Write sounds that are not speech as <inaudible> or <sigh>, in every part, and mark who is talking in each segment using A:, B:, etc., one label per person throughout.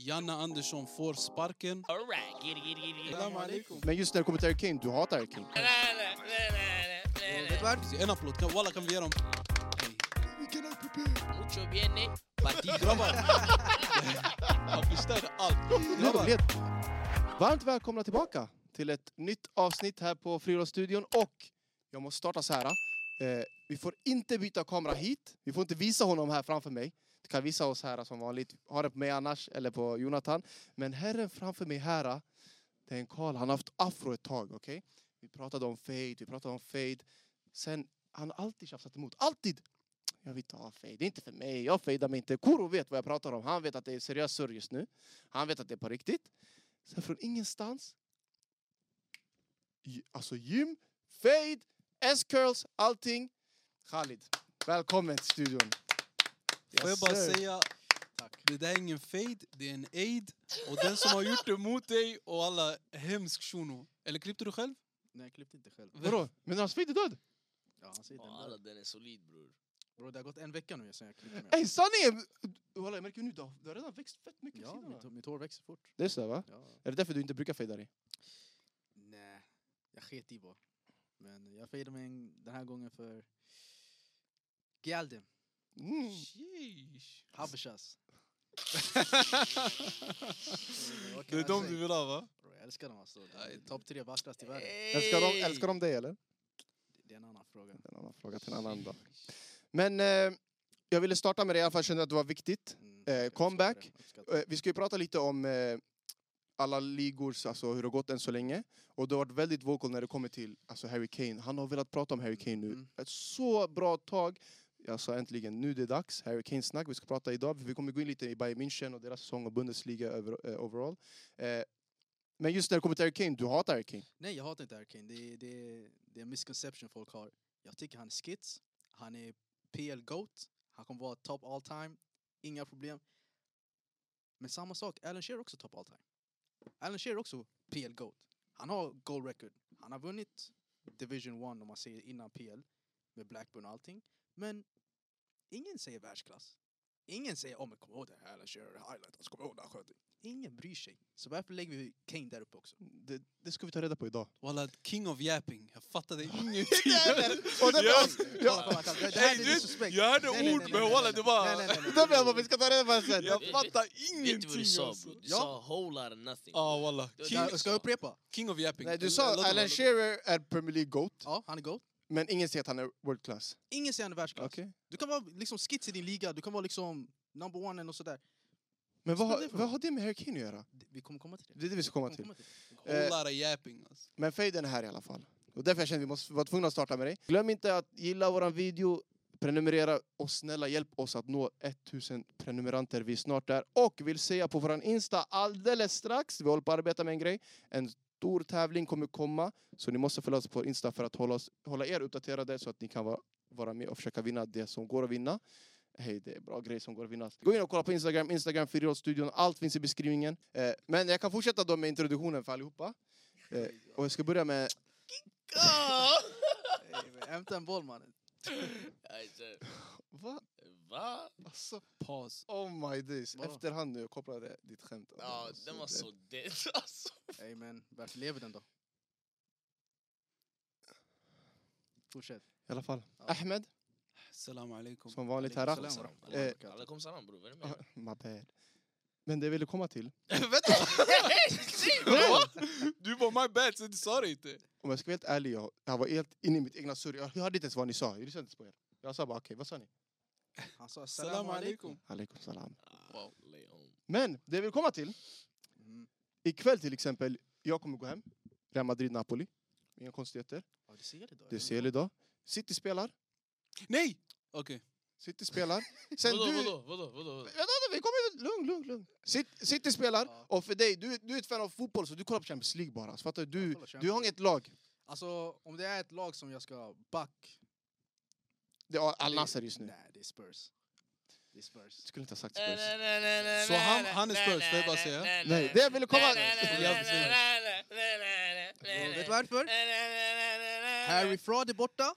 A: Janna Andersson får sparken.
B: Alright, giddy, giddy, giddy.
C: Men just när det kommer till Harry Kane, du hatar Harry Kane.
A: Eh, Vet du vad? En applåd. Kan- Walla, kan vi ge dem?
B: Mucho bien, eh? Bandido.
A: Grabbar! <laughs> Han förstörde allt.
C: Nu är de led. Varmt välkomna tillbaka till ett nytt avsnitt här på Friidrottsstudion. Och jag måste starta så här. Eh, vi får inte byta kamera hit. Vi får inte visa honom här framför mig. Du kan visa oss här som vanligt. Ha det på mig annars, eller på Jonathan. Men herren framför mig här, eh, det är en karl. Han har haft afro ett tag, okej? Vi pratade om fade, vi pratade om fade. Sen, han har alltid tjafsat emot. Alltid! Jag vill inte ha fade, det är inte för mig. Jag fejdar mig inte. Koro vet vad jag pratar om. Han vet att det är seriös surr just nu. Han vet att det är på riktigt. Sen från ingenstans... Gy- Alltså gym, fade, S-curls, allting. Khalid, välkommen till studion.
A: Får jag
C: Yes,
A: bara
C: sir.
A: säga, det där är ingen fade, det är en aid. Och den som har gjort det mot dig och alla hemsk shuno. Eller klippte du själv?
D: Nej, jag klippte inte själv.
C: Vadå? Menar han Speed är död?
D: Ja, han säger
B: Alla
D: den
B: den är solid bror.
D: Bro, det har gått en vecka nu sedan jag klippte mig.
C: Ey, sanningen! Walla, jag märker nu, du har, du har redan växt fett mycket på
D: Ja,
C: sidorna.
D: mitt, mitt hår växer fort.
C: Det är så va?
D: Ja.
C: Är det därför du inte brukar fejda dig?
D: Nej, jag sket i bara. Men jag fejdade mig en- den här gången för Gjalden,
C: Mm.
A: Sheesh.
D: <laughs> Habeshas. Vad
A: Det är
D: kan jag
A: de
D: säga?
A: du vill ha va?
D: Bro, jag älskar dem alltså. De är
A: Nej.
D: Topp tre vackraste i världen.
C: Älskar, de, älskar de dig eller?
D: Det är en annan fråga.
C: Det är en annan fråga till en annan dag. Men eh, jag ville starta med det i alla fall, kände att det var viktigt.
D: Mm,
C: Eh,
D: jag uppskattar
C: comeback.
D: det, jag uppskattar det.
C: Eh, Vi ska ju prata lite om eh, alla ligor, alltså hur det har gått än så länge. Och du har varit väldigt vocal när det kommer till alltså Harry Kane. Han har velat prata om Harry Kane nu
D: Mm.
C: ett så bra tag. Jag sa äntligen, nu är det dags. Harry Kane-snack. Vi ska prata idag. Vi kommer gå in lite i Bayern München och deras säsong och Bundesliga över, eh, overall. Eh, men just när det kommer till Harry Kane, du hatar Harry Kane.
D: Nej, jag hatar inte Arkane. Det, är- det, är- det är en misconception folk har. Jag tycker han är skits. Han är PL GOAT. Han kommer vara top all time. Inga problem. Men samma sak, Alan Shearer är också top all time. Alan Shearer är också PL GOAT. Han har goal record. Han har vunnit Division 1 om man säger innan PL med Blackburn och allting. Men ingen säger världsklass. Ingen säger åh men kom ihåg den här Alan Shearer highlights, kom ihåg den här sköt." Ingen bryr sig. Så varför lägger vi Kane där uppe också?
C: Det, det ska vi ta reda på
D: <laughs>
C: idag.
A: Walla, king of yapping. Jag fattade ingenting.
C: <laughs> Och
A: Ja.
C: därför,
D: <laughs>
C: ja,
D: Kolla, kolla, kolla. Det här
A: Ey,
D: är
A: du-
D: lite suspekt.
A: Jag hörde
D: Nej, nej,
A: ord
D: nej,
A: men
D: nej,
A: walla
D: nej,
A: det
D: nej,
A: var...
D: nej, nej, nej.
C: därför jag bara, vi ska ta reda på det sen.
A: Jag
B: Vet-
A: fattar
B: Vet du
A: ingenting
B: vad du sa
A: alltså.
B: bror? Du
A: Ja,
B: sa whole lot of nothing.
A: ah, walla.
B: Det var
A: King,
B: där-
D: Ska jag upprepa?
A: king of yapping.
C: Nej, du
A: Låt
C: sa
A: dem,
C: Alan
A: låt dem.
C: Shearer är Premier League GOAT,
D: Ja, han är GOAT.
C: men ingen säger att han är world class.
D: Ingen säger han är världsklass.
C: Okej.
D: Du kan vara liksom skits i din liga, du kan vara liksom number one eller något sådär.
C: Men vad,
D: Vad
C: har-
D: är det för
C: vad
D: något?
C: har det med Harry Kane att göra?
D: Det- Vi kommer komma till det.
C: Det är det vi ska komma
D: Vi kommer
C: till.
D: komma till det.
A: Whole
C: Eh.
A: lot of yapping alltså.
C: Men fejden är här i alla fall. Och därför jag kände att vi måste, var tvungna att starta med dig. Glöm inte att gilla våran video, prenumerera och snälla hjälp oss att nå 1000 prenumeranter. Vi är snart där. Och vill säga på våran Insta alldeles strax, vi håller på att arbeta med en grej. En stor tävling kommer komma, så ni måste följa oss på Insta för att hålla, oss, hålla er uppdaterade så att ni kan vara, vara med och försöka vinna det som går att vinna. Hej, det är bra grejer som går att vinna. Gå in och kolla på Instagram, Instagram, Friidrottsstudion. Allt finns i beskrivningen. Eh, men jag kan fortsätta då med introduktionen för allihopa. Eh, och jag ska börja med
B: Ah!
D: Ey, men Hämta en boll mannen.
B: Alltså,
C: Va?
B: Va?
C: Alltså,
A: Paus.
C: oh my days.
D: Vadå?
C: Efterhand nu, jag kopplade ditt skämt.
B: Ja,
C: Alltså,
B: den var
C: det-
B: så dead alltså.
D: Ey men varför lever den då? Fortsätt.
C: I alla fall.
D: Ja.
C: Ahmed,
A: Salam alaikum.
C: som vanligt här.
D: Alaikum
C: Ah,
D: salam.
C: Eh,
B: Alla kom salam bror, vad är det med
C: my bad. Men det jag ville komma till,
A: Vänta! Du bara my bad, så du sa det inte.
C: om jag ska vara helt ärlig, jag, jag var helt inne i mitt egna surr. Jag, jag hörde inte ens vad ni sa. Jag lyssnade inte på er. Jag sa bara okej, vad sa ni?
D: Han sa
A: Salam alaikum.
C: Alaikum salam.
B: Wow, lay home.
C: Men det jag vill komma till,
D: Mm.
C: ikväll till exempel, jag kommer gå hem. Real Madrid-Napoli. Inga konstigheter.
D: Ja, du ser det då.
C: Det ser jag idag. City spelar.
A: Nej! Okej.
C: City spelar. Sen
B: Vadå,
C: du...
B: vadå, vadå, vadå? vadå?
C: Vänta, vänta, vi kommer... Lugn, lugn, lugn. City, City spelar,
D: Ja.
C: och för dig, du, du är ett fan av fotboll så du kollar på Champions League bara. Så fattar du,
D: Jag
C: du,
D: kollar Champions
C: du har inget lag.
D: Alltså om det är ett lag som jag ska back.
C: Det är Al Nassr just nu.
D: Nej, det är Spurs. Det är Spurs.
C: Jag skulle inte ha sagt Spurs.
A: Så han- han är Spurs, får jag bara säga?
C: Nej, det jag ville komma...
D: Och Vet du varför? Harry Fraud är borta.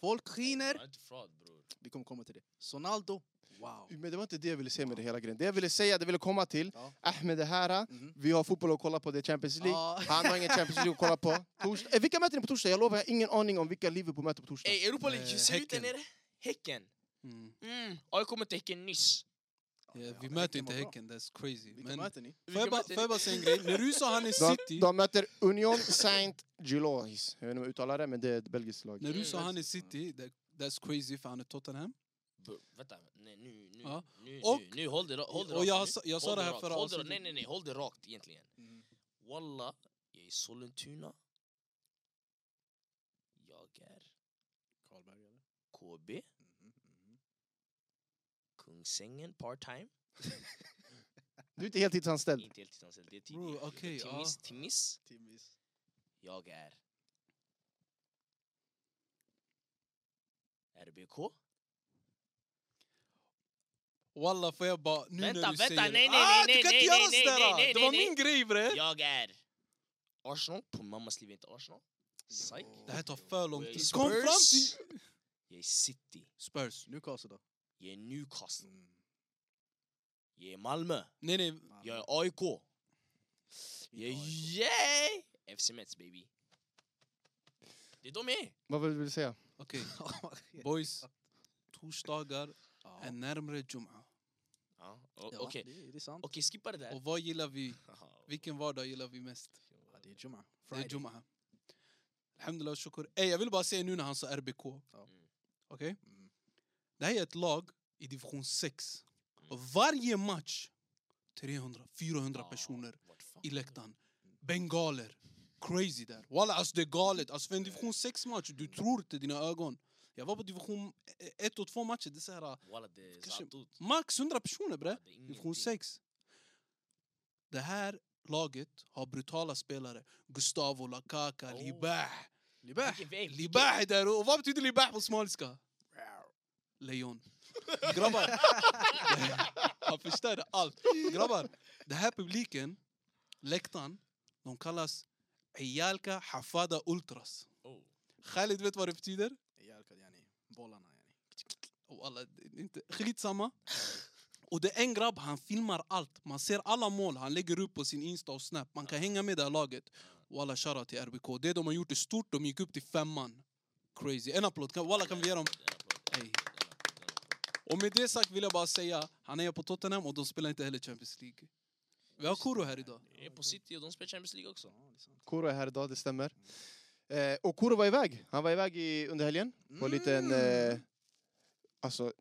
D: Folk skiner.
B: Han är inte fraud bror.
D: Vi kommer komma till det. Sonaldo Wow.
C: Men det var inte det jag ville säga med det hela grejen. Det jag ville säga, det jag ville komma till,
D: Ja.
C: Ahmed det här, äh,
D: Mhm.
C: vi har fotboll att kolla på, det är Champions League.
D: Ja.
C: Han har ingen Champions League att kolla på. Torsdag. Eh, vilka möter ni på torsdag? Jag lovar, jag har ingen aning om vilka Liverpool möter på torsdag.
B: Ey, Europa League,
A: Eh,
B: hur ser det ut där
A: Häcken.
B: nere? Häcken.
A: Mm.
B: Mm. AIK mötte Häcken nyss.
A: Ja, vi
D: Häcken
A: möter inte
D: var bra.
A: Häcken, that's crazy.
D: Vilka
A: Men
D: möter ni?
A: får jag bara- får jag bara säga en grej? När du sa
C: <laughs>
A: han är
C: De,
A: city,
C: de möter Union Saint-Gilloise. Jag vet inte om jag uttalar det, men det är ett belgiskt lag.
A: när du
B: Mm.
A: sa han är city, that, that's crazy för han är Tottenham.
B: Bro, vänta, nej, nu, nu,
A: Ja.
B: nu,
A: Och-
B: nu, nu, håll det ra- håll det rakt.
A: Och jag,
B: nu.
A: sa- jag sa
B: Håll
A: det
B: det
A: här
B: rakt,
A: förra
B: håll det ra-
A: avsnittet.
B: Nej, nej, nej, håll det rakt egentligen.
D: Mm.
B: Walla, jag är i Sollentuna. Jag är
D: Karlberg eller?
B: KB,
A: Mm-hmm,
D: Mhm, mhm. Kungsängen.
B: Kungsängen, part-time.
C: Du är inte heltidsanställd.
B: Inte heltidsanställd, det är
A: Bro,
B: tidigt.
A: okej, ja.
B: Timmis, Timmis.
D: Timmis.
B: Jag är... RBK.
A: Walla får jag bara, nu
B: Vänta,
A: när du
B: vänta,
A: säger det.
B: nej, nej, nej,
A: ah, du
B: nej,
A: kan
B: nej,
A: inte göra
B: nej, nej,
A: sådär! Det
B: nej, nej,
A: var
B: nej.
A: min grej bre!
B: Jag är... Arsenal. På mammas liv är inte Arsenal. Psych.
D: Jo.
A: Det här tar för lång
B: Jag är
A: tid. Kom fram
B: Spurs.
A: till...
B: Jag är City.
A: Spurs.
D: Newcastle då?
B: Jag är Newcastle.
D: Mm.
B: Jag är Malmö.
A: Nej, nej.
D: Malmö.
B: Jag är AIK. Jag är...
D: Inte AIK.
B: Yay! FC Mets, baby. Det är de jag är.
C: Vad vill du säga? <laughs>
A: Okej,
D: <laughs> Ja.
A: boys. Torsdagar
D: Ja,
A: är närmre Jum'a.
B: Ja, o-
D: ja,
B: Okej,
D: det, det är sant.
B: Okej, skippa det <laughs> där.
A: Och vad gillar vi?
B: Haha.
A: Vilken vardag gillar vi mest?
D: Ja, det är Juma.
A: Det är
D: Friday.
A: Jum'a. Alhamdulillah och shukur. Ey, jag vill bara säga nu när han sa RBK.
B: Mm.
A: Okej?
D: Mm.
A: Det här är ett lag i division 6. Och varje match 300-400
B: Ja,
A: personer
B: vart fan
A: i
B: är det?
A: läktaren. Bengaler. Crazy där. Walla, alltså det är galet. Alltså för en division 6-match, du tror inte dina ögon. Jag var på division 1 och 2 matcher, det är så här,
B: Walla, det är
A: Kanske-
B: Zlatan.
A: max 100 personer bre.
B: Ja, det är
A: Division
B: ingenting.
A: 6. Det här laget har brutala spelare. Gustavo, Lakaka,
B: Oh.
A: Libah. Libah?
B: Vilken väg, vilken-
A: Libah är där. Och vad betyder Libah på somaliska? Lejon. Grabbar. Han förstörde allt. Grabbar, den här publiken, läktaren, de kallas Ijalka Hafada Ultras.
B: Oh.
A: Khalid vet vad det betyder?
D: Jalkad yani. Bollarna yani.
A: Och alla, det är inte, skitsamma. Och det är en grabb, han filmar allt. Man ser alla mål han lägger upp på sin Insta och Snap. Man kan hänga med det här laget. Och alla shoutout till RBK. Det de har gjort är stort, de gick upp till femman. Crazy. En applåd. Kan, walla, kan vi ge dem?
B: En applåd, en
A: Ey.
B: applåd, en applåd, en applåd.
A: Och med det sagt vill jag bara säga, han är på Tottenham och de spelar inte heller Champions League. Vi har Koro här idag.
B: Jag är på City och de spelar Champions League också.
D: Ja, det är sant.
C: Koro är här idag, det stämmer. Eh, och Koro var iväg. Han var iväg i, under helgen på en liten... Eh, alltså,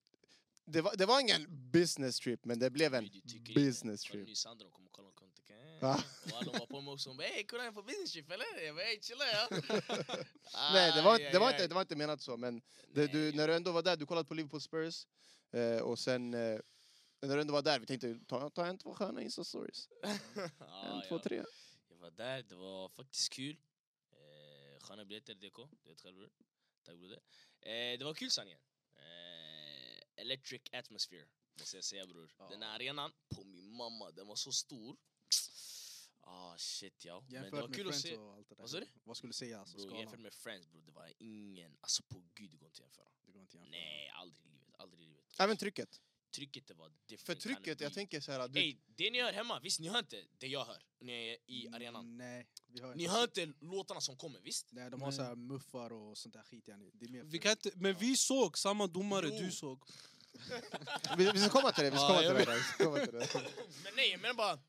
C: det var, det var ingen business trip, men det blev en
B: Du tycker inte.
C: business
B: Kolla
C: trip. <laughs>
B: Nu Sandra kommer kolla och kommer tänka...
C: Va?
B: Walla, hon var på mig också. Hon bara ey, kolla jag är på business trip eller? Jag bara ey, chilla ja.
C: <laughs> Nej, det var,
B: Aj,
C: det, var
B: aj,
C: inte,
B: aj.
C: det var inte menat så, men det, du,
B: Nej.
C: när du ändå var där, du kollade på Liverpool Spurs eh, och sen... Eh, när du ändå var där, vi tänkte ta, ta en, två sköna Insta-stories.
B: <laughs> Ja,
C: En,
B: ja.
C: två, tre.
B: Jag var där, det var faktiskt kul. Eh, sköna biljetter, DK. Du vet själv bror. Tack broder. Eh, det var kul sanningen. Eh, electric atmosphere, måste jag säga bror.
D: Ja.
B: Den här arenan, på min mamma, den var så stor. Ah shit ja. Men det
D: Jämfört
B: var
D: med
B: kul att
D: Friends
B: se.
D: och allt det där.
B: Vad sa du?
D: Vad skulle du säga? Alltså,
B: Bro, jämfört
D: skalan?
B: med Friends bror, det var ingen, alltså på gud det går inte att jämföra.
D: Det går inte att jämföra.
B: Nej, aldrig i livet, aldrig i livet.
C: Även trycket.
B: Trycket det var different.
C: För
B: kind of
C: trycket, jag
B: beat.
C: tänker så här... Du,
B: Ey, det ni hör hemma, visst ni hör inte det jag hör när jag är
D: Mm.
B: i arenan?
D: Nej, vi har
B: Ni hör inte låtarna som kommer,
D: <laughs>
B: visst?
D: Nej, de har
A: Nej.
D: så här muffar och sånt där skit. Yani. Det är mer
A: Vi kan inte, men vi såg samma domare
B: Jo.
A: du såg.
C: vi, vi ska komma till det, vi ska
A: Ja,
C: komma till
A: jag
C: det. där, vi ska komma till det.
B: Men nej, jag menar bara...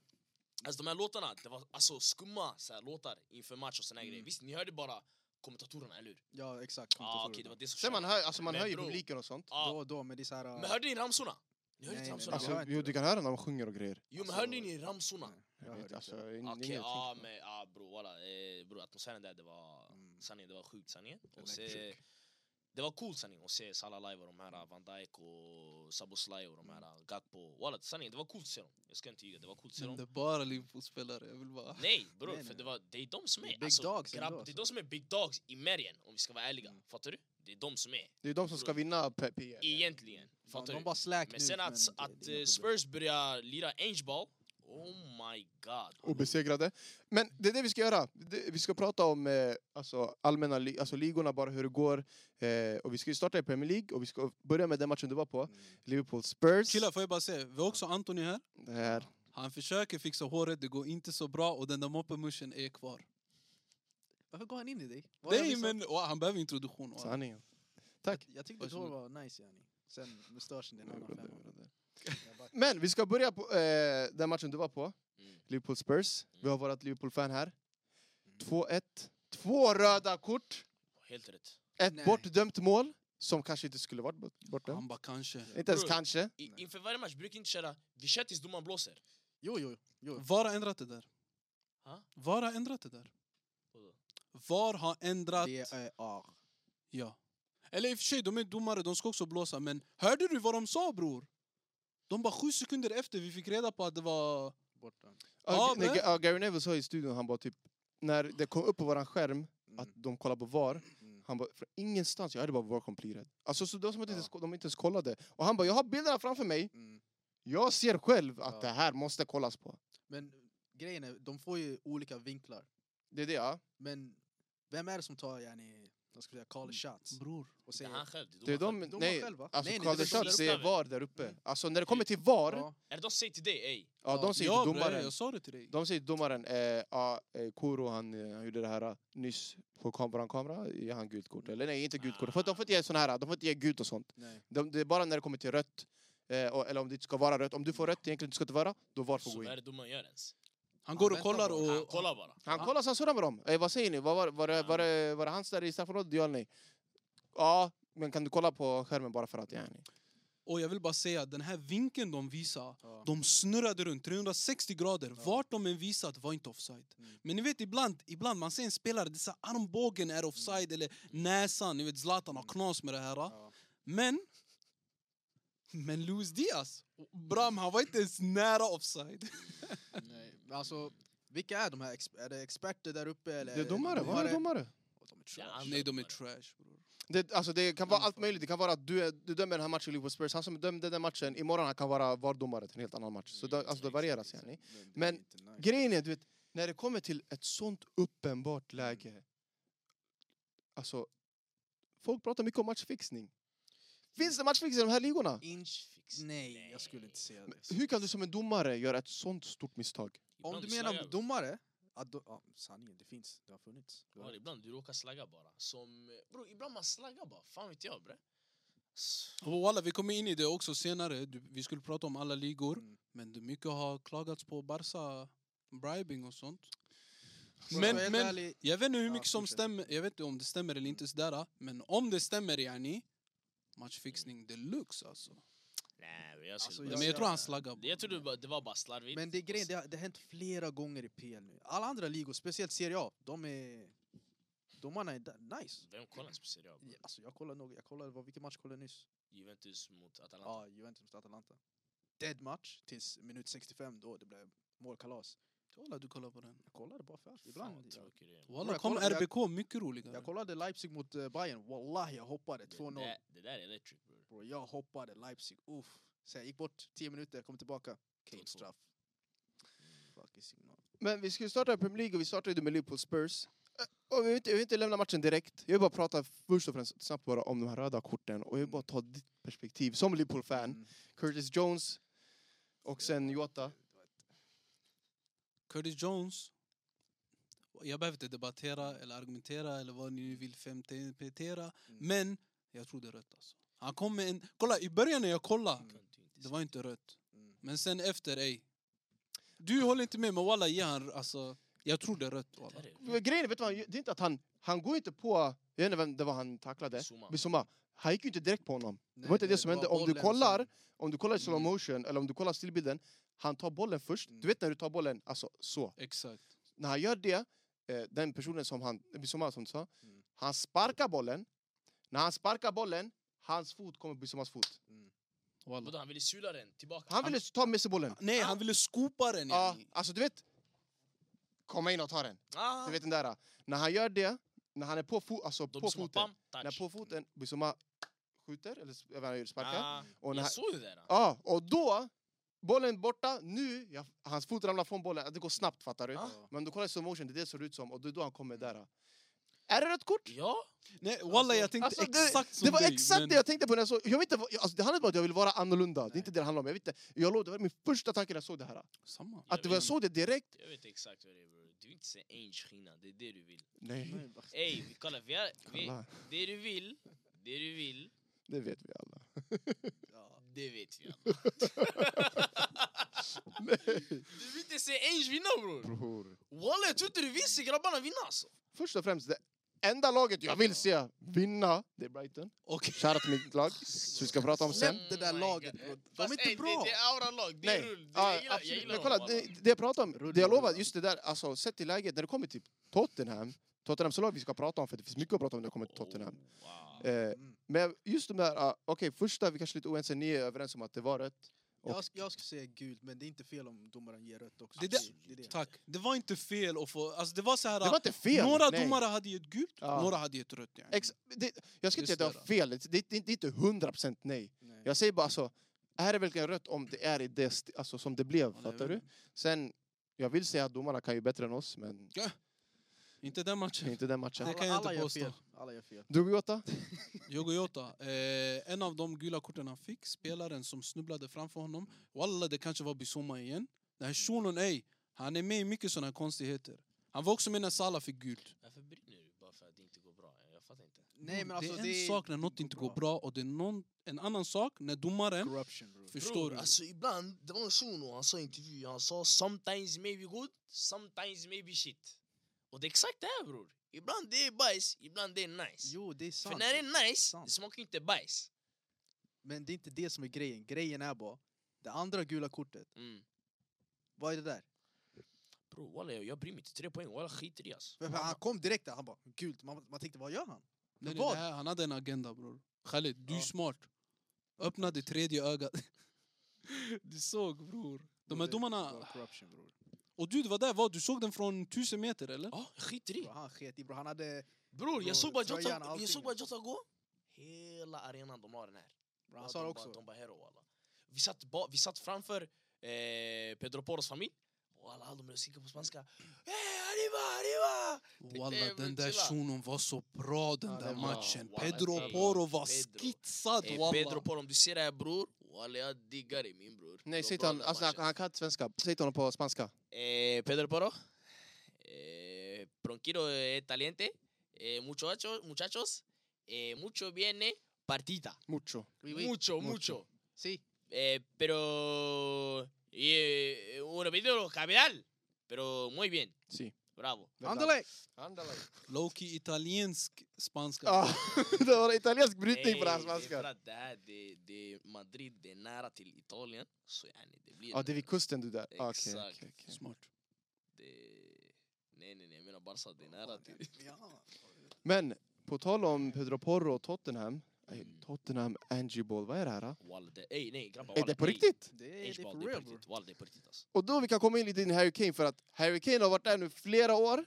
B: Alltså de här låtarna, det var alltså skumma så här, låtar inför match och såna här
D: Mm.
B: grejer. Visst, ni hörde bara kommentatorerna, eller hur?
D: Ja, exakt.
B: Ja, ah,
D: kommentatorerna.
B: okej, det var det som
C: Sen man
B: körde.
C: hör, alltså man
B: Men
C: hör ju
B: bro.
C: publiken och sånt.
B: Ja.
D: Då och då, men det är så här...
B: Men hörde ni ramsorna? Ni hörde
D: Nej,
B: inte
D: nej,
B: ramsorna?
D: jag hör
C: Alltså,
D: inte
C: jo,
D: det.
C: du kan höra när de sjunger och grejer.
B: Jo, men
D: alltså,
B: hörde ni ramsorna?
D: Nej,
C: Jag
D: jag hörde
C: vet,
D: inte.
C: alltså, in-
B: Okej,
C: inget
B: ja
C: tänkt på.
B: men ja bro, walla. Eh, bro, atmosfären där, det var...
D: Mm.
B: Sanningen, det var sjukt sanningen. Och
D: Electric.
B: se, det var coolt sanningen att se Salah live och de här Van Dijk och Szoboszlaj och de här
D: Mm.
B: Gakpo. Walla, sanningen, det var coolt att se dem. Jag ska inte ljuga, det var coolt att se
A: Men
B: dem.
A: det är bara Liverpool-spelare. Jag vill
D: <laughs>
A: bara...
B: Nej bror,
D: Nej,
B: för
D: nej.
B: det, var, det är de som
D: Det
B: är
D: är big dogs ändå,
B: grabb, Det
D: alltså.
B: är de som är big dogs i märgen om vi ska vara ärliga,
D: Mm.
B: fattar du? Det är de som är,
C: Det är de som ska
B: alltså-
C: vinna P- PL.
B: egentligen,
D: De,
B: fattar
D: de
B: du?
D: bara slack
B: Men
D: nu,
B: sen att,
D: det- det är
B: att
D: inga
B: eh,
D: problem.
B: Spurs börjar lira Angeball, oh my my god.
C: obesegrade. Men det är det vi ska göra. Det- Vi ska prata om eh, alltså, allmänna li- alltså, ligorna, bara hur det går. Eh, och vi ska ju starta i Premier League och vi ska börja med den matchen du var på. Liverpool Spurs.
A: Killar, får jag bara säga, vi har också Anthony här.
C: Det här.
A: Han försöker fixa håret, det går inte så bra och den där moppemuschen är kvar.
D: Varför går han in i dig? Vad har jag
A: Nej,
D: missat?
A: men och han behöver introduktion. och-
C: Sanningen.
D: Jag- Jag tyckte då
A: Varsågod.
D: var nice yani. Sen mustaschen, det är en annan femma. Jag backar.
C: Men vi ska börja på eh, den matchen du var på.
B: Mm.
C: Liverpool Spurs. Vi har varit Liverpool-fan här.
D: Mm.
C: 2-1. Två röda kort.
B: Helt rätt.
C: Ett
D: Nej.
C: bortdömt mål som kanske inte skulle varit bort- bortdömt.
A: Han bara kanske.
C: Inte ens
B: Bro.
C: kanske.
B: I,
D: Nej.
B: inför varje match brukar jag inte köra vi kör tills domaren blåser.
D: Jo, jo, jo.
A: VAR har ändrat det där.
B: Ha?
A: VAR har ändrat det där.
B: Vadå?
A: VAR har ändrat...
D: Det är A.
A: Ja. Eller i och för sig, de är domare, de ska också blåsa. Men hörde du vad de sa, bror? De bara sju sekunder efter vi fick reda på att det var...
D: Borta.
A: Ja,
C: Ja, nej,
A: men-
C: ja, Gary Neville sa i studion, han bara typ... När det kom upp på våran skärm att
D: Mm,
C: de kollar på VAR,
D: mm.
C: han bara från ingenstans, jag hörde bara VAR completed. Alltså så det var som att
D: Ja.
C: inte ens- de inte ens kollade. Och han bara, jag har bilderna framför mig,
D: Mm.
C: jag ser själv att
D: Ja.
C: det här måste kollas på.
D: Men grejen är, de får ju olika vinklar.
C: Det är det ja.
D: Men vem är det som tar yani, vad ska jag säga, call shots?
A: Bror.
D: Och
B: Det är
D: säger,
B: han själv.
C: Det är
B: domaren själv.
C: de,
D: de har
C: nej,
D: själva.
C: alltså
D: Nej, nej,
C: Carl
D: det är
B: de
C: Richards
B: som
C: är
B: där uppe.
C: VAR där uppe.
D: Mm.
C: Alltså när det kommer till VAR, ja,
D: ja,
B: Är det de som säger till dig ey?
C: de säger
A: Ja,
C: till
A: bror,
C: domaren.
A: jag sa det till dig.
C: De säger till domaren, eh, ja, eh, Koro han, eh, han gjorde det här eh, nyss på kam- våran kamera, ger han gult
D: Mm.
C: kort? Eller nej, inte gult kort. För att de får inte
D: Ah.
C: ge såna här, de får inte ge gult och sånt.
D: nej.
C: De, det är bara när det kommer till rött, eh, och, eller om det inte ska vara rött. Om du får rött egentligen inte ska det vara, då VAR får
B: Så
C: gå
B: vad är
C: in.
B: det domaren gör ens?
A: Han går och
D: väntar
A: kollar
D: bara.
B: Han
A: och...
B: kollar bara.
C: Han
A: Ja.
C: kollar sen surrar med dem. Eh, vad säger ni? Var, var, var, det- var, det- var det hans där i straffområdet? Ja eller nej? Ja, men kan du kolla på skärmen bara för att? Ja, nej.
A: Och jag vill bara säga, den här vinkeln de visar,
D: Ja.
A: de snurrade runt 360 grader.
D: Ja.
A: Vart de än visat var inte offside.
D: Mm.
A: Men ni vet ibland, ibland man ser en spelare, det är så här, armbågen är offside eller näsan, ni vet Zlatan har knas med det här.
D: Ja.
A: Men, men Luis Diaz, Bram han var inte ens nära offside.
D: nej. Alltså, vilka är de här? Ex- Är det experter där uppe? Eller
C: Det är domare, vad är det domare?
D: Och De är
B: Ja,
D: trash.
B: han-
A: Nej de är trash bror.
C: Det, alltså, det kan
B: Mm.
C: vara allt möjligt. Det kan vara att du, är, du dömer den här matchen i Liverpool Spurs. Han som dömde den matchen, imorgon han kan vara VAR-domare till en helt annan match.
B: Mm,
C: Så det, alltså, det varieras. Ja, nej.
D: Men, det är
C: Men
D: inte nice.
C: Grejen är, du vet, när det kommer till ett sånt uppenbart läge... Alltså, folk pratar mycket om matchfixning. Finns det matchfixning i de här ligorna?
D: Inch,
B: Fix.
D: nej, jag skulle inte säga
C: Men
D: det.
C: Hur kan du som en domare göra ett sånt stort misstag?
D: Om
B: Ibland
D: du
B: slaggar
D: menar
B: du.
D: domare? Att do- ja, sanningen, det finns. Det har funnits. Du har
B: Ja,
D: rätt.
B: ibland du råkar slagga bara. Som, eh, bro, ibland man slaggar bara. Fan vet jag bre. Alltså, S-
A: Och Walla, vi kommer in i det också senare, du, vi skulle prata om alla ligor.
D: Mm.
A: Men det mycket har klagats på Barca bribing och sånt.
D: Men,
A: Men-
D: men,
A: men-
D: ärlig,
A: Jag vet inte hur
D: Ja,
A: mycket som
D: fortsätt.
A: stämmer, jag vet inte om det stämmer eller inte sådär. ah. Men om det stämmer yani, matchfixning deluxe alltså.
B: Nej, bro, jag
D: Alltså,
B: skulle
A: Men
B: bara-
A: jag tror han slaggar.
B: Det- Jag tror det bara- det var bara slarvigt.
D: men det är grejen, det har, det har hänt flera gånger i PL nu. Alla andra ligor, speciellt Serie A, de är... Domarna är da- nice.
B: Vem kollar ens på Serie A? bro?
D: Ja, Alltså jag kollade nog, jag kollade, vad, vilken match kollade jag nyss?
B: Juventus mot Atalanta.
D: Ja, Juventus mot Atalanta. Dead match tills minut 65 då det blev målkalas.
A: Walla, du kollar på den.
D: Jag kollade bara för att
B: Fan
D: ibland.
B: vad
D: Jag,
B: tråkig det är.
A: Walla,
D: jag
A: kom
D: kollar- jag-
A: RBK, mycket roligare.
D: jag kollade Leipzig mot eh, Bayern, wallahi jag hoppade
B: Det
D: 2-0.
B: där- Det där är electric bro.
D: Bro, jag hoppade Leipzig, uff. Så jag gick bort 10 minuter, kom tillbaka. Kane
B: 2-2.
D: straff. Fucking signal.
C: Men vi skulle starta i Premier League och vi startade med Liverpool Spurs. Eh, Och vi vill, inte, vi vill inte lämna matchen direkt. Jag vill bara prata först och främst snabbt bara om de här röda korten och jag vill bara ta ditt perspektiv som Liverpool-fan.
D: Mm.
C: Curtis Jones och sen Jota.
A: Curtis Jones. Jag behöver inte debattera eller argumentera eller vad ni nu vill femtepetera.
D: Mm.
A: Men jag tror det är rött alltså. Han kom med en... Kolla, i början när jag kollade,
D: Mm.
A: det
B: Kan du inte
A: var inte rött.
D: Mm.
A: Men sen efter, ej. Du håller inte med, men walla, ge han... Alltså, jag tror det är rött,
B: se-
A: walla.
B: Det där
C: Men Grejen är, vet du vad, han gör? det är inte att han, han går inte på, jag vet inte vem det var han
B: är
C: tacklade,
B: Zuma.
C: Bissouma. Han gick ju inte direkt på honom.
D: Nej,
C: var inte det som
D: var
C: hände. Om du
D: bollen och
C: kollar-
D: sen-
C: Om du kollar i slow
D: Mm.
C: motion eller om du kollar stillbilden, han tar bollen först.
D: Mm.
C: Du vet när du tar bollen, alltså så.
A: Exakt.
C: När han gör det, eh, den personen som han, Bissouma som du sa,
D: Mm.
C: han sparkar bollen. När han sparkar bollen, hans fot kommer Bissoumas fot.
D: Mm.
A: Walla.
B: Vadå, han ville sula den tillbaka.
C: Han ville ta med sig bollen.
A: Nej, han ville skopa den.
C: Ja,
A: yani.
C: alltså du vet, komma in och ta den.
B: Ah,
C: Du vet den där. När han gör det, när han är på, fo- alltså,
B: då
C: på
B: Bissouma,
C: foten.
B: bam, touch.
C: När på foten Bissouma skjuter, eller s- jag vet inte, sparkar.
B: Ah,
C: Och när
B: jag
C: han,
B: såg det där.
C: ja, och då bollen borta, nu, ja, hans fot ramlar från bollen, det går snabbt fattar du.
B: Ja.
C: Men du kollar i slow motion, det är det det ser ut som och det är då han kommer där. Är det rött kort?
B: Ja,
A: Nej, walla jag tänkte
C: Alltså, det-
A: exakt som
C: Det var
A: dig,
C: exakt
A: men-
C: det jag tänkte på när jag såg... Jag vet inte, vad- jag- alltså, det handlar inte om att jag vill vara annorlunda, det är
D: Nej.
C: inte det det handlar om. Jag, vet inte, jag lovar, det var min första tanke när jag såg det här.
A: Samma.
B: Jag
C: Att det var, jag
B: vet.
C: såg det direkt,
B: jag vet exakt vad det är bror. Du vill inte se en skillnad, det är det du vill.
C: nej.
D: Men, vad-
B: Ey, vi- kolla, vi har, vi,
C: Kolla,
B: det du vill, det du vill,
C: det vet vi alla.
D: ja.
B: det vet vi alla.
C: Nej,
B: Du vill inte se en vinna bror!
C: bror.
B: Walla, jag tror inte du vill se grabbarna vinna alltså!
C: Först och främst, det enda laget jag vill se vinna, det är Brighton.
A: Okej.
C: Shoutout till mitt lag, som vi ska prata om sen.
D: Släpp det där
B: Oh my
D: laget,
B: God.
D: bro. De
B: Fast,
D: är inte
B: ey,
D: bra.
B: Det, det är aura-lag, det är
C: Nej,
B: rull. Det,
C: ja,
B: jag gillar, jag
C: absolut.
B: gillar
C: Men kolla,
B: dem,
C: det,
B: walla.
C: det jag pratar om,
D: Rulla,
C: det jag lovar,
D: rulla.
C: just det där, alltså sett till läget när det kommer till Tottenham, Tottenhams lag vi ska prata om, för det finns mycket att prata om när det kommer till Tottenham.
B: Oh, wow.
C: Eh,
D: Mm.
C: men just de där, ah, okej, första vi kanske är lite oense, ni är överens om att det var rätt. Och-
D: Jag, sk- jag ska säga gult, men det är inte fel om domaren ger rött också.
A: Det där- Tack. Det var inte fel att få... Alltså det var så här...
C: Det var inte fel!
A: några
C: nej.
A: domare hade gett gult,
C: Ja.
A: några hade gett rött. yani.
C: Ex, det, jag ska inte
A: Just
C: säga att det var fel, det, det, det, det är inte 100% nej.
D: Nej.
C: Jag säger bara alltså, är det verkligen rött om det är i det, st- alltså, som det blev,
A: Ja, det är
C: fattar du?
A: väl-
C: Sen, jag vill säga att domarna kan ju bättre än oss, men
A: Inte den
C: det är
A: matchen.
C: inte den matchen.
A: det kan jag
D: alla
A: inte
D: gör
A: påstå.
D: fel. Alla gör fel.
C: Du Gota?
A: Diogo Jota, eh, en av de gula korten han fick, spelaren som snubblade framför honom. Walla, det kanske var Bissouma igen. Den här shunon, ey, han är med i mycket såna här konstigheter. Han var också med när Salah fick gult.
B: Varför brinner du bara för att det inte går bra? Jag fattar inte.
D: Nej, men alltså,
A: det är en sak när något inte går bra och det är någon, en annan sak när domaren...
D: Corruption, bro.
A: Förstår du?
B: Alltså ibland, det var en shuno, han sa i intervju, han sa sometimes maybe good, sometimes maybe shit. Och det är exakt det här bror. Ibland det är bajs, ibland det är nice.
D: Jo, det är
B: för
D: sant.
B: när det är nice,
D: Sant.
B: det smakar ju inte bajs.
D: Men det är inte det som är grejen. Grejen är bara, det andra gula kortet,
B: Mm.
D: vad är det där?
B: Bror walla jag, jag bryr mig inte, tre poäng, walla skiter i alltså.
D: Men Han kom direkt där, han bara gult. Man, man tänkte, vad gör han?
A: Nej, nej,
D: Vad?
A: det här, han hade en agenda, bror. Khalid, du är
B: Ja.
A: smart. Öppna det tredje
D: <laughs>
A: ögat. Du såg, bror. De här
D: Det var
A: domarna...
D: Corruption, bror.
A: Och du, det var där, vad? Du såg den från tusen meter, eller?
B: Ja, jag skiter i.
D: Bro, han sket i, bro. Han hade...
B: Bror
D: Bror,
B: jag såg bara
D: tröjan,
B: Jota,
D: allting.
B: jag såg bara Jota gå. Hela arenan de har den här.
D: Bro,
B: Ja,
D: han sa det
B: de Bara,
D: också.
B: de bara hero walla. Vi satt, ba, vi satt framför eh, Pedro Poros familj. Och alla de började skrika på spanska. Hey, arriba, arriba!
A: Walla,
B: Eh, men
A: den där
B: chilla.
A: shunon var så bra den
D: Ja,
A: där
D: den var-
A: matchen.
B: walla,
A: Pedro
B: ey,
A: Poro var
B: Pedro.
A: skitsad,
B: Eh,
A: walla.
B: Pedro Poro, om du ser det här bror. Walla jag diggar dig min bror. Det var
C: Nej, säg till
B: bra
C: honom,
B: den här
C: alltså, han,
B: matchen.
C: han kan inte svenska. Säg till honom på spanska.
B: Eh, Pedro Poro. Eh, Bronquiro eh, Taliente. Eh, muchachos, muchachos. Eh, mucho viene partita.
C: Mucho.
D: Oui, oui.
B: mucho.
C: mucho.
B: mucho.
D: Si.
B: Eh, pero. Y, eh, un capítulo capital. Pero muy bien.
C: Si.
B: Bravo.
D: Anderlecht!
C: Anderlecht.
A: Loki italiensk spanska.
D: Ah.
C: Ja, <laughs> det var italiensk brytning
B: Hey,
C: på det här
B: det är för
C: spanska.
B: att det här det, det Madrid, det är nära till Italien. Så yani, det blir...
C: Ja, det är vid kusten du där. Ah, Okej, okej,
B: Exakt.
C: okej.
A: Smart.
B: det- nej, nej, nej, jag menar Barca, det är nära till...
D: Ja.
C: Men på tal om Pedro Porro och Tottenham. Ey,
B: Mm.
C: Tottenham, Angie Ball, vad är det här? då?
B: Walla, det... Ey, nej, grabbar.
C: Är
B: walla,
C: det på
B: ey,
C: riktigt?
D: Det
B: ey,
D: är det är
B: walla, det
D: for
B: är
D: real,
B: på
D: bror.
B: riktigt. Walla, det är på riktigt alltså.
C: Och då vi kan komma in lite i Harry Kane för att Harry Kane har varit där nu flera år.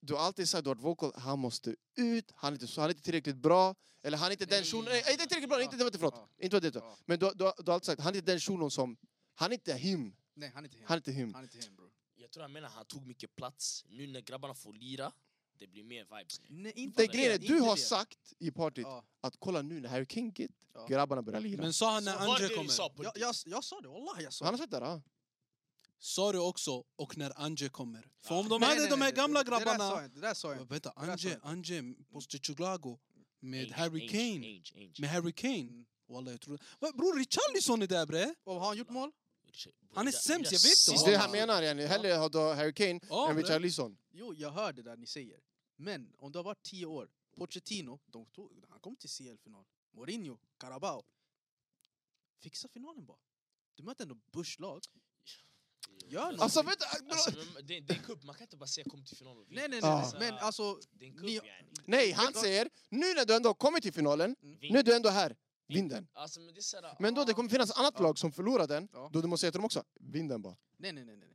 C: Du har alltid sagt, du har varit vocal, han måste ut, han är inte, så- han är inte tillräckligt bra. Eller han är inte den
B: Nej.
C: shunon, nej, inte tillräckligt bra, inte, det var inte, förlåt.
D: Ja.
C: Inte var det, inte.
D: Ja.
C: Men du, har- du, har- du har alltid sagt, han är inte den shunon som, han är inte him,
D: Nej, han är inte hem.
C: han är inte him.
D: Han är inte hem, bror.
B: Jag tror han menar han tog mycket plats. Nu när grabbarna får lira, det blir mer vibes nu.
D: Nej, inte
C: Det
B: Det
C: är grejen är,
D: det,
C: du
D: inte
C: har
D: det.
C: sagt i partyt
D: Ja.
C: att kolla nu när Harry Kane get,
D: Ja.
C: grabbarna börjar lira.
A: Men sa han när
B: Så var det
A: Anje
B: du sa
A: kommer?
B: på
D: Jag,
B: riktigt?
D: jag, jag sa det, wallah jag
C: Så han
D: sa
C: har
D: det.
C: sagt det då?
A: Sa du också, och när Anje kommer. För
B: Ja.
A: om de
D: Nej,
A: hade
D: nej,
A: de här
D: nej,
A: gamla
D: det- Det där sa
A: grabbarna...
D: jag inte, det där sa jag inte.
A: Vänta,
D: där sa jag
A: Anje, Anje, Postecoglou med
B: Ange,
A: Harry
B: Ange,
A: Kane.
B: Ange, Ange.
A: Med Harry Kane?
D: Mm.
A: Walla, jag tror... Va, Bror, Richarlison är där bre!
D: Och har han gjort mål?
A: Han är sämst, jag vet
C: Det
A: inte.
C: är det han menar, yani. Hellre har du Harry Kane
A: Ja,
C: än
A: bre.
C: Richarlison.
D: Jo, jag hör det där ni säger. Men om det har varit tio år, Pochettino, de tog, han kom till CL-final. Mourinho, Carabao. Fixa finalen bara. Du möter ändå Bush-lag. Gör någonting.
C: Alltså vänta!
B: Alltså, men det, det är en cup, man kan inte bara säga kom till final och vinna.
D: Nej, nej, nej.
C: Ja.
D: nej. Men alltså,
B: Det är en
D: Ni-
B: cup, yani.
C: Nej, han säger nu när du ändå har kommit till finalen,
B: Vinn.
C: nu är du ändå här, vinn den.
B: Alltså, men det är så här,
C: Men då det kommer finnas annat
D: Ja.
C: lag som förlorar den,
D: Ja.
C: då du måste säga till dem också, vinn den bara.
D: nej, nej, nej. nej.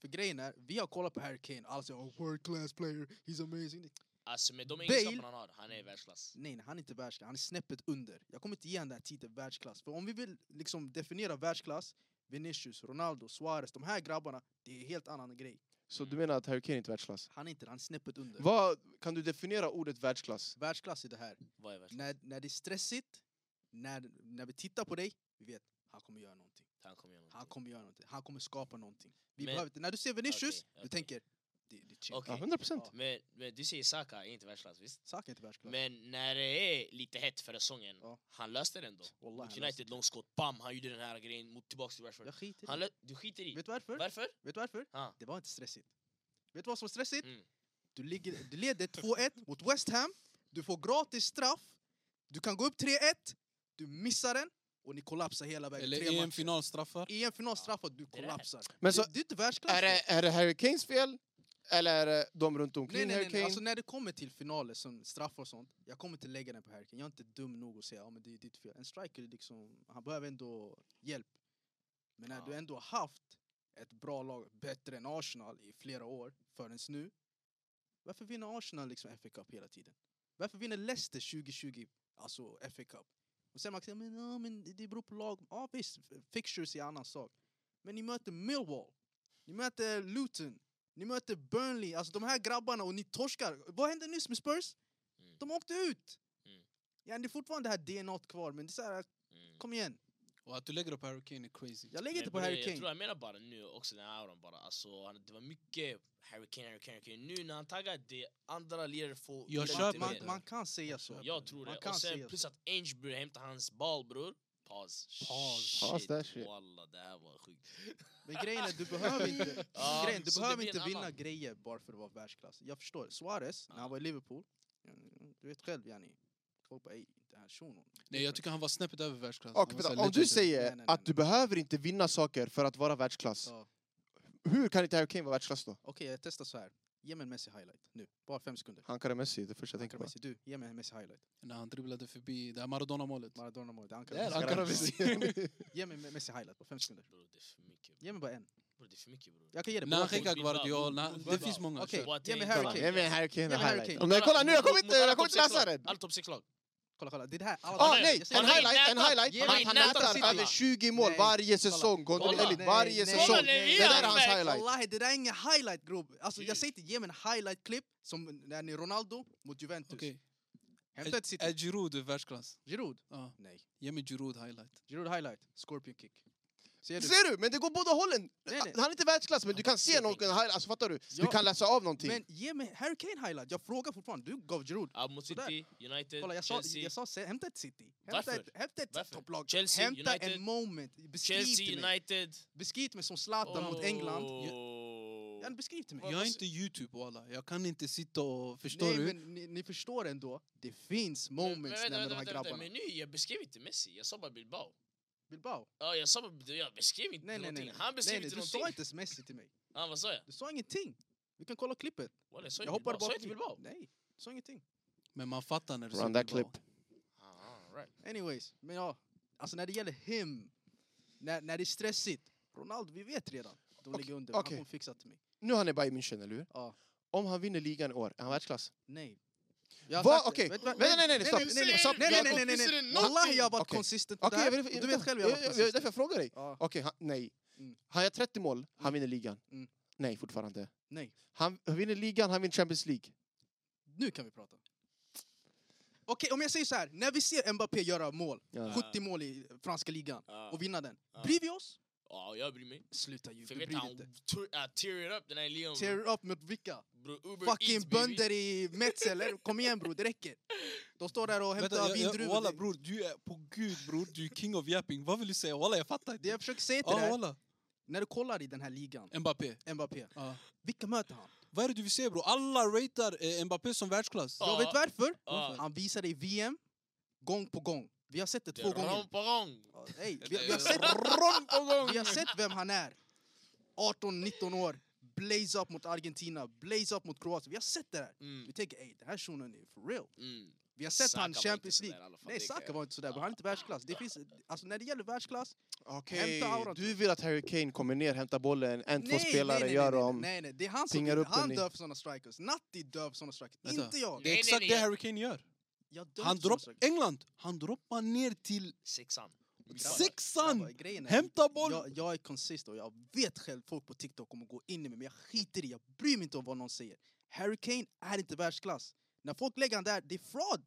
D: För grejen är, vi har kollat på Harry Kane, alla säger oh, world class player, he's amazing.
B: Alltså med de
D: Bale.
B: egenskaperna han har, han är världsklass.
D: Nej, nej, han är inte världsklass, han är snäppet under. Jag kommer inte ge honom den här titeln världsklass. För om vi vill liksom definiera världsklass, Vinicius, Ronaldo, Suarez, de här grabbarna, det är en helt annan grej.
C: Så du menar att Harry Kane är inte världsklass?
D: Han är inte det, han är snäppet under.
C: Vad, kan du definiera ordet världsklass?
D: Världsklass i det här.
B: Vad är värst?
D: När, när det är stressigt, när, när vi tittar på dig, vi vet, han kommer göra någonting.
B: Han kommer göra
D: Han
B: någonting.
D: kommer göra någonting, han kommer skapa någonting. Vi
B: Men-
D: behöver inte. När du ser Vinicius,
B: Okej,
D: du
B: okej.
D: tänker, det, det är chill.
B: Okej.
C: Ja, 100 procent.
B: Men, men du säger Saka är inte världsklass, visst?
D: Saka är inte världsklass.
B: Men när det är lite hett för säsongen,
D: Ja.
B: han löste den då.
D: Wallah,
B: Mot
D: han löser
B: United, långskott, bam, han gjorde den här grejen, mot tillbaks till
D: det.
B: Rashford.
D: Jag skiter i
B: Han
D: det.
B: lö- du skiter i?
D: Vet du varför?
B: Varför?
D: Vet du varför?
B: Ah.
D: Det var inte stressigt. Vet du vad som var stressigt?
B: Mm.
D: Du, ligger, du leder 2-1 mot West Ham, du får gratis straff, du kan gå upp 3-1, du missar den och ni kollapsar hela vägen.
A: Eller
D: Tre matcher.
A: EM-finalstraffar.
D: I en finalstraff och du
B: det där.
D: kollapsar.
C: Men
D: Det-
C: så-
D: det är inte världsklass.
C: Är det, är det Harry Kanes fel? Eller är det de runt omkring
D: Nej, nej, nej,
C: Harry
D: nej.
C: Kane?
D: Alltså, när det kommer till finaler som straffar och sånt, jag kommer inte lägga den på Harry Kane. Jag är inte dum nog att säga att men det är ditt fel. En striker, är liksom, han behöver ändå hjälp. Men när
B: Ja.
D: du ändå har haft ett bra lag, bättre än Arsenal i flera år, förrän nu. Varför vinner Arsenal liksom FA Cup hela tiden? Varför vinner Leicester 2020, alltså FA Cup? Och sen man kan säga, men, ja, men det- det beror på lag. Ja visst, f- fixtures är en annan sak. Men ni möter Millwall, ni möter Luton, ni möter Burnley, alltså de här grabbarna och ni torskar. Vad hände nyss med Spurs?
B: Mm.
D: De åkte ut!
B: Mm.
D: Ja, det är fortfarande det här DNA kvar, men det är så här,
B: Mm.
D: kom igen.
A: Och att du lägger upp Harry Kane är crazy.
D: Jag lägger inte på
B: bror,
D: Harry
B: Jag tror
D: Kane.
B: jag menar bara nu också den här auran bara. Alltså, han- det var mycket Harry Kane, Harry Kane, Harry Kane. Nu när han taggar, det andra lirare får...
A: Jag
B: lite
A: köper
B: mer.
A: det.
D: Man, man kan säga så.
B: Jag tror
D: Man
B: det.
D: kan
B: Och
D: säga
B: sen
D: så.
B: plus att Ange bror hämtade hans ball bror. Paus.
A: Paus.
B: Shit,
C: Paus där, shit.
B: Walla, det här var sjukt.
D: Men grejen är, du behöver inte,
B: Ja,
D: grejen, du
B: så det
D: behöver
B: blir en
D: inte vinna
B: annan.
D: grejer bara för att vara världsklass. Jag förstår. Suarez, när han var i Liverpool, mm, du vet själv yani. Folk bara, ej, den här shunon.
A: Nej, jag tycker han var snäppet över världsklass.
C: Och
A: Han var
C: vänta,
A: så här
C: om du
A: legend.
C: säger
D: alltså, Nej, nej, nej,
C: att
D: nej.
C: du behöver inte vinna saker för att vara världsklass,
D: Ja.
C: hur kan inte Harry Kane vara världsklass då?
D: Okej, jag testar så här. Ge mig en Messi highlight nu. Bara fem sekunder.
C: Han kan Messi, det första jag tänker
D: Ankara
C: på.
D: Messi, du, ge mig en Messi highlight.
A: När han dribblade förbi det här Maradona-målet.
D: Maradona-målet, Ankara
A: Där,
D: Messi.
A: Ankara Messi.
D: Ge mig en Messi highlight på fem sekunder.
B: Bror, det är för mycket.
D: Ge mig bara en.
B: Bror, det är för mycket bror.
D: Jag kan ge dig
A: När han
D: båda.
A: skickar Guardiola,
B: Vad-
A: det finns många.
D: Okej,
A: kör.
D: ge mig
B: Boateng,
D: Harry
B: Boateng.
D: Kane.
C: Jag menar Harry Kane
D: Ja,
C: är
D: men Harry
C: highlight.
D: Kane.
C: Om jag kollar nu, jag kommer
B: Mot-
C: inte,
B: mot alla
C: jag kommer inte läsa
B: toppsex-
C: den!
B: Alla toppsexlag.
D: Kolla, kolla. Det är det här. alla-
C: Ah,
B: nej,
C: nej!
B: jag säger
C: En
B: han har
C: highlight, en
B: nätat.
C: highlight!
D: Ge
C: Han,
B: mig
C: han
B: nätat
C: nätar
B: alla.
C: över 20 mål
D: Nej.
C: varje säsong, Gondol
B: Kolla.
C: Elite, varje
D: Nej,
C: säsong!
D: nej, nej,
C: Det där är
D: nej.
C: hans
B: nej.
C: highlight!
D: Wallahi, det där är ingen highlight grabbar. Alltså, jag
B: Shit.
D: säger inte ge mig en highlight-klipp som när ni Ronaldo mot Juventus.
A: Okej.
D: Hämta ett city.
A: Är Giroud världsklass?
D: Giroud?
A: Ja.
D: Nej.
A: Ge mig Giroud highlight.
D: Giroud highlight. Scorpion kick. Ser du?
C: Ser du? Men det går båda hållen!
D: Nej, nej.
C: Han är inte världsklass, men du kan se
B: ser
C: någon highlight, alltså fattar du? Du
D: Ja.
C: kan läsa av någonting.
D: Men ge mig Harry Kane highlight. Jag frågar fortfarande. Du gav Giroud.
B: Ja, mot City, United,
D: Kolla, jag sa,
B: Chelsea.
D: jag sa se- hämta ett city. Hämta
B: Varför?
D: ett, hämta ett
B: Varför?
D: topplag.
B: Chelsea,
D: Hämta
B: United.
D: en moment. Beskriv
B: Chelsea
D: till mig.
B: United.
D: Beskriv till mig som Zlatan mot England.
B: Oh.
D: Ja, beskriv till mig. Alltså,
A: Jag är inte Youtube walla. Jag kan inte sitta och... Förstår
D: Nej,
A: du?
D: men ni, ni förstår ändå. Det finns moments
B: Men
D: när
B: vänta,
D: med de
B: vänta, vänta,
D: här
B: vänta,
D: grabbarna.
B: men nu, jag beskrev inte Messi, jag sa bara Bilbao.
D: Bilbao.
B: Ja, jag sa bara, jag beskrev inte
D: Nej, nej, nej.
B: någonting. Han
D: nej,
B: beskrev
D: nej
B: inte
D: du sa
B: någonting.
D: inte ens Messi till mig.
B: Ja, vad sa jag?
D: Du sa ingenting. Vi kan kolla klippet.
B: Walla, jag sa
D: Jag
B: inte
D: hoppade
B: Bilbao. Sa
D: bara
B: jag inte Bilbao?
D: Nej, du sa ingenting.
A: Men man fattar när du
C: Run
A: ser
C: that
A: Bilbao.
C: clip.
B: Ah, all right.
D: Anyways, men ja. Alltså när det gäller him. När, när det är stressigt. Ronaldo, vi vet redan. De
C: Okej,
D: ligger under. Han
C: okej.
D: kommer fixa till mig.
C: Nu är han i Bayern München, eller hur?
D: Ja.
C: Om han vinner ligan i år, är han världsklass?
D: Nej. Jag har
C: Va?
D: sagt det.
C: Okej.
D: Vet du vad-
C: Nej, nej, nej, nej, stopp.
D: nej, nej, nej,
C: Stopp.
D: nej, nej,
C: Jag-
D: nej, nej,
B: Visst är det
D: nej.
B: någonting?
D: Wallahi, jag har varit
C: Okej.
D: konsistent på det
C: Okej,
D: här.
C: jag vill-
D: Och Du vet själv, jag har
C: jag,
D: varit
C: jag, jag, därför
D: konsistent.
C: jag frågar dig.
D: Ja,
C: Okej, han, nej.
D: Mm.
C: Han gör 30 mål, han vinner ligan.
D: Mm.
C: Nej, fortfarande.
D: nej.
C: Han vinner ligan, han vinner Champions League.
D: Nu kan vi prata. Okej, om jag säger så här. När vi ser Mbappé göra mål,
C: Ja.
D: 70 mål i franska ligan
B: Ja.
D: och vinna den.
B: Ja.
D: Bryr vi oss?
B: Ja, jag bryr mig.
D: Sluta ju,
B: För
D: du
B: vet
D: bryr dig
B: han
D: inte.
B: tur- ah, tear it up den här Leon.
D: Tear upp mot vilka?
B: Bro, Uber Eats,
D: Fucking
B: baby.
D: bönder i Metz eller? Kom igen bror, det räcker. De står där och
A: Vänta,
D: hämtar
A: jag- jag-
D: vindruvor.
A: Walla
D: Det-
A: bror, du är på gud bror. Du är king of yapping. Vad vill du säga? Walla jag fattar
D: Det
A: inte.
D: jag försöker säga till
A: Ja
D: dig,
A: walla.
D: när du kollar i den här ligan,
A: Mbappé.
D: Mbappé,
A: Ja.
D: vilka möter han?
A: Vad är det du vill säga bror? Alla ratear eh, Mbappé som världsklass.
B: Ja.
D: Jag vet varför.
B: Ja.
D: Han visar det i VM, gång på gång. Vi har sett det
B: Det
D: två
B: är
D: gånger.
B: romparong.
D: Ja, Nej, vi,
B: Det
D: vi, har
B: är
D: sett,
B: rom på gång.
D: vi har sett vem han är. 18-19 år, blaze up mot Argentina, blaze up mot Kroatien. Vi har sett det där.
B: Mm,
D: Vi tänker, ey, den här shunon är for real.
B: mm.
D: Vi har sett
B: Saka
D: han
B: var
D: Champions
B: inte sådär
D: League.
B: i alla fall,
D: Nej,
B: det kan
D: Saka
B: jag-
D: var inte sådär, men han är inte världsklass. Det finns, alltså när det gäller världsklass,
C: Okej,
D: Hämta auran.
C: du vill att Harry Kane kommer ner, hämtar bollen, en, två
D: nej,
C: spelare
D: nej, nej,
C: gör
D: nej,
C: dem.
D: Nej, nej, nej, det är han som
C: tingar upp
D: han
C: den i-
D: dör för såna strikers. Natti dör för såna strikers,
A: Vänta.
D: inte jag.
A: Det är
B: Nej,
A: exakt
B: nej,
A: det
B: nej.
A: Harry Kane gör.
D: jag dör
A: Han
D: för såna
A: dropp,
D: strikers.
A: England, han droppar ner till
B: Sexan. Grabbar.
D: Grabbar,
A: Sexan!
D: grejen är-
A: Hämta boll!
D: jag, jag är konsist och jag vet själv folk på TikTok kommer gå in i mig men jag skiter i, jag bryr mig inte om vad någon säger. Harry Kane är inte världsklass. När folk lägger han där, det är fraud!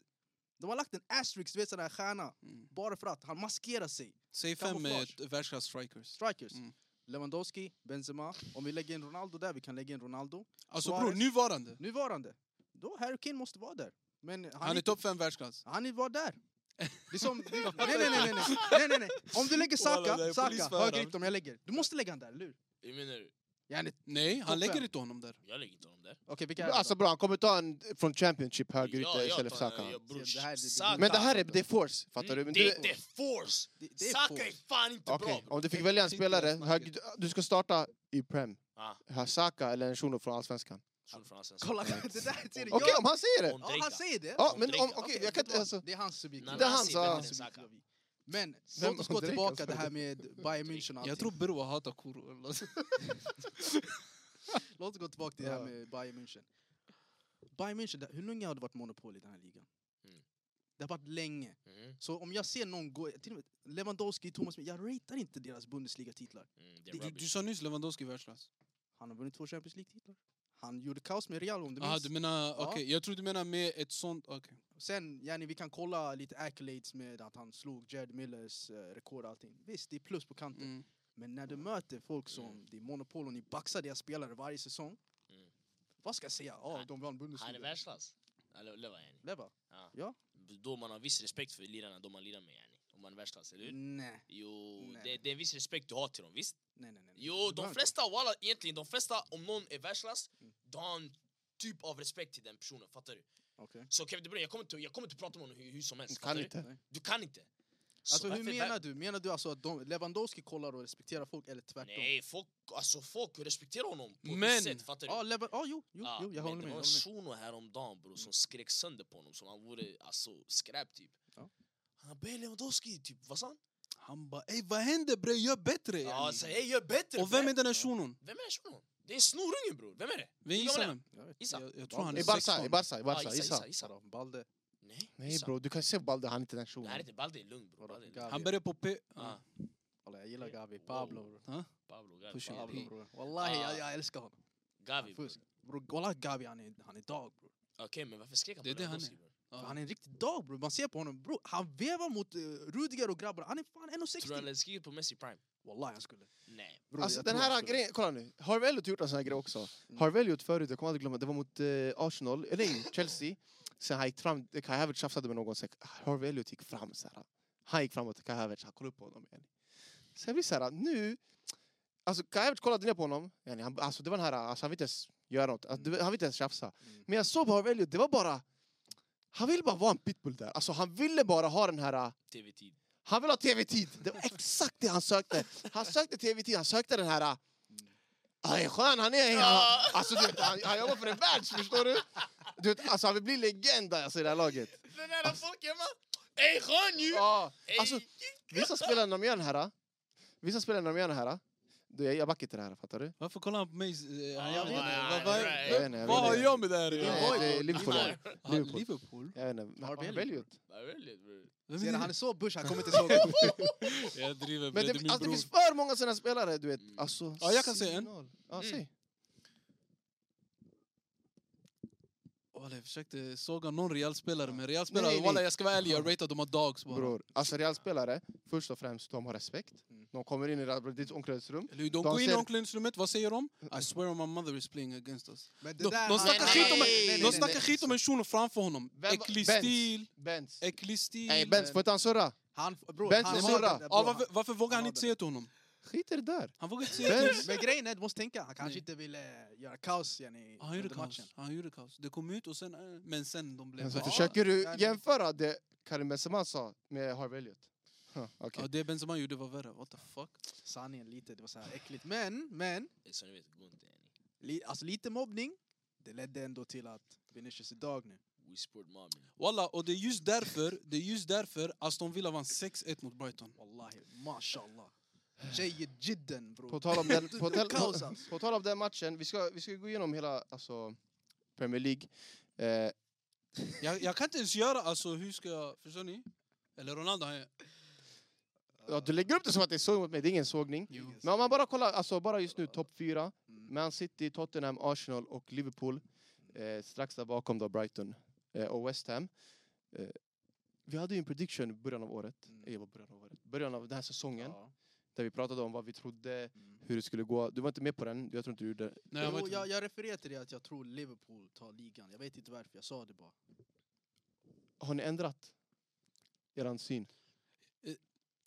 D: De har lagt en asterisk vid sån här stjärna,
A: Mm.
D: bara för att han maskerar sig.
A: Säg fem
D: Kamouflage.
A: eh, världsklass-strikers.
D: Strikers.
A: Mm.
D: Lewandowski, Benzema. Om vi lägger in Ronaldo där, vi kan lägga in Ronaldo.
A: Alltså
D: Suarez.
A: bror, nuvarande.
D: Nuvarande. Då Harry Kane måste vara där. Men han,
A: Han är topp fem världsklass.
D: Han
C: <laughs>
D: var där. Det är som, det, nej, nej, nej, nej, nej, nej, nej, nej. Om du lägger
B: Walla, det är
D: Saka,
B: polis
D: Saka
B: för
D: höger
B: honom.
D: ytter om jag lägger. Du måste lägga han där, eller hur?
B: Hur menar du?
D: Yani,
A: Nej, han
D: Topp
A: lägger
D: fem.
A: inte honom där.
B: Jag lägger inte honom där.
D: Okej, vilka är det då?
C: Alltså bra, han kommer ta en från Championship höger
B: Ja,
C: ytter
B: jag
C: istället för
B: tar-
C: Saka.
B: jag- bror,
D: Se, det här- det- det-
B: Saka.
C: Men det här är, det är force, fattar du?
B: Mm,
C: Men
B: det
C: du
B: är inte force!
D: Det, det är
B: Saka
D: folk.
B: är fan inte
C: Okej,
B: bra bro.
C: om du fick
A: Det-
C: välja en
A: det är inte
C: spelare,
A: det snacket.
C: hög- du ska starta i Prem.
B: Ah.
C: Ha Saka eller en shuno från Allsvenskan.
B: Son från Allsvenskan.
D: Kolla, <laughs> det där ser du.
C: Okej,
D: jag-
C: om han säger det!
D: ja, han säger det.
C: Ja,
B: om
C: men
B: Drake.
C: om, okej, jag kan
D: vet du
C: inte...
D: vad?
C: Alltså,
D: Det är hans subjektiva.
B: Nej,
C: Det är hans,
D: det är
C: ja.
D: hans
B: Saka.
D: subjektiva. Men
C: Vem-
D: låt oss gå
C: Drake,
D: tillbaka
C: alltså.
D: till det här med Bayern München och
A: Jag
D: allting.
A: tror Broa hatar Alltså, Kuro. eller nåt.
D: Låt oss gå tillbaka till det här
C: Ja.
D: med Bayern München. Bayern München, det- hur länge har det varit monopol i den här ligan?
B: Mm.
D: Det har varit länge.
B: Mm,
D: Så om jag ser någon gå, till och med Lewandowski, Thomas, Müller, jag ratear inte deras Bundesliga-titlar.
B: mm, det
A: Du,
B: är
A: du, du
B: rubbish.
A: sa nyss Lewandowski är världsklass.
D: Han har vunnit två Champions League-titlar. Han gjorde kaos med Real om du
A: Jaha,
D: minns.
A: Ah, du menar... Okej,
D: Ja.
A: jag tror du menar med ett sånt... Okej.
D: Sen, yani, vi kan kolla lite accolades med att han slog Jared Millers eh, rekord och allting. Visst, det är plus på kanten.
A: Mm.
D: Men när du möter folk som,
B: Mm.
D: det är monopol och ni baxar deras spelare varje säsong.
B: Mm.
D: Vad ska jag säga? Ja,
B: Han-
D: de vann Bundesliga.
B: Han är världsklass. Eller Leva yani.
D: Leva?
B: Då man har viss respekt för lirarna de man lirar med yani. Om man är världsklass, eller hur?
D: Nej,
B: Jo,
D: Nej.
B: det, det är en viss respekt du har till dem, visst?
D: nej, nej. nej.
B: Jo,
D: Du behöver
B: de
D: inte.
B: flesta, walla, egentligen, de flesta, om någon är världsklass,
D: Mm.
B: då har en typ av respekt till den personen, fattar du?
D: Okej.
B: Så Kevin De Bruyne, jag kommer inte, jag kommer inte prata med honom hur, hur som helst, fattar
C: kan
B: du?
C: inte.
B: Du kan inte! Så
D: Alltså hur
B: därför-
D: menar du? Menar du alltså att de, Lewandowski kollar och respekterar folk eller tvärtom?
B: Nej, folk, alltså, folk respekterar honom på
A: Men-
B: ett sätt, fattar du?
D: Ja, Levan... Ja, jo, jo,
B: Ja,
D: jo jag
B: Ah, men
D: håller med.
B: det
D: jag
B: var en
D: håller med.
B: shuno häromdagen bro, som skrek sönder på honom som han vore alltså, skräp typ.
D: Ja.
B: Han bara "Ey, Lewandowski, typ, vad sa han?
A: Han bara ey vad händer bre, gör bättre!
B: Ja,
A: yani."
B: han säger "Ey, gör bättre!
A: Och vem är
B: bre."
A: den här shunon?
B: Vem är shunon? Det är snorungen bror, vem är det?
A: Vem
B: Hur
A: gissar
B: gammal är
A: vem?
D: Jag vet.
B: Issa?
A: Jag, jag tror han är
C: I Barca, i
A: 16.
C: Barca, i Barca,
B: Ah,
C: Issa.
B: Issa.
D: Vadå, Balde?
B: Nej,
C: Nej
B: Issa.
C: bror, du kan se Balde, han är inte den
B: Det här är
C: shunon.
B: inte Balde, är lugn bror.
D: Vadå,
B: Balde är lugn.
D: Gavi?
A: Han börjar på P...
B: Ah,
D: Walla, jag gillar Gavi.
B: Wow.
D: Pablo bror.
B: Pablo, Gavi.
A: Pushing
B: Pablo.
A: P.
D: Pablo bror. Wallahi,
B: Ah.
D: jag, jag älskar honom.
B: Gavi bror.
D: Fusk. Bror, Walla Gavi han är, han är dag bror.
B: Okej, men varför skrek han
A: Det är
B: på
A: det han
B: Lewandowski
A: är.
B: bror?
A: Ja.
D: Han är en riktig dag bror. Man ser på honom. Bror, han vevar mot eh, Rudiger och grabbar. Han är fan
B: Tror du han
D: 1,60.
B: hade skrikit på Messi prime?
D: Wallahi han skulle.
B: Nej.
D: Bror,
C: Alltså
D: jag
C: den
D: tror
C: här
D: han skulle.
C: grejen, kolla nu. Harvey Elliot har gjort en sån här grej också.
D: Mm.
C: Harvey Elliot förut, jag kommer aldrig glömma, det var mot eh, Arsenal, eh,
D: <laughs>
C: nej, Chelsea. Sen han gick fram, Kai Havertz tjafsade med någon, sen Harvey Elliot gick fram så här. Han gick framåt till Kai Havertz, han kollade upp på honom igen. Sen blir det så här, nu... Alltså Kai Havertz kollade ner på honom, yani, han, alltså det var den här, alltså, han vill inte ens göra något, alltså, det- han vill inte ens tjafsa.
D: Mm.
C: Men jag såg på Harvey Elliot, det var bara... Han ville bara vara en pitbull där, alltså han ville bara ha den här...
B: TV-tid.
C: Han vill ha tv-tid. Det var exakt det han sökte. Han sökte tv-tid, han sökte den här... ah, Han är skön, han är... Han, alltså, du vet, han, han jobbar för en världs, förstår du? du vet, alltså, han vill bli legend där, alltså, i det här laget.
B: Den där folk hemma! Ey skön ju!
C: Ja,
B: Ey.
C: alltså, vissa spelare när de gör den här... äh, Vissa spelare när de gör den här... äh, Du, jag, jag backar inte det här, fattar du?
A: Varför kollar han på mig? Eh, Han
B: Ja,
A: gör
B: jag
A: det.
B: vet.
A: Vad- vad-
B: Ja, jag
C: vet inte, jag
A: Vad
C: vet
A: har
C: inte.
A: jag med det här att
C: Det
A: göra?
C: är, det är Liverpool.
B: Nej.
A: Ah,
C: Liverpool.
A: Liverpool?
C: Jag vet inte.
D: Harvey
C: Harvey
D: Elliot.
C: Elliot.
B: Vad är det, bror?
A: Vem
D: Ser du,
A: är
D: han
A: det?
D: är så bush, han kommer inte såga.
A: Jag driver
C: Men
A: bre,
C: det,
A: det är min
C: alltså, det
A: bror.
C: finns för många såna spelare, du vet.
B: Mm.
C: Alltså,
A: Ja, jag kan säga en.
C: signal. Ja,
B: Mm.
C: säg.
A: Walla, Jag försökte såga någon Real-spelare, men
C: Nej,
A: Real-spelare,
C: nej.
A: walla jag ska vara ärlig, jag ratear de har dogs bara.
C: Bror, alltså Real-spelare, först och främst, de har respekt.
D: Mm.
C: De kommer in i Real Madrids omklädningsrum.
A: Eller hur, De
C: De
A: går in i
C: ser-
A: omklädningsrummet, vad säger de? I swear my mother is playing against us.
D: Men
A: De- de snackar
D: han-
B: skit om-
D: Nej, nej, nej,
A: De
D: nej,
A: snackar
D: nej.
A: skit om en shuno framför honom.
C: Vem var-
A: Äcklig
C: Benz.
A: stil,
C: Benz.
A: äcklig stil.
C: Nej, Benz, får inte han surra?
D: Han, bror,
C: Benz
D: han
C: och
D: har
C: Sora.
D: den där-
A: Ja,
D: bror,
A: varför, varför vågar han inte säga till honom?
C: Skit i det där.
A: Han vågar inte säga till honom.
C: Benz.
D: Men grejen är, du måste tänka, han
A: Nej. Ah,
D: kanske inte ville göra kaos yani,
A: Han gjorde
D: under
A: kaos.
D: matchen.
A: Han gjorde kaos. Det kom ut och sen... eh, Men sen de blev...
C: Alltså,
A: Ja.
C: försöker du
D: nej, nej.
C: jämföra det Karim Benzema sa med Harvey Elliot? Huh, okej.
A: Ja, det Benzema gjorde var värre. What the fuck?
D: Sanningen lite, det var så här äckligt. Men, men,
B: Ey, Så Alltså, ni vet, gå inte yani.
D: li, alltså lite mobbning, det ledde ändå till att Vinicius är dag nu.
B: We sport mobbing.
A: Walla, och det är just därför, det är just därför Aston Villa vann 6-1 mot Brighton.
D: Wallahi, mashallah. Jayyid jidden
C: På
D: bror.
C: tal om
D: <laughs>
C: den, på, tal,
D: Kaos,
C: på,
D: alltså.
C: på tal om den matchen, vi ska, vi ska gå igenom hela alltså, Premier League. Eh,
A: Jag, jag kan inte ens göra... Alltså, hur ska jag... Förstår ni? Eller Ronaldo, han är...
C: Ja, du lägger upp det som att det är såg mot mig, det är ingen sågning.
A: Jo.
C: Men om man bara kollar, alltså bara just nu topp fyra.
D: Uh, Mm.
C: Man City, Tottenham, Arsenal och Liverpool. Eh, strax där bakom då Brighton eh, och West Ham. Eh, vi hade ju en prediction i början av året.
D: Mm.
C: Eh, vad början av året. Början av den här säsongen.
D: Ja.
C: Där vi pratade om vad vi trodde,
D: Mm.
C: hur det skulle gå. Du var inte med på den, jag tror inte du gjorde.
A: Nej, jag, var
D: jo,
A: inte-
D: jag, jag refererar till det att jag tror Liverpool tar ligan. Jag vet inte varför, jag sa det bara.
C: Har ni ändrat eran syn?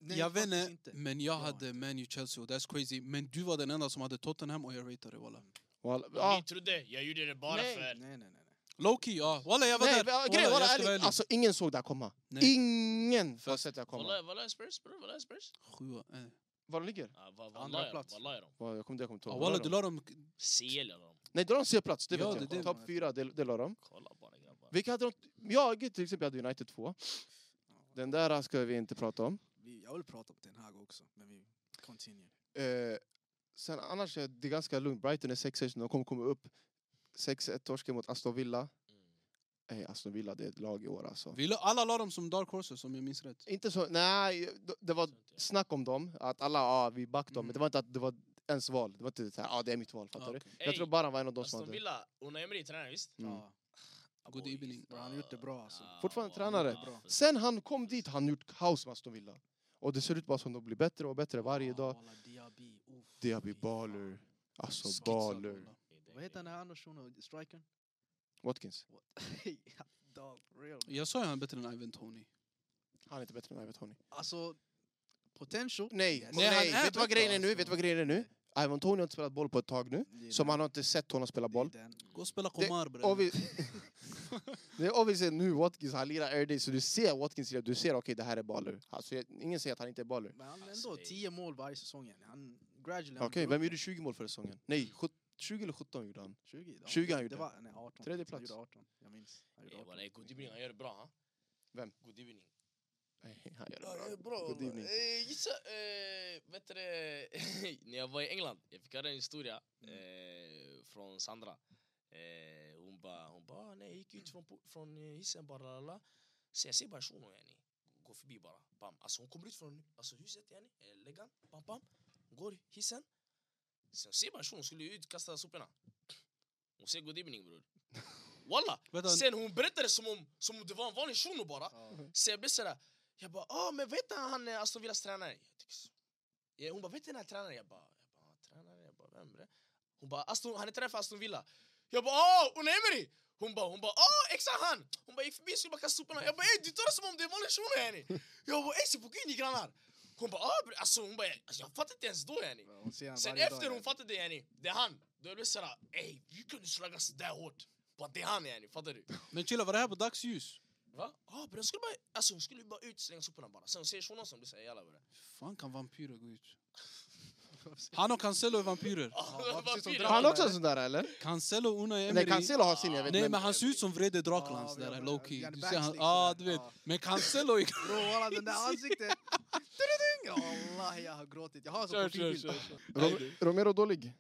D: Nej,
A: jag vet
D: faktiskt
A: inte, men jag
D: har
A: hade Man U Chelsea och that's crazy. Men du var den enda som hade Tottenham och jag ratade det walla.
C: Walla,
B: Ah.
C: ah,
B: Ni trodde, jag gjorde det bara
C: Nej.
B: för...
D: Nej, nej, nej. nej.
A: Lowkey, ja. Walla jag var där.
C: nej, men, ah, grejen,
A: jag
C: walla,
A: ska vara
C: ärligt,
A: ärlig.
C: alltså ingen såg det här komma.
A: Nej.
C: Ingen har
A: Fast-
C: sett det här komma.
B: Wallah, wallah Spurs bror, wallah Spurs.
A: Sjua. eh.
C: Var de ligger?
B: Ah, va,
D: Andra
B: wallah,
D: plats.
B: plats. Wallah är de.
C: Walla, Jag kommer jag kommer inte
A: Ja,
C: ihåg.
A: Walla
C: Var
A: Ah, du
C: de?
A: la dem...
B: CL är de.
C: Nej, då har de C-plats, det
A: Ja,
C: vet
A: det
C: jag.
A: är det.
C: Topp fyra, det, det la de.
B: Kolla bara grabbar.
C: Vilka hade de? Jag till exempel hade United
A: Ah.
C: två. Den där ska vi inte prata om.
D: Vi, jag vill prata om Ten Hag också, men vi continue.
C: Eh, sen annars är det ganska lugnt. Brighton är 6-1, de kommer komma upp. 6-1 torsken mot Aston Villa.
B: Mm.
C: Eh, Aston Villa, det är ett lag i år alltså.
A: Vi la, alla la dem som Dark Horses om jag minns rätt.
C: Inte så, nej, d- det var snack om dem, att alla, ja, vi backade dem. Men
A: Mm.
C: det var inte att det var ens val. Det var inte så här, ja, det är mitt val, fattar
A: Ah,
C: du?
A: okej.
C: Jag
B: Ey,
C: tror bara han var en av de som
B: Aston
C: hade...
B: Villa, Unai Emery tränar visst?
C: Mm.
D: Ja,
B: Ah,
A: Good
B: boys.
A: evening.
D: bra, han har gjort det bra alltså.
B: Ah,
C: Fortfarande
B: wallah,
C: tränare.
B: bra.
D: Bra.
C: Sen han kom dit, han gjort kaos med Aston Villa. Och det ser ut bara som de blir bättre och bättre varje
D: Ja,
C: dag.
D: walla, Diaby, uff,
C: Diaby
D: fy Ah, fan.
C: baller. Alltså
A: Skitsad,
C: baller.
A: walla.
D: Vad heter den här andra shunon? Strikern? <laughs>
C: Watkins.
D: Dog, real.
A: Jag sa ju han är bättre än Ivan Tony.
C: Han är inte bättre än Ivan Tony.
D: Alltså, potential.
C: Nej,
D: Yes.
A: Nej,
C: nej,
A: han är
C: vet du vad
A: bättre,
C: grejen är nu?
D: alltså.
C: Vet du vad grejen är nu? Ivan Tony har inte spelat boll på ett tag nu.
D: Det är
C: Så
D: den-
C: man har inte sett honom spela
D: det är
C: boll.
D: den.
A: Gå och spela
C: Det-
A: Komar bre.
C: Obvi- <laughs> det är obviously nu Watkins, han lirar air day, så du ser Watkins lira, du ser okej det här är baller. Alltså, jag, ingen säger att han inte är baller.
D: Men han
B: Alltså,
D: ändå
B: det är-
D: 10 mål varje säsong. igen. Han gradually...
C: Okej,
D: han går
C: vem
D: upp.
C: gjorde 20 mål förra säsongen? Nej, sjut- 20 eller 17 gjorde han.
D: 20? Ja,
C: 20 han
D: det
C: gjorde.
D: Var, nej, 18.
C: Tredje
D: Han
C: plats.
D: gjorde 18. Jag minns. Han gjorde Mm.
B: Eh,
D: 18.
B: wallah, Good evening, han gör det bra. ha?
C: Vem?
B: Good evening.
C: Nej, han
B: Ja, det
C: gör
B: är
C: det
B: bra.
C: bra. Good
B: wallah.
C: evening.
B: Eh, gissa, eh, vet du det? <laughs> när jag var i England, jag fick höra en historia eh, från Sandra. Eh, hon bara, hon bara, ah, nej jag gick ut från, po- från eh, hissen bara, lalala. Så jag ser bara shunon yani, går förbi bara, bam. Alltså hon kommer ut från alltså, huset yani, eh, läggan, bam bam. Hon går i hissen. Sen ser bara shunon skulle ut kasta soporna. Hon säger good evening bror. Walla!
A: Vänta,
B: Sen hon berättade som om, som om det var en vanlig shuno bara. Så jag blev sådär, jag bara ah men vet han han eh, Aston Villas tränare? Jag tycker så. Ja, hon bara vet du den här tränaren? Jag bara, jag bara tränare, jag bara vem är det? Hon bara Aston, han är tränare för Aston Villa. Jag bara ah Unai Emery! Hon bara, hon bara ah exakt han! Hon bara gick förbi skulle bara kasta soporna. Jag bara ey du tar det som om det är en vanlig shuno yani. Jag bara ey se på gud ni grannar. Hon bara ah bre." alltså hon bara alltså, jag fattade inte ens då yani.
D: Ja, hon ser han
B: Sen
D: varje dag,
B: efter hon
D: yani.
B: fattade yani, det är han. Då jag blev såhär ey hur kan du slagga sådär hårt? Bara det är han yani, fattar du?
A: Men chilla, var det här på dagsljus?
B: Va? Ja, ah, skulle bara, alltså hon skulle bara ut slänga soporna bara. Sen ser shunon som blir såhär jalla bre.
A: fan kan vampyrer gå ut? <laughs> Han och Cancelo är vampyrer.
B: <laughs>
D: vad precis som
C: Har han
D: Draken,
C: också en sån där eller?
A: Cancelo och Unai Emery.
C: Nej, Cancelo har sin, jag vet.
A: Nej
C: men-
A: men han ser ut som vrede draken
D: Ja,
A: hans
D: jag
A: där,
D: vet.
A: Loki.
D: Janne
A: Du ser han,
D: Backslick
A: ja
D: sådär.
A: du vet.
D: Ja.
A: Men Cancelo är...
D: Bro, walla, den
A: <laughs>
D: där ansiktet. Tududung! Ja, Wallahi, jag har gråtit. Jag har en sån profilbild.
C: Rom- Romero dålig.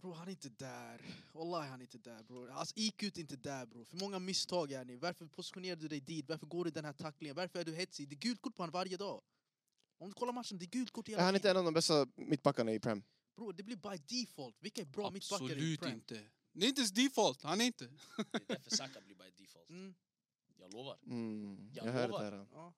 D: Bro, han är inte där. Wallahi, han är inte där, bro. Alltså, IQ är inte där, bro. För många misstag, yani. Varför positionerar du dig dit? Varför går du den här tacklingen? Varför är du hetsig? Det är gult kort på honom varje dag. Om du kollar matchen, det är gult kort hela
C: Han är inte
D: tiden.
C: en av de bästa mittbackarna i Prem.
D: Bro, det blir by default. Vilka är bra mittbackar i
A: Absolut
D: Prem?
A: inte. Det är inte ens default, han är inte.
B: Det är därför Saka blir by
A: <laughs>
B: default.
D: Mm,
B: Jag lovar.
C: Mm,
B: Jag
C: jag hör det
B: lovar.
C: där.
D: ja.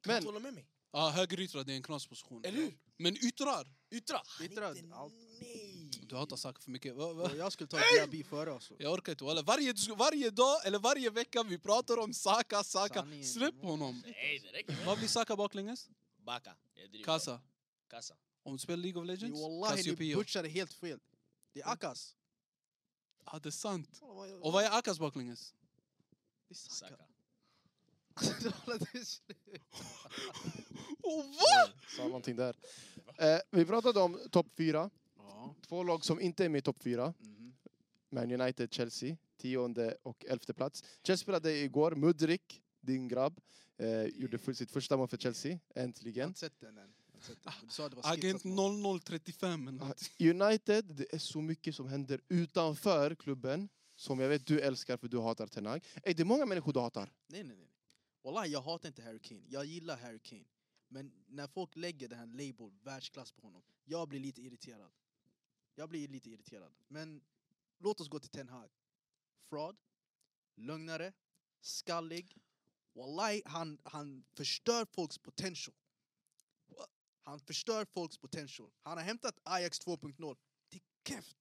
B: Kan
C: Men-
B: du hålla med mig?
A: Ja, högeryttrad det är en knasposition.
B: Eller hur?
A: Men yttrar!
B: Yttra! Han är
D: Yttra,
B: inte-
D: allt.
B: Nej!
A: Du hatar Saka för mycket. Va, va?
D: Bro, Jag skulle ta Diaby före alltså.
A: Jag orkar inte walla. Varje, varje dag eller varje vecka vi pratar om Saka, Saka.
D: Sanningen.
A: Släpp honom.
B: Nej, det räcker.
A: Vad blir Saka baklänges?
B: Baka. Jag driver.
A: Kassa.
B: Kassa.
A: Om du spelar League of Legends?
D: Wallahi, ni
A: Cassiopeia.
D: butchade helt fel. Det är Akas.
A: Mm. Ja, det är sant. Och vad är Akas baklänges?
D: Det är Saka.
B: Saka.
D: <laughs>
A: Oh, va?
C: Sa någonting där. Eh, vi pratade om topp fyra.
D: Ja.
C: Två lag som inte är med i topp fyra.
D: mhm.
C: Man United, Chelsea. Tionde och elfte plats. Chelsea spelade igår. Mudrik, din grabb, eh, gjorde full, sitt första mål för Chelsea.
D: Jag har
C: Äntligen.
D: inte sett den än. Jag har inte sett den. Du sa att det var
A: Agent
D: skitsat mål.
A: 0035 eller något.
C: United, det är så mycket som händer utanför klubben. Som jag vet du älskar för du hatar Ten Hag. Ey, det är många människor du hatar. <laughs>
D: Nej, nej, nej. Wallahi, jag hatar inte Harry Kane. Jag gillar Harry Kane. Men när folk lägger den här label, världsklass på honom, jag blir lite irriterad. Jag blir lite irriterad. Men låt oss gå till Ten Hag. Fraud, lögnare, skallig. Wallahi, han, han förstör folks potential. Han förstör folks potential. Han har hämtat Ajax 2.0. Det är keft.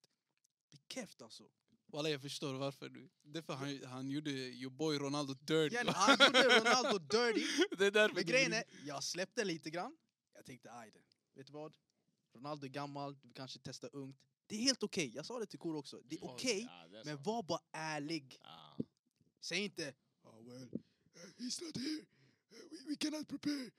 D: Det är keft alltså.
A: <laughs> Walla, jag förstår varför du... Det är för han, han gjorde your boy Ronaldo dirty.
D: Igen, han gjorde Ronaldo dirty.
A: <laughs> det är därför
D: Men
A: du-
D: grejen är, jag släppte lite grann. Jag tänkte, aj det. Vet du vad? Ronaldo är gammal, du kanske testar ungt. Det är helt okej, jag sa det till Kor också. Det är okej,
B: Ja, det är
D: men
B: sant.
D: var bara ärlig.
B: Ja.
D: Säg inte oh, well, uh, he's not here, Uh, we, we cannot prepare.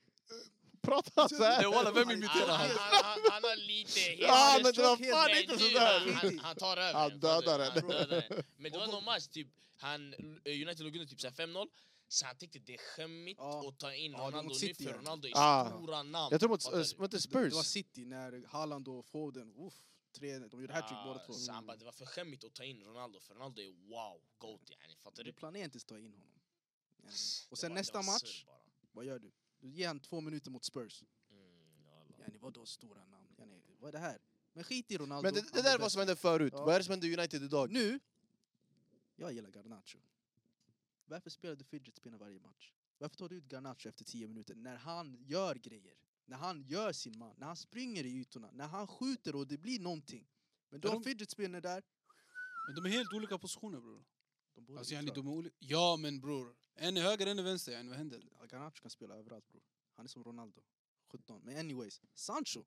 C: Prata så här.
A: Nej, walla, vem
B: Han,
A: imiterar
B: han,
A: han?
B: han, han har lite...
C: Ja,
D: det
C: men det var
D: stod helt
C: fan
B: Nej,
C: inte
B: nu, han-
C: sådär.
B: Han, han tar över.
C: Han
B: den,
C: dödar
B: fattar du?
C: den.
B: Han dödar den. Men det var
D: Och-
B: någon match, typ, han, United låg under typ så här 5-0. Så han tyckte det är skämmigt
D: Ja.
B: att ta in
D: Ja, det var
B: Ronaldo
D: mot
B: nu
D: City,
B: för
D: ja.
B: Ronaldo är
C: Ah.
B: stora namn.
C: Jag tror mot,
B: fattar du?
C: äh, mot det
D: Det, det
C: Spurs.
D: var City när Haaland och Foden, uff, tre, de gjorde hattrick
B: Ah,
D: båda två.
B: Så han bara, det var för skämmigt att ta in Ronaldo för Ronaldo är wow, GOAT yani, fattar
D: Du
B: du?
D: planerar inte att ta in honom. Ja.
B: Det
D: Och sen
B: var- det
D: nästa
B: var
D: match,
B: surr bara.
D: vad gör du? Du ger han två minuter mot Spurs.
B: Mm,
D: Ja,
B: jalla.
D: ni var då stora namn. Ja, ni, vad är det här? Men skit i Ronaldo.
C: Men det,
D: han
C: det där är
D: bäst.
C: vad som hände förut.
D: Ja.
C: Vad är det som händer i United idag?
D: Nu, jag gillar Garnacho. Varför spelar du fidget spinner varje match? Varför tar du ut Garnacho efter 10 minuter när han gör grejer? När han gör sin man, när han springer i ytorna, när han skjuter och det blir någonting. Men du
A: Men
D: har fidget spinner där.
A: Men de är helt olika positioner, bror.
D: De borde
A: Alltså,
D: bli
A: yani,
D: klara.
A: de är olika. Ja, men bror. En är höger, en är vänster. Yani, vad händer?
D: Ja, Garnacho kan spela överallt bror. Han är som Ronaldo. 17. Men anyways, Sancho.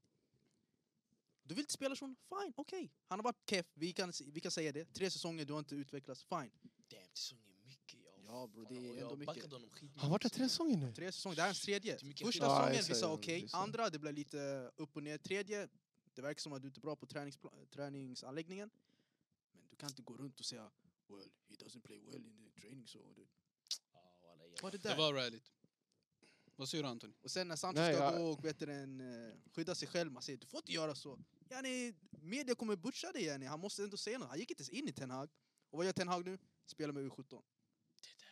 D: Du vill inte spela som Fine, okej. Han har varit keff, vi kan, vi kan säga det. Tre säsonger, du har inte utvecklats. Fine.
B: Damn, det sång är mycket. Ja,
D: Ja, bro, det
B: fan,
D: är
B: och jag
D: ändå mycket.
B: backade honom skitmycket
C: Han har varit där
B: också.
C: tre säsonger nu.
D: Tre säsonger, det här är hans tredje.
B: Det är mycket
D: Första
B: skillnad.
C: Ja, jag
D: säsongen, vissa
C: säger det,
D: okej.
C: det är så.
D: Andra, det blev lite upp och ner. Tredje, det verkar som att du inte är bra på träningspla- träningsanläggningen. Men du kan inte gå runt och säga Well, he doesn't play well in the training so... det-
B: Ja, walla, jag-
D: Vad är det
A: Det
D: där?
A: var rallyt. Vad säger du, Anthony?
D: Och sen när Sancho
C: Nej,
D: ska
C: jag-
D: gå och vet du, den, eh, skydda sig själv, man säger du får inte göra så. Yani, media kommer butcha dig yani. han måste ändå säga något. Han gick inte ens in i Ten Hag. Och vad gör Ten Hag nu? Spelar med U17.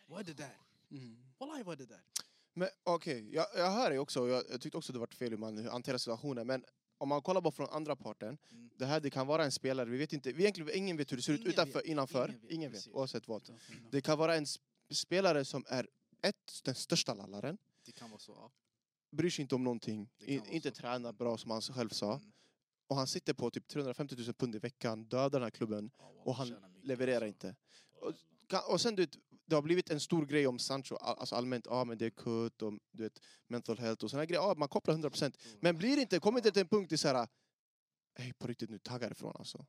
D: Vad är det där?
A: Mm.
D: Wallahi vad är det där?
C: Men okej, jag, jag hör dig också. Jag, jag tyckte också det var fel hur man hanterar situationen. Men om man kollar bara från andra parten.
D: Mm.
C: Det här det kan vara en spelare. Vi vet inte. Vi egentligen, ingen vet hur det ser ut
D: Ingen
C: utanför,
D: vet.
C: innanför.
D: Ingen
C: Ingen
D: vet,
C: vet,
D: precis.
C: oavsett vad. Det kan vara en sp- spelare som är ett, den största lallaren.
D: Det kan vara så. Ja.
C: Bryr sig inte om någonting.
D: Det kan
C: In,
D: vara
C: inte
D: så.
C: tränar bra som han själv sa.
D: Mm.
C: Och han sitter på typ 350 000 pund i veckan. Dödar den här klubben.
D: Ja, wallah,
C: Och han
D: tjänar mycket,
C: levererar
D: alltså.
C: inte. Kan- Och sen du vet, det har blivit en stor grej om Sancho, all- alltså allmänt, ja ah, men det är kutt och du vet, mental health och såna här grejer, ja ah, man kopplar 100% Men blir det inte, kommer inte till en punkt i såhär, hej på riktigt nu, tagga ifrån alltså.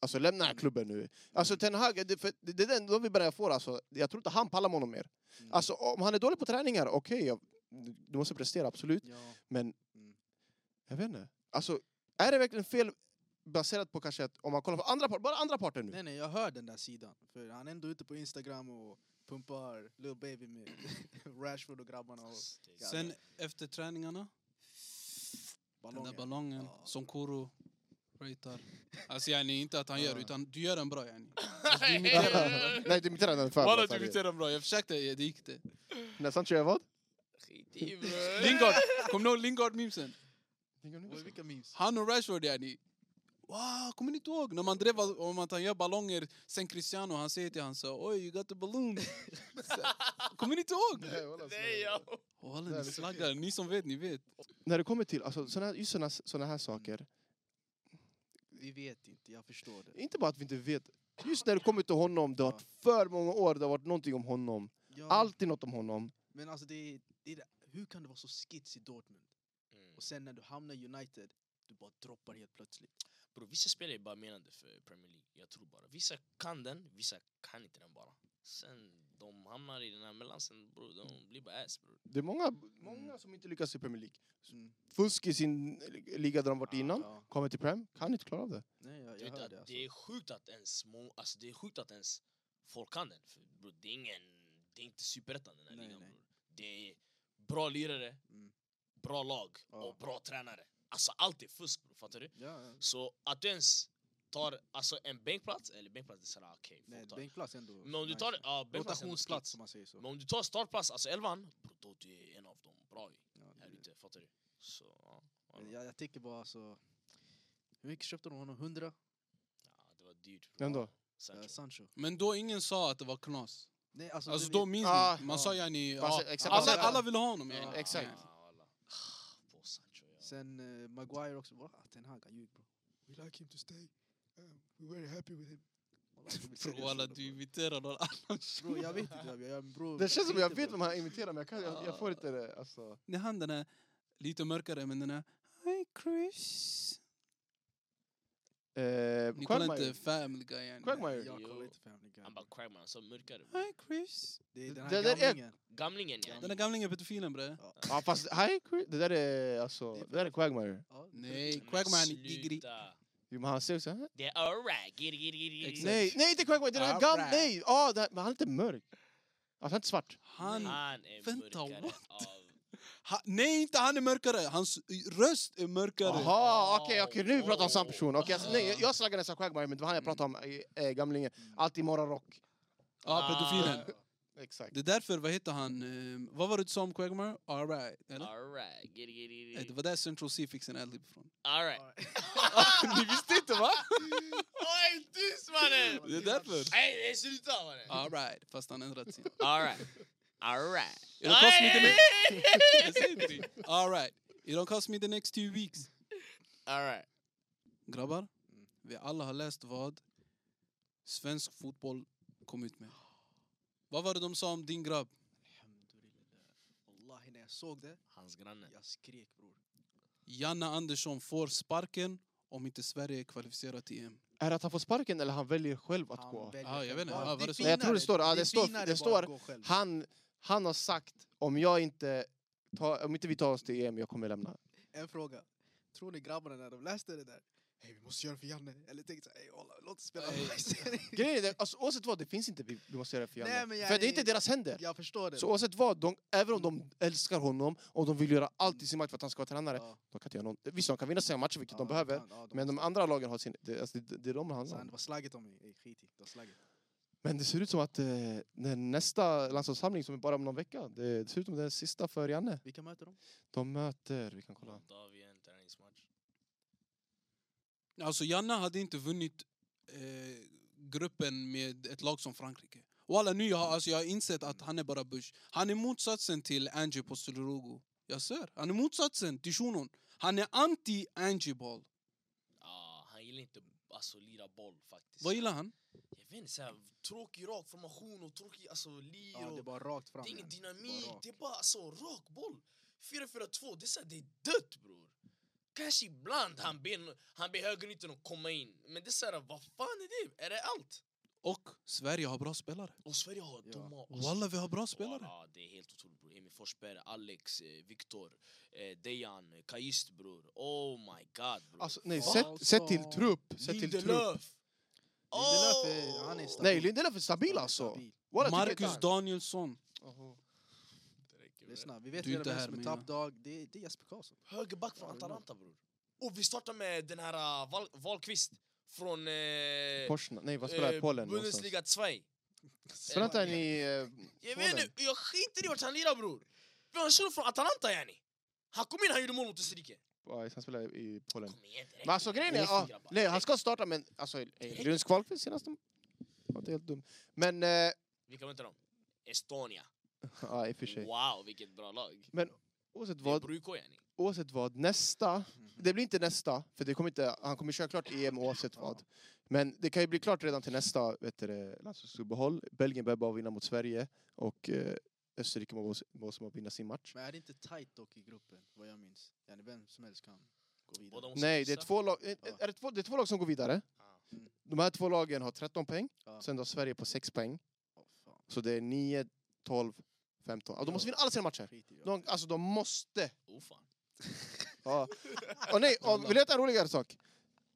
C: Alltså lämna den här klubben nu. Alltså Ten Hag, det, för, det, det är den de vi börjar få alltså, jag tror inte han pallar med honom mer.
D: Mm.
C: Alltså om han är dålig på träningar, okej, jag- du måste prestera absolut,
D: Ja.
C: men
D: Mm.
C: jag vet inte. Alltså, är det verkligen fel baserat på kanske att, om man kollar på andra parten, bara andra parten nu?
D: Nej, nej, jag hör den där sidan. För han är ändå ute på Instagram och pumpar Lil Baby med <laughs> Rashford och grabbarna och
A: Sen efter träningarna, den
D: ballonger.
A: där ballongen
D: Ja.
A: som Koro ratear. Alltså yani, inte att han gör,
D: Ja.
A: utan du gör den bra yani.
C: <laughs> Nej, du imiterar den för
A: Walla,
C: alltså,
A: du
C: det-
A: imiterar den bra. Jag försökte, ja, det gick inte.
C: När Sancho gör vad?
B: Skit i bror.
A: Lingard, kommer ni ihåg Lingard-memesen?
D: Oj, vilka memes.
A: Han och Rashford yani. Wow, kommer ni inte ihåg? När man drev om att han gör ballonger, sen Cristiano, han säger till han så, oj, you got the balloon.
C: <laughs>
A: Så- kommer ni inte ihåg?
B: Nej, ja.
A: Walla, ni slaggar. Ni som vet, ni vet.
C: När det kommer till alltså, såna, här- just såna, såna här saker,
D: Vi vet inte, jag förstår det.
C: inte bara att vi inte vet. Just när det kommer till honom, det har varit för många år, det har varit någonting om honom.
D: Ja,
C: Alltid något om honom.
D: Men alltså, det, är- det, är det, hur kan det vara så skits i Dortmund?
B: Mm.
D: Och sen när du hamnar i United, du bara droppar helt plötsligt.
B: Bro, vissa spelare är bara menade för Premier League, jag tror bara. Vissa kan den, vissa kan inte den bara. Sen de hamnar i den här mellansen, bro, de blir bara ass bro.
C: Det är många, många som inte lyckas i Premier League.
D: Mm.
C: Fusk i sin liga där de varit innan,
D: Ja.
C: kommer till Prem, kan inte klara av det.
D: Nej, jag,
B: Det
D: jag
B: är,
D: hör
B: att,
D: det. Alltså.
B: det är sjukt att ens, må, alltså, det är sjukt att ens folk kan den. För, bro, det, är ingen, det är inte superettan den här
D: Nej,
B: ligan
D: nej.
B: bro. Det är bra lirare,
D: Mm.
B: bra lag
D: Ja.
B: och bra tränare. Alltså allt är fusk bro, fattar du?
D: Ja, ja.
B: Så att du ens tar alltså, en bänkplats, eller bänkplats det är såhär okej.
D: Nej,
B: folk tar-
D: bänkplats är ändå...
B: men om du
D: nice.
B: tar ja, bänkplats är ändå
D: Rotationsplats,
B: skit.
D: om man säger så.
B: Men om du tar startplats, alltså elvan, bro, då du är en av dem bra ju.
D: Ja,
B: Jag
A: Mm.
B: är det inte, fattar du? Så, ja. ja,
D: Jag, jag tycker bara alltså... Hur mycket köpte de honom? 100?
B: ja, det var dyrt.
C: Vem då?
D: Eh,
B: Sancho.
D: Sancho.
A: Men då ingen sa att det var knas.
D: Nej, alltså,
A: Alltså
D: det-
A: då minns
C: Ah,
A: ni. Man
D: ja.
A: sa yani,
C: Man
A: ja,
C: sa- exakt, man
A: alla,
C: sa-
A: alla ville ha
B: Ah,
A: honom.
C: Ja,
A: yani.
C: exakt.
B: Ja, alla. Ah, På Sancho, ja.
D: Sen eh, Maguire också. Va? Ten Hag, han ljög bro.
C: We like him to stay. Um, we're very happy with him.
D: Wallah, jag vill se
A: Bror
D: det
A: walla,
D: så,
A: du imiterar någon annan.
D: Bro, jag vet inte. Jag, jag, bro,
C: Det känns som jag
D: inte,
C: vet
D: bro.
C: vem han imiterar men jag, kan, jag, jag får inte det. Alltså.
A: Det är han den här, lite mörkare, men den här... Hi Chris.
C: Eh,
A: Ni kollar
C: Quagmire.
A: inte Family Guy yani.
C: Quagmire.
D: Jag
B: Jo.
D: kollar inte Family Guy.
B: Han bara Quagman, så mörkare.
A: Hi Chris.
D: Det är den
C: Det
D: här
C: där är-
D: gamlingen.
B: Gamlingen ja.
A: Den där gamlingen pedofilen bre.
C: Ja fast hej, Chris- det där är alltså, det där är Quagmire.
D: Ja, det-
A: Nej,
B: Men
A: Quagman är
B: sluta.
A: gigri.
C: Jo men han ser också,
B: Det är alright, giri giri giri.
A: Exakt.
C: Nej, nej inte Quagmire, det är den här gamla,
A: Alright.
C: nej! Ah, det här, men han är inte mörk. Alltså han är inte svart.
A: Han...
B: Han är
A: Vänta,
B: mörkare
A: what?
B: av...
A: Ha, nej, inte han är mörkare! Hans röst är mörkare.
C: Jaha, okej, okej, nu pratar vi om samma
B: Oh.
C: person. Okej, alltså, nej, jag- jag slaggade nästan Quagmire, men det var han jag pratade om, eh, eh, gamlingen. Allt i morgonrock.
A: Ja, pedofilen.
B: Ah,
C: Exakt.
A: Det är därför, vad heter han? ehm, vad var det du sa om Quagmire? Alright, eller?
B: Ah, Alright, giri giri
A: Eh, Det
B: giri.
A: var där Central C fick sin adlib
B: <laughs>
A: ifrån.
B: Alright. Ah.
A: <laughs> Ni visste inte va?
B: <laughs> Oj, tyst mannen!
A: Det är därför.
B: Nej, nej, sluta mannen!
A: Alright, fast han ändrat sig.
B: Alright. Alright.
A: It don't cost me the next... Alright, it don't cost me the next two weeks.
B: Alright.
A: Grabbar, vi alla har läst vad svensk fotboll kom ut med. Vad var det de sa om din grabb?
D: Alhamdulillah. Wallahi, när jag såg det,
B: Hans granne.
D: jag skrek bror.
A: Janne Andersson får sparken om inte Sverige är kvalificerat till EM.
C: Är det att han får sparken eller han väljer själv att
D: Han
C: gå?
D: väljer
A: Ah, jag vet inte.
D: själv.
A: Ah, vad
D: är
A: det står.
D: finare.
C: Jag tror det står- ah, det står-
D: finare
C: det
D: bara
C: står-
D: att gå själv.
C: Han, han har sagt, om jag inte tar, om inte vi tar oss till EM, jag kommer lämna.
D: En fråga. Tror ni grabbarna när de läste det där, hej vi måste göra det för Janne? Eller tänkte såhär, hej walla, låt oss spela <laughs>
A: Nej.
D: nice."
C: Grejen är, det, alltså, oavsett vad, det finns inte vi, vi måste göra det för Janne.
D: Nej, men jag-
C: för det är inte deras händer.
D: Jag förstår det.
C: Så oavsett vad, de, även om de älskar honom och de vill göra allt i sin makt för att han ska vara tränare,
D: Ja,
C: de kan inte göra någon, visst de kan vinna sina matcher, vilket
D: ja,
C: de behöver,
D: fan, ja, de
C: men de
D: måste-
C: andra lagen har sin, det, alltså, det, det är de det
D: Så
C: handlar om.
D: han- Det var slagget om mig, Ey, skit i, det var slagget.
C: Men det ser ut som att eh, när nästa landslagssamling som är bara om någon vecka, det, det ser ut som det är sista för Janne.
D: Vilka möter de?
C: De möter, vi kan kolla.
B: Moldavien, träningsmatch.
A: Alltså Janne hade inte vunnit eh, gruppen med ett lag som Frankrike. Walla nu jag har, alltså, jag har insett att han är bara Bush. Han är motsatsen till Angie Postelurogo. Jag ser. Han är motsatsen till shunon. Han är anti Angie Ball.
B: Ja, han gillar inte alltså lira boll faktiskt.
A: Vad gillar han?
B: Jag vet inte, så här, tråkig rak formation och tråkig alltså lir
D: Ja, det är
B: och...
D: bara rakt fram.
B: Det är ingen
D: Janne.
B: dynamik,
D: Bara rakt.
B: det är bara alltså rak boll. 4-4-2, det är så här, det är dött bror. Kanske ibland han ber, han ber högeryttern att komma in. Men det är så här, vad fan är det? Är det allt?
A: Och Sverige har bra spelare.
B: Och Sverige har
D: Ja.
B: dumma... alltså,
A: Walla vi har bra spelare.
B: Ja, det är helt otroligt bror. Emil Forsberg, Alex, eh, Viktor, eh, Dejan, eh, Kajist bror. Oh my god bror.
C: Alltså, nej,
D: Fan,
C: sätt,
D: alltså.
C: sätt till trupp! Sätt till trupp.
B: Lindelöf!
D: Lindelöf
B: Oh!
D: är- han är stabil.
C: Nej, Lindelöf är stabil
D: Han är
C: alltså!
D: stabil.
C: Walla, tycker jag
A: Marcus
C: inte
A: Danielsson.
C: han- Jaha.
D: Lyssna, vi vet
A: Du är
D: redan
A: inte
D: vem
A: här,
D: som är
A: Mina.
D: top dog. Det är, det är Jesper Karlsson.
B: Högerback
D: Ja,
B: från
D: det är
B: Atalanta bror. Och vi startar med den här uh, Val Valkvist från... Eh,
C: Porsche, nej vad spelar
B: eh,
C: jag? Polen någonstans.
B: Bundesliga 2.
C: Spelar inte han i eh,
B: Jag vet
C: Polen?
B: inte, jag skiter i vart han lirar bror. För han kör från Atalanta yani. Han kom in, han gjorde mål mot Österrike.
C: Ja, han spelar i Polen.
B: Kom igen direkt.
C: Men alltså grejen är,
B: Direkt,
C: ja,
B: grabbar.
C: nej han ska starta men alltså, Linus Kvalqvist senast, de- Ja, det är helt dumt. Men, eh,
B: Vilka möter de? Estonia.
C: ja i och för sig.
B: Wow, vilket bra lag.
C: Men oavsett
B: Det är
C: vad,
B: Bruko yani.
C: oavsett vad, nästa... Det blir inte nästa, för det kommer inte, han kommer köra klart EM oavsett vad. Men det kan ju bli klart redan till nästa vet du, det, landslagsuppehåll. Belgien behöver bara vinna mot Sverige och eh, Österrike måste, måste bara vinna sin match.
D: Men är det inte tight dock i gruppen, vad jag minns? Janne, vem som helst kan gå vidare.
B: Båda måste
C: Nej, det är,
B: kryssa.
C: två lag, eh, är det, två, det är två lag som går vidare.
B: Ja.
C: De här två lagen har 13 poäng,
D: Ja.
C: sen har Sverige på 6 poäng.
D: Åh, fan.
C: Så det är 9, 12, 15. Ja, Alltså, de måste vinna alla sina matcher.
D: Skit i det.
C: De, alltså de måste
B: Oh, fan.
C: Ja. Och nej, och vill du veta en roligare sak?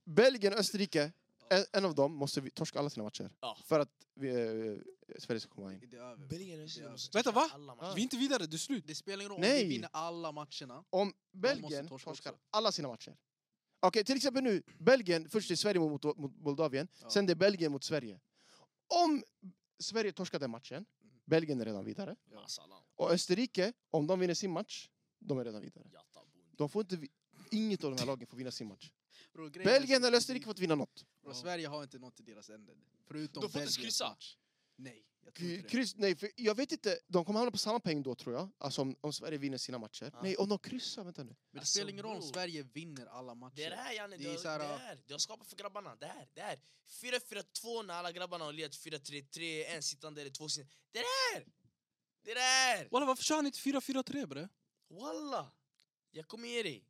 C: Belgien och Österrike, en, en av dem måste vi torska alla sina matcher.
B: Ja.
C: För att vi, eh, Sverige ska komma in.
D: Det är över.
B: Belgien och
D: Det är
B: Österrike måste
A: Vänta, va?
B: alla
A: Vi
B: matcher.
A: är inte vidare, det är slut.
D: Det spelar ingen roll om
C: Nej.
D: vi vinner alla matcherna.
C: Om Belgien
D: torska
C: torskar
D: också.
C: alla sina matcher. Okej, till exempel nu. Belgien, först är Sverige mot, mot Moldavien,
D: Ja.
C: sen det är Belgien mot Sverige. Om
D: Mm.
C: Sverige torskar den matchen, Belgien är redan vidare.
B: Masala.
C: Och Österrike, om de vinner sin match, de är redan vidare.
B: Jatta, Bundi.
C: De får inte, vi- inget av de här lagen får vinna sin match.
D: Bro, grejen är-
C: Belgien eller Österrike får inte vinna något.
D: Bro, Sverige har inte något i deras änder.
B: De
D: Förutom
B: får inte
D: Belgiens
B: kryssa.
D: match. Nej, jag tror
C: K-
D: inte det.
C: Kryss, nej, för jag vet inte, de kommer hamna på samma poäng då tror jag. Alltså om, om Sverige vinner sina matcher.
B: Ja.
C: Nej, om de kryssar, vänta nu.
D: Men det
B: Alltså,
D: spelar ingen roll om
B: bro.
D: Sverige vinner alla
B: Det är det
D: matcher.
B: här Janne,
D: Det
B: det,
D: är
B: har-
D: så här,
B: det
D: ja.
B: här. Det har skapat för grabbarna. Det här, det här. 4-4-2 när alla grabbarna har lirat 4-3-3, en sittande eller två sittande. Det där! Det där!
A: Walla, varför kör han inte 4-4-3 bre?
B: Walla! Jag kommer ge dig.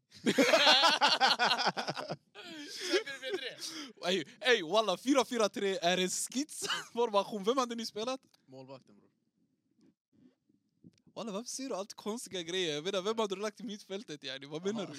A: Ey, ey walla, 4-4-3 är en <laughs> skitsformation. Vem hade ni spelat?
D: Målvakten bror.
A: Walla, varför säger du allt konstiga grejer? Jag menar, vem hade du lagt i mittfältet yani? Vad menar
B: Aha.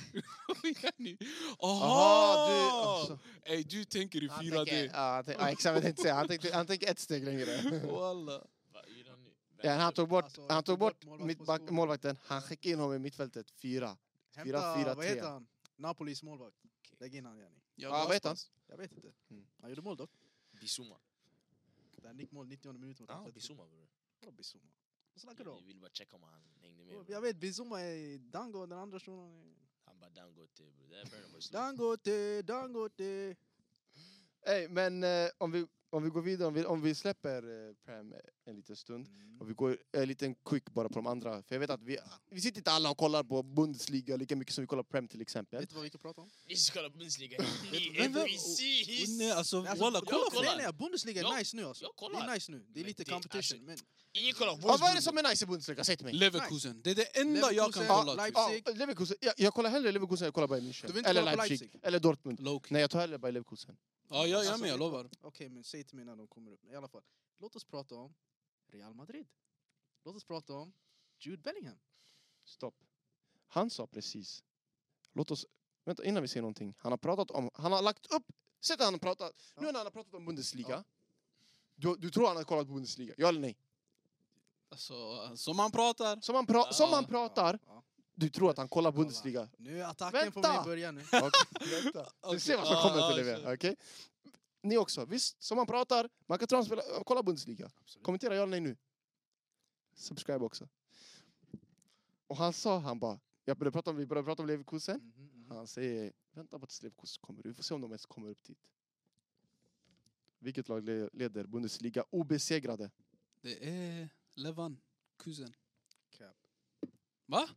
A: du? <laughs> yani?
D: Ah!
C: Aha, du...
A: Aha!
C: Alltså.
A: Ey, du tänker i
C: Han tänker,
A: 4D.
C: ja, han tänker- ja, exakt vad jag tänkte säga. Han tänker, han tänker ett steg längre.
A: <laughs> Walla.
B: Vad yrar han nu?
C: Ja, han tog bort,
D: Alltså,
C: han tog bort
D: målvakt på
C: mittback,
D: skolan.
C: målvakten, han skickade in honom i mittfältet, fyra.
D: Hämta,
C: 4-4-3.
D: vad heter han? Napolis målvakt. Lägg in han yani.
A: Jag
C: Ja,
A: går
C: vad heter han?
A: aspas.
D: Jag vet inte.
C: Mm.
D: Han gjorde mål dock.
B: Bissouma.
D: Där nickmål 90 minuten mot
B: Ja,
D: Atletico.
B: Bissouma bror.
D: Vadå Bissouma? Vad snackar du
B: Vi
D: om?
B: vill bara checka om han hängde med.
D: Oh, Jag
B: bror.
D: vet, Bizuma är Dango, den andra shunon är...
B: Han bara Dangote bror. Det där börjar bara slå.
D: Dangote, Dangote!
C: Ey, men eh, om, vi, om vi går vidare, om vi, om vi släpper eh, Prem en liten
D: Mm.
C: stund. Och vi går en liten quick bara på de andra, för jag vet att vi, vi sitter inte alla och kollar på Bundesliga lika mycket som vi kollar Prem till exempel.
D: Vet du vad vi kan prata om?
B: Ni ska kolla på Bundesliga. Ni
A: vem-
B: är
A: vem-
B: precis!
A: Nej, alltså
D: Nej, alltså,
A: walla,
D: jag
A: kolla på
B: kollar.
D: Nej, nej, Bundesliga är
B: Jag-
D: nice nu alltså.
B: jag kollar.
D: Det är nice nu. Det är
B: Men
D: lite
B: det-
D: competition. Men
B: Ingen kollar på
C: Ja, vad är det
B: Wolfsburg.
C: som är nice i Bundesliga? Säg till mig!
A: Leverkusen. Det är det enda jag kan
D: Leverkusen,
A: kolla.
D: Leipzig.
A: typ.
C: Ja, Leverkusen. Jag, jag kollar hellre Leverkusen än jag kollar Bayern
D: Du vill
C: München.
D: inte
C: Eller
D: kolla på
C: Leipzig,
D: Leipzig?
C: eller Dortmund.
A: Loki.
C: Nej, jag tar hellre Bayern Leverkusen.
A: Ja, jag, jag är
D: Alltså,
A: med, jag
D: det-
A: lovar.
D: Okej, men säg till mig när de kommer upp. I alla fall, låt oss prata om Real Madrid. Låt oss prata om Jude Bellingham.
C: Stopp. Han sa precis. Låt oss... Vänta, innan vi säger någonting. Han har pratat om... Han har lagt upp... Säg att han har pratat... Nu när han har pratat om Bundesliga.
D: Ja.
C: Du, du tror han har kollat på Bundesliga? Ja eller nej?
A: Alltså, som man pratar.
C: Som han, pra, som
A: Ja.
C: han pratar,
D: Ja, ja.
C: du tror att han kollar
D: Kolla.
C: Bundesliga.
D: Nu är attacken på
C: Vänta!
D: mig börjar nu.
C: <laughs> Okej, vänta. Du ser vad som
A: Ja,
C: kommer
A: ja,
C: till
A: kör.
C: dig. Okej? Ni också. Visst, som han pratar. Man kan tro han spelar... Kolla Bundesliga. Kommentera ja eller nej nu. Subscribe också. Och han sa, han bara... Jag började prata om, vi började prata om Leverkusen.
D: Mhm, mhm.
C: Han säger vänta på att Leverkusen kommer. Vi får se om de ens kommer upp dit. Vilket lag le- leder Bundesliga <laughs> obesegrade?
A: Det är Levan, kusen.
D: Cap.
A: Va?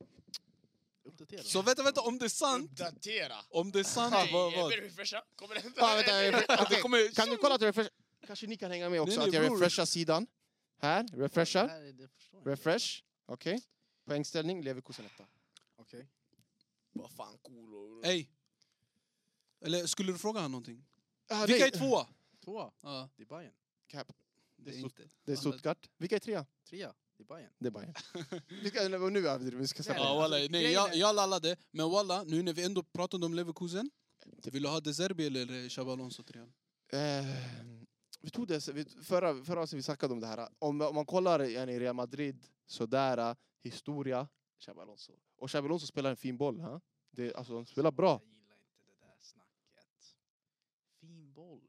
D: Uppdatera.
A: Så vänta, vänta, om det är
D: Mm.
A: sant.
B: Datera.
A: Om det är sant,
B: Nej,
A: vad,
B: jag
A: vad?
B: ber refresha. Kommer det hända?
C: Ah, vänta, jag-
A: Att det
C: okej.
A: kommer...
C: Kan du kolla att jag refresh? Kanske ni kan hänga med också?
A: Nej, nej,
C: Att jag
A: bror.
C: refreshar sidan. Här,
D: Det
C: refreshar.
D: här är- det förstår jag inte.
C: Refresh. Okej. Poängställning, Leverkusen etta.
D: Okej.
B: Vad fan cool och...
A: Ey. Eller skulle du fråga han någonting?
C: Ah,
A: Vilka
C: nej,
A: är tvåa?
D: Tvåa,
A: Ja,
D: det är Bayern.
C: Cap.
A: det
C: Det
A: är
C: är
A: inte.
C: Det är Stuttgart. Vilka är trea?
D: Trea, det är Bayern.
C: Det är Bayern. Vi ska, nej, nu överdriver vi, vi. ska släppa
A: Ja,
C: det.
A: walla,
D: Alltså,
A: nej,
D: grejen
A: jag,
D: är-
A: jag lallade. Men walla, nu när vi ändå pratade om Leverkusen. Vill du ha De Zerbi eller Xabi Alonso till Real?
C: Eh, vi tog det, vi, förra, förra avsnittet vi snackade om det här. Om, om man kollar igen i Real Madrid, sådär, historia, Xabi Alonso. Och Xabi Alonso spelar en fin boll. Ha? Det, alltså, de spelar bra.
D: Jag gillar inte det där snacket. Fin boll.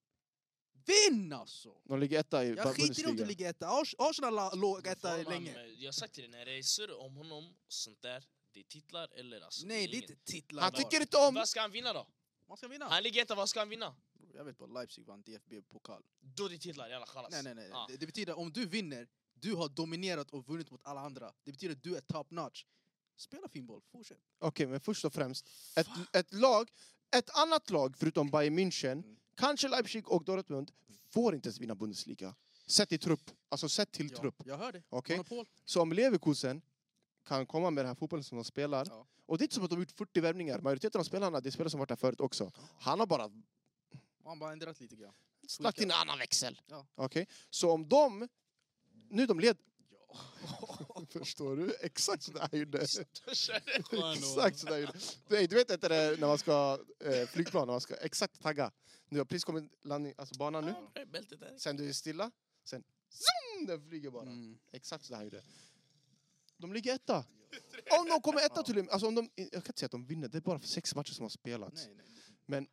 D: Vinn alltså!
C: De ligger etta i
D: Jag skiter i om du ligger etta. Ars- Arsenal la- låg etta länge.
B: Jag har sagt till dig, när det är surr om honom och sånt där, det är titlar eller alltså...
D: Nej, det är
B: ingen-
D: inte titlar.
C: Han
D: bara.
C: tycker inte om...
B: Vad ska han vinna då?
D: Man ska vinna.
B: Han ligger etta, vad ska han vinna?
D: Jag vet bara, Leipzig vann DFB-pokal.
B: Då det är titlar, jalla khalas.
D: Nej, nej, nej.
B: Ah.
D: Det, det betyder om du vinner, du har dominerat och vunnit mot alla andra. Det betyder att du är top notch. Spela fin boll, fortsätt.
C: Okej, men först och främst, ett, ett lag, ett annat lag förutom Bayern München,
D: Mm.
C: kanske Leipzig och Dortmund, får inte ens vinna Bundesliga. Sett i trupp, alltså sett till
D: Ja,
C: trupp.
D: jag hör det.
C: Okej?
D: Monopol.
C: Så om Leverkusen kan komma med den här fotbollen som de spelar.
D: Ja.
C: Och det är inte som att de har gjort 40 värvningar. Majoriteten av spelarna, det är spelare som varit där förut också. Han har bara
D: Man bara ändrat lite grann.
C: slagt in en annan växel.
D: Ja.
C: Okej? Så om de... Nu de led...
D: Ja.
C: <laughs> Förstår du? Exakt så där
D: <laughs>
C: gjorde.
B: <laughs> Kör.
C: Exakt så där gjorde. Nej, du vet inte det när man ska... Eh, flygplan, när man ska exakt tagga. Nu har precis kommit landning, alltså banan nu.
B: Ah, bältet där.
C: Sen du är stilla. Sen... Zoom! Den flyger bara.
A: Mm.
C: Exakt så där han gjorde. De ligger etta. Om de kommer etta till och med- alltså om de, Jag kan inte säga att de vinner, det är bara för sex matcher som har spelats.
D: Nej, nej.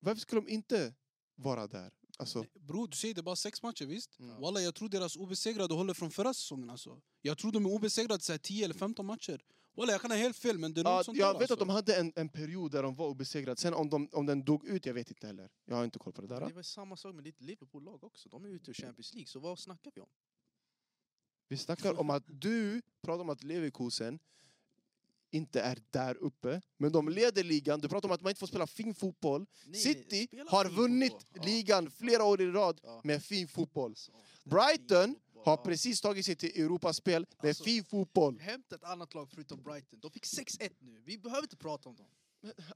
C: Varför skulle de inte vara där? Alltså,
A: Bror, du säger det är bara sex matcher, visst?
C: Ja.
A: Walla, jag tror deras obesegrade håller från förra säsongen. Alltså. Jag tror de är obesegrade så här, 10 eller 15 matcher. Walla, jag kan ha helt fel men det är något
C: Ja,
A: sånt där,
C: jag vet att
A: alltså.
C: de hade en, en period där de var obesegrade. Sen om, de, om den dog ut, jag vet inte heller. Jag har inte koll på det där. Mm.
D: Det var samma sak med ditt Liverpool-lag också. De är ute ur Champions League, så vad snackar vi om?
C: Vi snackar om att du pratar om att Leverkusen inte är där uppe, men de leder ligan. Du pratar om att man inte får spela fin fotboll.
D: Nej,
C: City
D: spela
C: har
D: fin
C: vunnit
D: fotboll. Ja,
C: ligan flera år i rad
D: ja.
C: med fin fotboll.
D: Alltså, det är
C: Brighton
D: fin fotboll,
C: Har
D: ja.
C: precis tagit sig till Europaspel med
D: Alltså-
C: fin fotboll.
D: Hämta ett annat lag förutom Brighton. De fick 6-1 nu. Vi behöver inte prata om dem.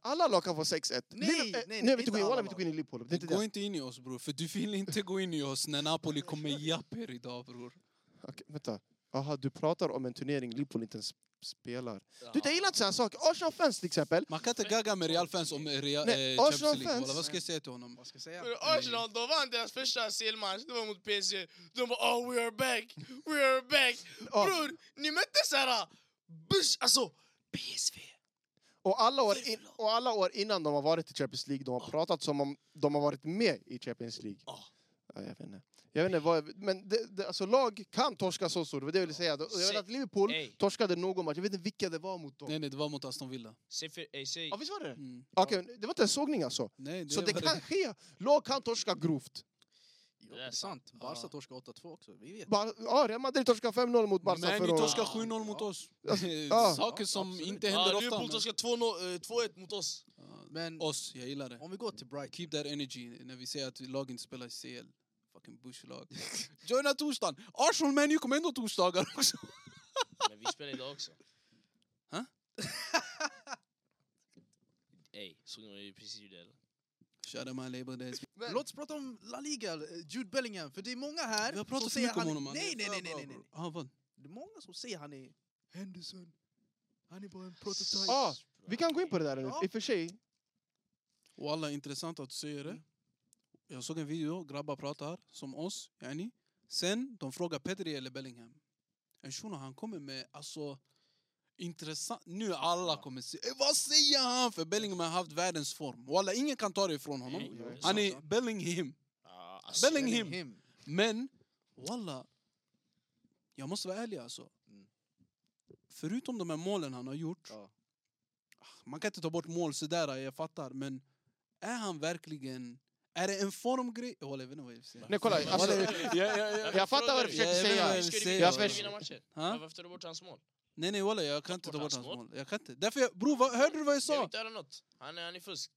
C: Alla lag kan få 6-1.
D: Nej,
C: Liv- eh,
D: nej,
C: nu
D: nej,
C: vill vi
D: inte
C: inte gå in-
D: alla
C: walla, vi inte
D: lag.
C: gå in i Liverpool. Det är
A: Det
C: inte det.
A: går inte in i oss bror, för du vill inte gå in i oss när Napoli kommer japp er idag bror.
C: Okej, vänta. Jaha, du pratar om en turnering Liverpool inte ens spelar.
B: Ja.
C: Du, jag gillar inte sådana saker. Arsenal fans till exempel.
A: Man kan inte gagga med Real-fans om Real,
C: Nej,
A: eh, Champions
C: Arsenal
A: League.
C: fans.
A: Walla, vad ska jag säga till honom?
D: Vad ska jag säga?
B: Men Arsenal, de vann deras första CL-match, det var mot PSG. De bara oh we are back, we are back.
C: Ja,
B: Bror, ni mötte såhär... Bush, alltså PSV.
C: Och alla, år in, och alla år innan de har varit i Champions League, de
A: Ah.
C: har pratat som om de har varit med i Champions League.
B: Ja.
C: Ja, jag vet inte. Jag vet inte vad jag, men det, det, alltså, lag kan torska så stort, det var det jag ville säga. Jag vet att Liverpool
B: Ey.
C: torskade någon match, jag vet inte vilka det var mot dem.
A: Nej nej, det var mot Aston Villa.
B: Säg för... Ey, säg...
C: Ja, visst var det det?
A: Mm.
C: Okej, det var inte en sågning alltså.
A: Nej, det
C: Så det
A: var
C: kan ske. Lag kan torska grovt.
D: Jo, det är sant. Barca torskade 8-2 också. Vi vet.
C: Bar ja, Real Madrid torskade 5-0 mot Barca
A: Nej, ni
C: förra året.
A: torskar 7-0 mot oss. <laughs>
C: ja.
A: Saker som
D: Absolut.
A: inte
B: Ja,
A: händer ofta.
B: Liverpool
A: men-
B: torskade 2-0, eh, 2-1 mot oss.
D: Men
A: Oss, jag gillar det.
D: om vi går till Brighton.
A: Keep that energy när vi säger att lag inte spelar i CL. Fucking Bush-lag. Joina torsdagen! Arsenal Man U kommer ändå torsdagar också.
B: Men vi spelar idag också.
A: Hä?
B: Ey, såg ni precis det eller?
A: Shout out my label days.
C: Men-
D: Låt oss prata om La Liga, eh, Jude Bellingham. För det är många här
A: Vi har pratat
D: som
A: så
D: säger
A: mycket om
D: han...
A: honom. han är
D: nej, nej,
A: för
D: nej, nej,
A: bra,
D: nej, nej.
A: bror. Ah, vad?
D: Det är många som säger han är Henderson. Han är bara en prototyp.
C: Ja, Vi kan gå in på det där nu, i och för sig.
A: Walla, intressant att du säger det. Jag såg en video, grabbar pratar som oss, yani. Sen de frågar Pedri eller Bellingham. En shuno han kommer med, alltså intressant. Nu alla kommer se, "Eh, vad säger han? För Bellingham har haft världens form. Walla, ingen kan ta det ifrån honom.
B: Nej,
A: Han
D: sant,
A: är
D: va?
A: Bellingham.
B: Ja, alltså,
A: Bellingham. Men, walla. Jag måste vara ärlig alltså.
D: Mm.
A: Förutom de här målen han har gjort.
D: Ja.
A: Man kan inte ta bort mål sådär, jag fattar. Men är han verkligen... Är det en formgrej? Jag vet inte vad jag vill säga.
C: Nej, kolla. Alltså, jag fattar vad du försöker
A: Jag vet
C: säga.
A: vad
B: Hur
A: vill
B: ska du
A: säga.
B: vinna-
C: Jag
B: hur ska du
C: förs-
B: vinna matcher?
A: Ha?
B: Varför tar du bort hans mål?
A: Nej, nej, walla, jag kan inte ta
B: bort
A: bort
B: hans
A: hans mål. Jag kan inte. Därför, jag, bror, vad, hörde du vad jag
B: Jag vill
A: sa?
B: inte höra något. Han är, han är fusk.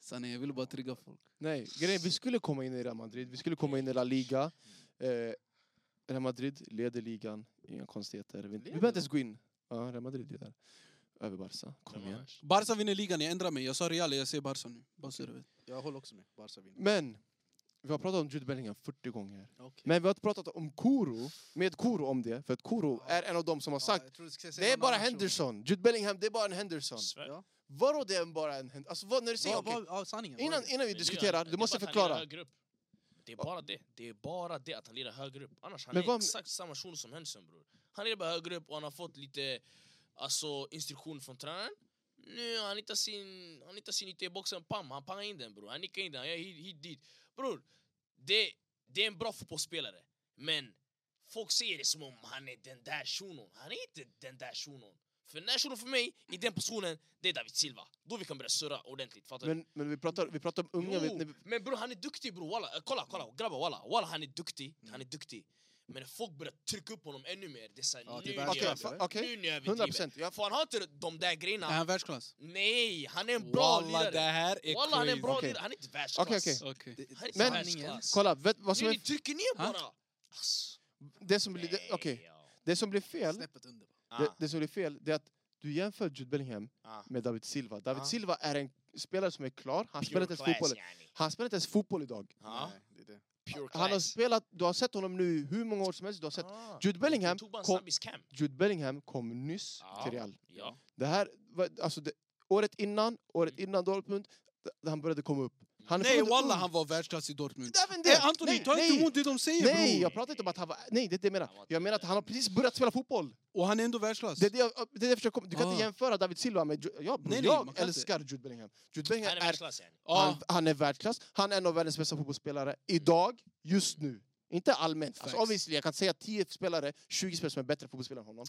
A: Sanne, jag ville bara trigga folk.
C: Nej, grejen vi skulle komma in i Real Madrid, vi skulle komma in i La Liga. Eh, Real Madrid leder ligan, inga konstigheter. Vi, vi behöver inte ens gå in. Ja, Real Madrid är där. Över Barca, kom
B: Vem
C: igen.
B: annars?
A: Barca vinner ligan, jag ändrar mig. Jag sa Real, jag säger Barca nu. Bara så du vet.
D: Jag håller också med. Barca vinner.
C: Men, vi har pratat om Jude Bellingham 40 gånger.
D: Okej.
C: Men vi har inte pratat om Koro, med Koro om det, för att Koro
D: Ja.
C: är en av dem som har
D: Ja,
C: sagt
D: jag tror du ska säga
C: Det är
D: någon
C: bara
D: annan person.
C: Henderson. Jude Bellingham, det är bara en Henderson.
B: Svär.
D: Ja.
C: Vadå det är bara en Henderson? Alltså vad, när du säger
D: Vad-
C: okej.
D: vad- Ja, sanningen. vad är
C: Innan,
D: det?
C: innan vi
B: Men det är
C: diskuterar,
B: att-
C: du
B: det är
C: måste
B: bara att han lirar
C: förklara.
B: högre upp. Det är bara det. Det är bara det att han lirar högre upp. Annars han
C: Men
B: är
C: vad-
B: exakt samma shuno som Henderson bror. Han lirar bara högre upp och han har fått lite alltså, instruktion från tränaren. Nu han hittar sin, han hittar sin yta i boxen, pam, han pangar in den bror. Han nickar in den, han gör hit, hit dit. Bror, det, det är en bra fotbollsspelare. Men folk ser det som om han är den där shunon. Han är inte den där shunon. För den där shunon för mig, i den positionen, det är David Silva. Då vi kan börja surra ordentligt, fattar du?
C: Men, men vi, pratar, vi pratar om unga. Vet,
B: Jo,
C: när vi,
B: men bror han är duktig bror, walla. Eh, Kolla, kolla grabbar, walla. walla han är duktig,
C: Mm.
B: han är duktig. Men när folk börjar trycka upp honom ännu mer, det är såhär,
D: Ja,
B: nu,
D: det
B: nu,
D: verkar
C: Okej,
D: jag
B: okay,
D: så.
C: fa-
B: nu,
C: okej.
B: nu
C: 100
B: överdriver.
C: procent. Jag,
B: För han har inte de där grejerna.
A: Är han världsklass?
B: Nej, han är en bra
A: Walla, det
B: lirare.
A: här är
B: Walla han är en bra
C: Okej.
B: lirare, han är inte världsklass.
C: Okej, okej.
A: Okej.
D: Det-
B: Han är inte
C: Men-
D: sanningen.
B: världsklass.
C: kolla, vet, vad som
B: Nu
C: är,
B: ni trycker ner
A: Ha?
B: bara. Ass,
C: det, som blir, det,
B: nej,
C: okej.
B: ja.
C: det som blir fel,
D: Snäppet under.
C: det,
B: Ah,
C: det som blir fel, det är att du jämför Jude Bellingham
B: ah.
C: med David Silva. David
B: Ah.
C: Silva är en spelare som är klar, han spelar
B: Pure
C: inte ens
B: class,
C: fotboll.
B: yani.
C: Han spelar inte ens fotboll idag.
B: Ah,
D: Nej, det är det.
B: Pure
C: Han har
B: class.
C: spelat, du har sett honom nu hur många år som helst, du har sett.
B: Ah.
C: Jude Bellingham
B: Jag tog bara en
C: kom-
B: snabbis cam.
C: Jude Bellingham kom nyss
B: Ja.
C: till Real.
B: Ja.
C: Det här, var- alltså det, året innan, året innan Dortmund, d- där han började komma upp. Han är
A: Nej,
C: fortfarande
A: walla,
C: ung.
A: han var världsklass i Dortmund.
C: Det är även det.
A: Hey, Anthony,
C: nej,
A: ta inte
C: nej,
A: emot det de säger
C: Nej,
A: bror!
C: jag pratar inte om att han var... Nej, det är det jag menar.
B: Han var-
C: Jag menar att han har precis börjat spela fotboll.
A: Och han är ändå världsklass.
C: Det är det jag, det är det jag försöker komma... Du kan
A: Ah.
C: inte jämföra David Silva med... Ju- Ja, bror,
A: Nej, nej,
C: jag
A: man kan inte.
C: älskar Jude Bellingham. Jude Bellingham
B: Han är
C: är...
B: världsklass yani.
A: Ja.
C: Han, han är världsklass. Han är en av världens bästa fotbollsspelare idag, just nu. Inte allmänt. Alltså,
A: Facts.
C: obviously, jag kan säga 10 spelare, 20 spelare som är bättre fotbollsspelare än honom.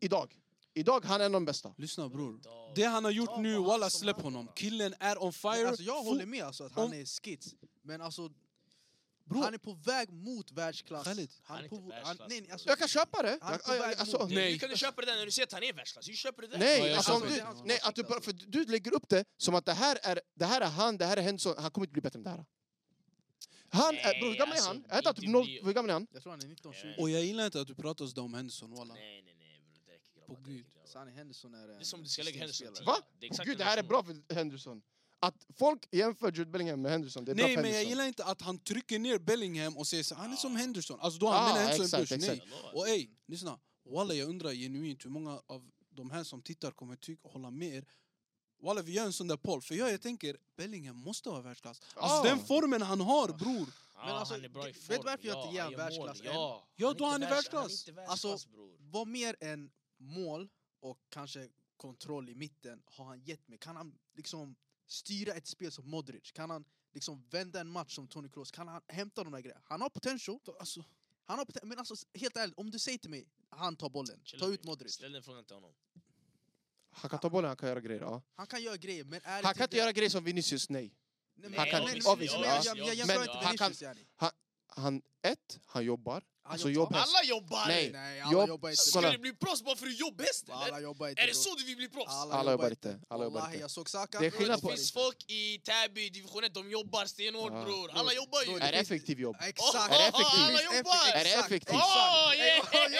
C: Idag. Idag, han är en av de bästa.
A: Lyssna bror.
B: Idag.
A: Det han har gjort
B: Idag
A: nu,
B: var han
A: walla
C: alltså,
B: som
A: släpp
B: han
A: honom.
B: var.
A: Killen är on
D: Men
A: fire.
D: alltså, jag
A: Fo-
D: håller med alltså, att han
A: om-
D: är skits. Men alltså,
A: Bror.
D: han är på väg mot världsklass.
A: Khalid,
B: han är
D: på,
B: inte
D: han,
B: världsklass,
D: nej, nej,
B: bror.
D: alltså,
C: Jag kan köpa det.
D: Han är
C: Jag,
D: på väg
C: jag, alltså,
D: mot
B: Nej.
A: Nej.
B: Hur kan du köpa det där när du ser att han är världsklass? Hur köper du det?
A: Ja,
C: nej,
A: jag
C: alltså, om
A: köper
C: du,
A: det.
D: Han
C: nej
D: måste
C: att du,
D: köpa
C: bara- för du lägger upp det som att det här är, det här är han, det här är Henson, han kommer inte bli bättre än det här. Han är,
B: Nej,
C: bror, hur gammal är
B: alltså,
C: han? Är inte han typ
B: inte
C: noll,
B: bli-
C: hur gammal är han?
D: jag tror han är 19-20.
A: Och jag gillar inte att du pratar så om Henderson, walla.
B: Nej, nej, nej. bror, Det räcker grabbar.
A: På
B: det räcker,
A: Gud.
B: grabbar.
D: Så han är Henderson eh, är
B: Det
D: en
B: är som du ska lägga Henderson
D: systemspelare.
B: till.
C: Va?
B: Det är
C: Åh
B: exakt
C: Gud, det
B: den
C: här är
B: versionen.
C: bra för Henderson. Att folk jämför Jude Bellingham med Henderson, det är bra
A: Nej,
C: för
A: men jag
C: Henderson.
A: gillar inte att han trycker ner Bellingham och säger så han är som Henderson. Alltså då
C: Ah,
A: använder ah, Henderson
C: exakt,
A: Bush. Nej.
C: exakt.
B: Jag lovar.
A: Och ey, lyssna. Walla, jag undrar genuint hur många av de här som tittar kommer tycka hålla med er. Walla, vi gör en sån där poll. För jag, jag tänker, Bellingham måste vara världsklass. Alltså
C: Ah.
A: den formen han har, bror.
B: Ja,
D: Men alltså,
B: han är bra i
D: vet
B: form.
D: du varför jag inte ger
B: han gör
D: han
B: mål.
D: världsklass än?
B: Ja,
A: Ja,
B: inte
A: då han är
B: världs-
A: världsklass.
B: Han är inte världsklass,
D: Alltså,
B: bror.
D: Vad mer än mål och kanske kontroll i mitten har han gett mig? Kan han liksom styra ett spel som Modric? Kan han liksom vända en match som Toni Kroos? Kan han hämta de där grejerna? Han har potential.
A: Alltså,
D: Han har poten- men alltså, helt ärligt, om du säger till mig han tar bollen,
B: Chilla
D: ta ut
B: nu.
D: Modric.
B: Ställ den frågan till honom.
C: Han kan ta bollen, han kan göra grejer. Ja.
D: Han kan göra grejer, men är typ det
C: Han kan inte göra grejer som Vinicius, nej.
D: Nej,
C: han kan-
D: men,
C: obviously,
D: men, jag,
C: ja.
D: jag, jag
C: Men
D: jämför inte
C: han kan-
D: Vinicius, yani.
C: Han, ett, han jobbar.
D: Han
C: Alltså
D: jobbar.
C: jobbar.
B: Alla jobbar!
C: Nej.
D: Nej, alla
C: Jobb-
D: jobbar inte.
B: Ska
C: Kolla.
B: du bli proffs bara för att du är jobbhäst eller?
D: Alla jobbar inte.
B: Är det
D: bror.
B: så du vill bli proffs?
C: Alla jobbar inte. Alla jobbar
D: Wallahi,
C: inte.
D: jag såg Saka.
C: Det är skillnad
B: det
C: på-
B: finns folk i Täby, division 1, de jobbar stenhårt
C: Ja.
B: bror. Alla jobbar ju!
D: Bror,
C: Är det effektivt jobb?
D: Exakt!
C: Är det
D: Exakt,
C: effektivt?
D: exakt,
B: Är
C: det
D: exakt,
C: effektivt?
D: exakt.
B: Åh,
D: Exakt.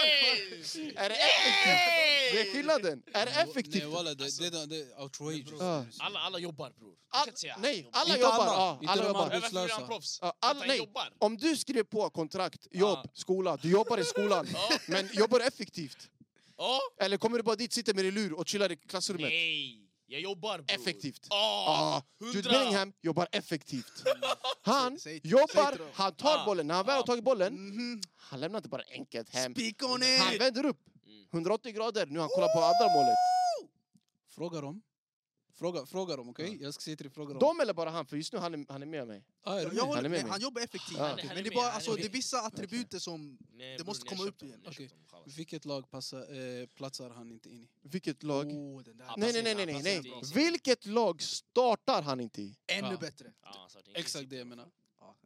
B: yes!
C: Är det effektivt? Det är skillnaden. Är det
A: nej,
C: effektivt? Ah.
A: walla, det, det, det, det är outrageous.
C: Ja.
B: Alla, alla jobbar bror. Du kan
C: All,
B: inte säga
C: nej,
B: jobbar.
C: alla
A: Inte
C: jobbar.
A: alla.
C: Ja,
A: Inte
C: alla
A: de
C: jobbar.
A: andra.
B: Men Varför blir han
A: arbetslösa.
B: proffs?
C: Ja,
B: För att
C: alla-
B: han
C: nej.
B: jobbar.
C: Om du skrev på kontrakt, jobb,
B: Ja.
C: skola, du jobbar i skolan,
B: Ja.
C: men jobbar du effektivt? <laughs>
B: Ja.
C: Eller kommer du bara dit, sitter med din lur och chillar i klassrummet?
B: Nej, jag jobbar bror.
C: Effektivt.
B: Ja,
C: Ah, Jude
B: hundra.
C: Bellingham jobbar effektivt. Han
D: Säg- säg till
C: jobbar,
D: dem.
C: han tar
B: Ah,
C: bollen. När han väl har
B: ah.
C: tagit bollen,
D: Mhm.
C: han lämnar inte bara enkelt hem.
D: Speak on
C: Han
D: it!
C: vänder upp
B: Mm.
C: 180 grader. Nu han kollar på andra målet.
A: Fråga dem. Fråga, fråga dem, okej? Jag ska säga till dig, fråga dem.
C: De eller bara han? För just nu han är, han är med mig.
A: Ah, är
D: Jag
A: du
D: jag
A: med?
D: håller
C: med
D: med,
C: mig.
D: han jobbar effektivt.
C: Ja. Han
B: är
D: Men det
B: med,
D: är, bara,
B: han är
D: alltså, det
B: med.
D: är vissa attribut som...
B: Nej,
D: Det
B: bror,
D: måste
B: ni har
D: komma
B: köpt
D: upp igen.
B: honom, ni har
A: Okej.
B: köpt honom, chalas.
A: Vilket lag passar, eh, platsar han inte in i?
C: Vilket
A: Oh,
C: lag?
D: Åh, den där.
B: Ja,
C: Nej,
B: passar
C: nej, nej,
B: in,
C: nej,
B: han
C: nej,
B: passar
C: nej.
B: inte in.
C: Vilket lag startar han inte i?
D: Ännu
A: Ja.
D: bättre.
B: Ja, han startar inte
A: Exakt
B: City.
A: det jag menar.
D: Ja,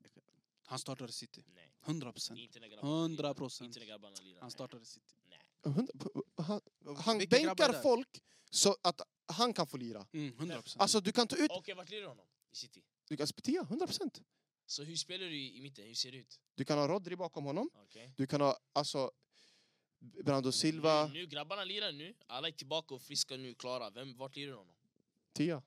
A: Han startade City.
B: Nej,
A: 100 procent.
B: inte när grabbarna lirar.
A: 100 procent.
B: Inte när grabbarna lirar.
A: Han startade City.
C: Hundra- p- p- Han, han
D: Vilka grabbar
C: bänkar
D: där?
C: folk så att han kan få lira.
A: Mm, 100 procent.
C: Alltså du kan ta ut...
B: Okej, vart lirar honom? I City.
C: Du kan spetia, 100 procent.
B: Så hur spelar du i i mitten? Hur ser det ut?
C: Du kan ha Rodri bakom honom.
B: Okej.
C: Du kan ha alltså... Brando Silva,
B: Nu, nu, grabbarna lirar nu. Alla är tillbaka och friska nu, klara. Vem, vart lirar honom?
C: Tia.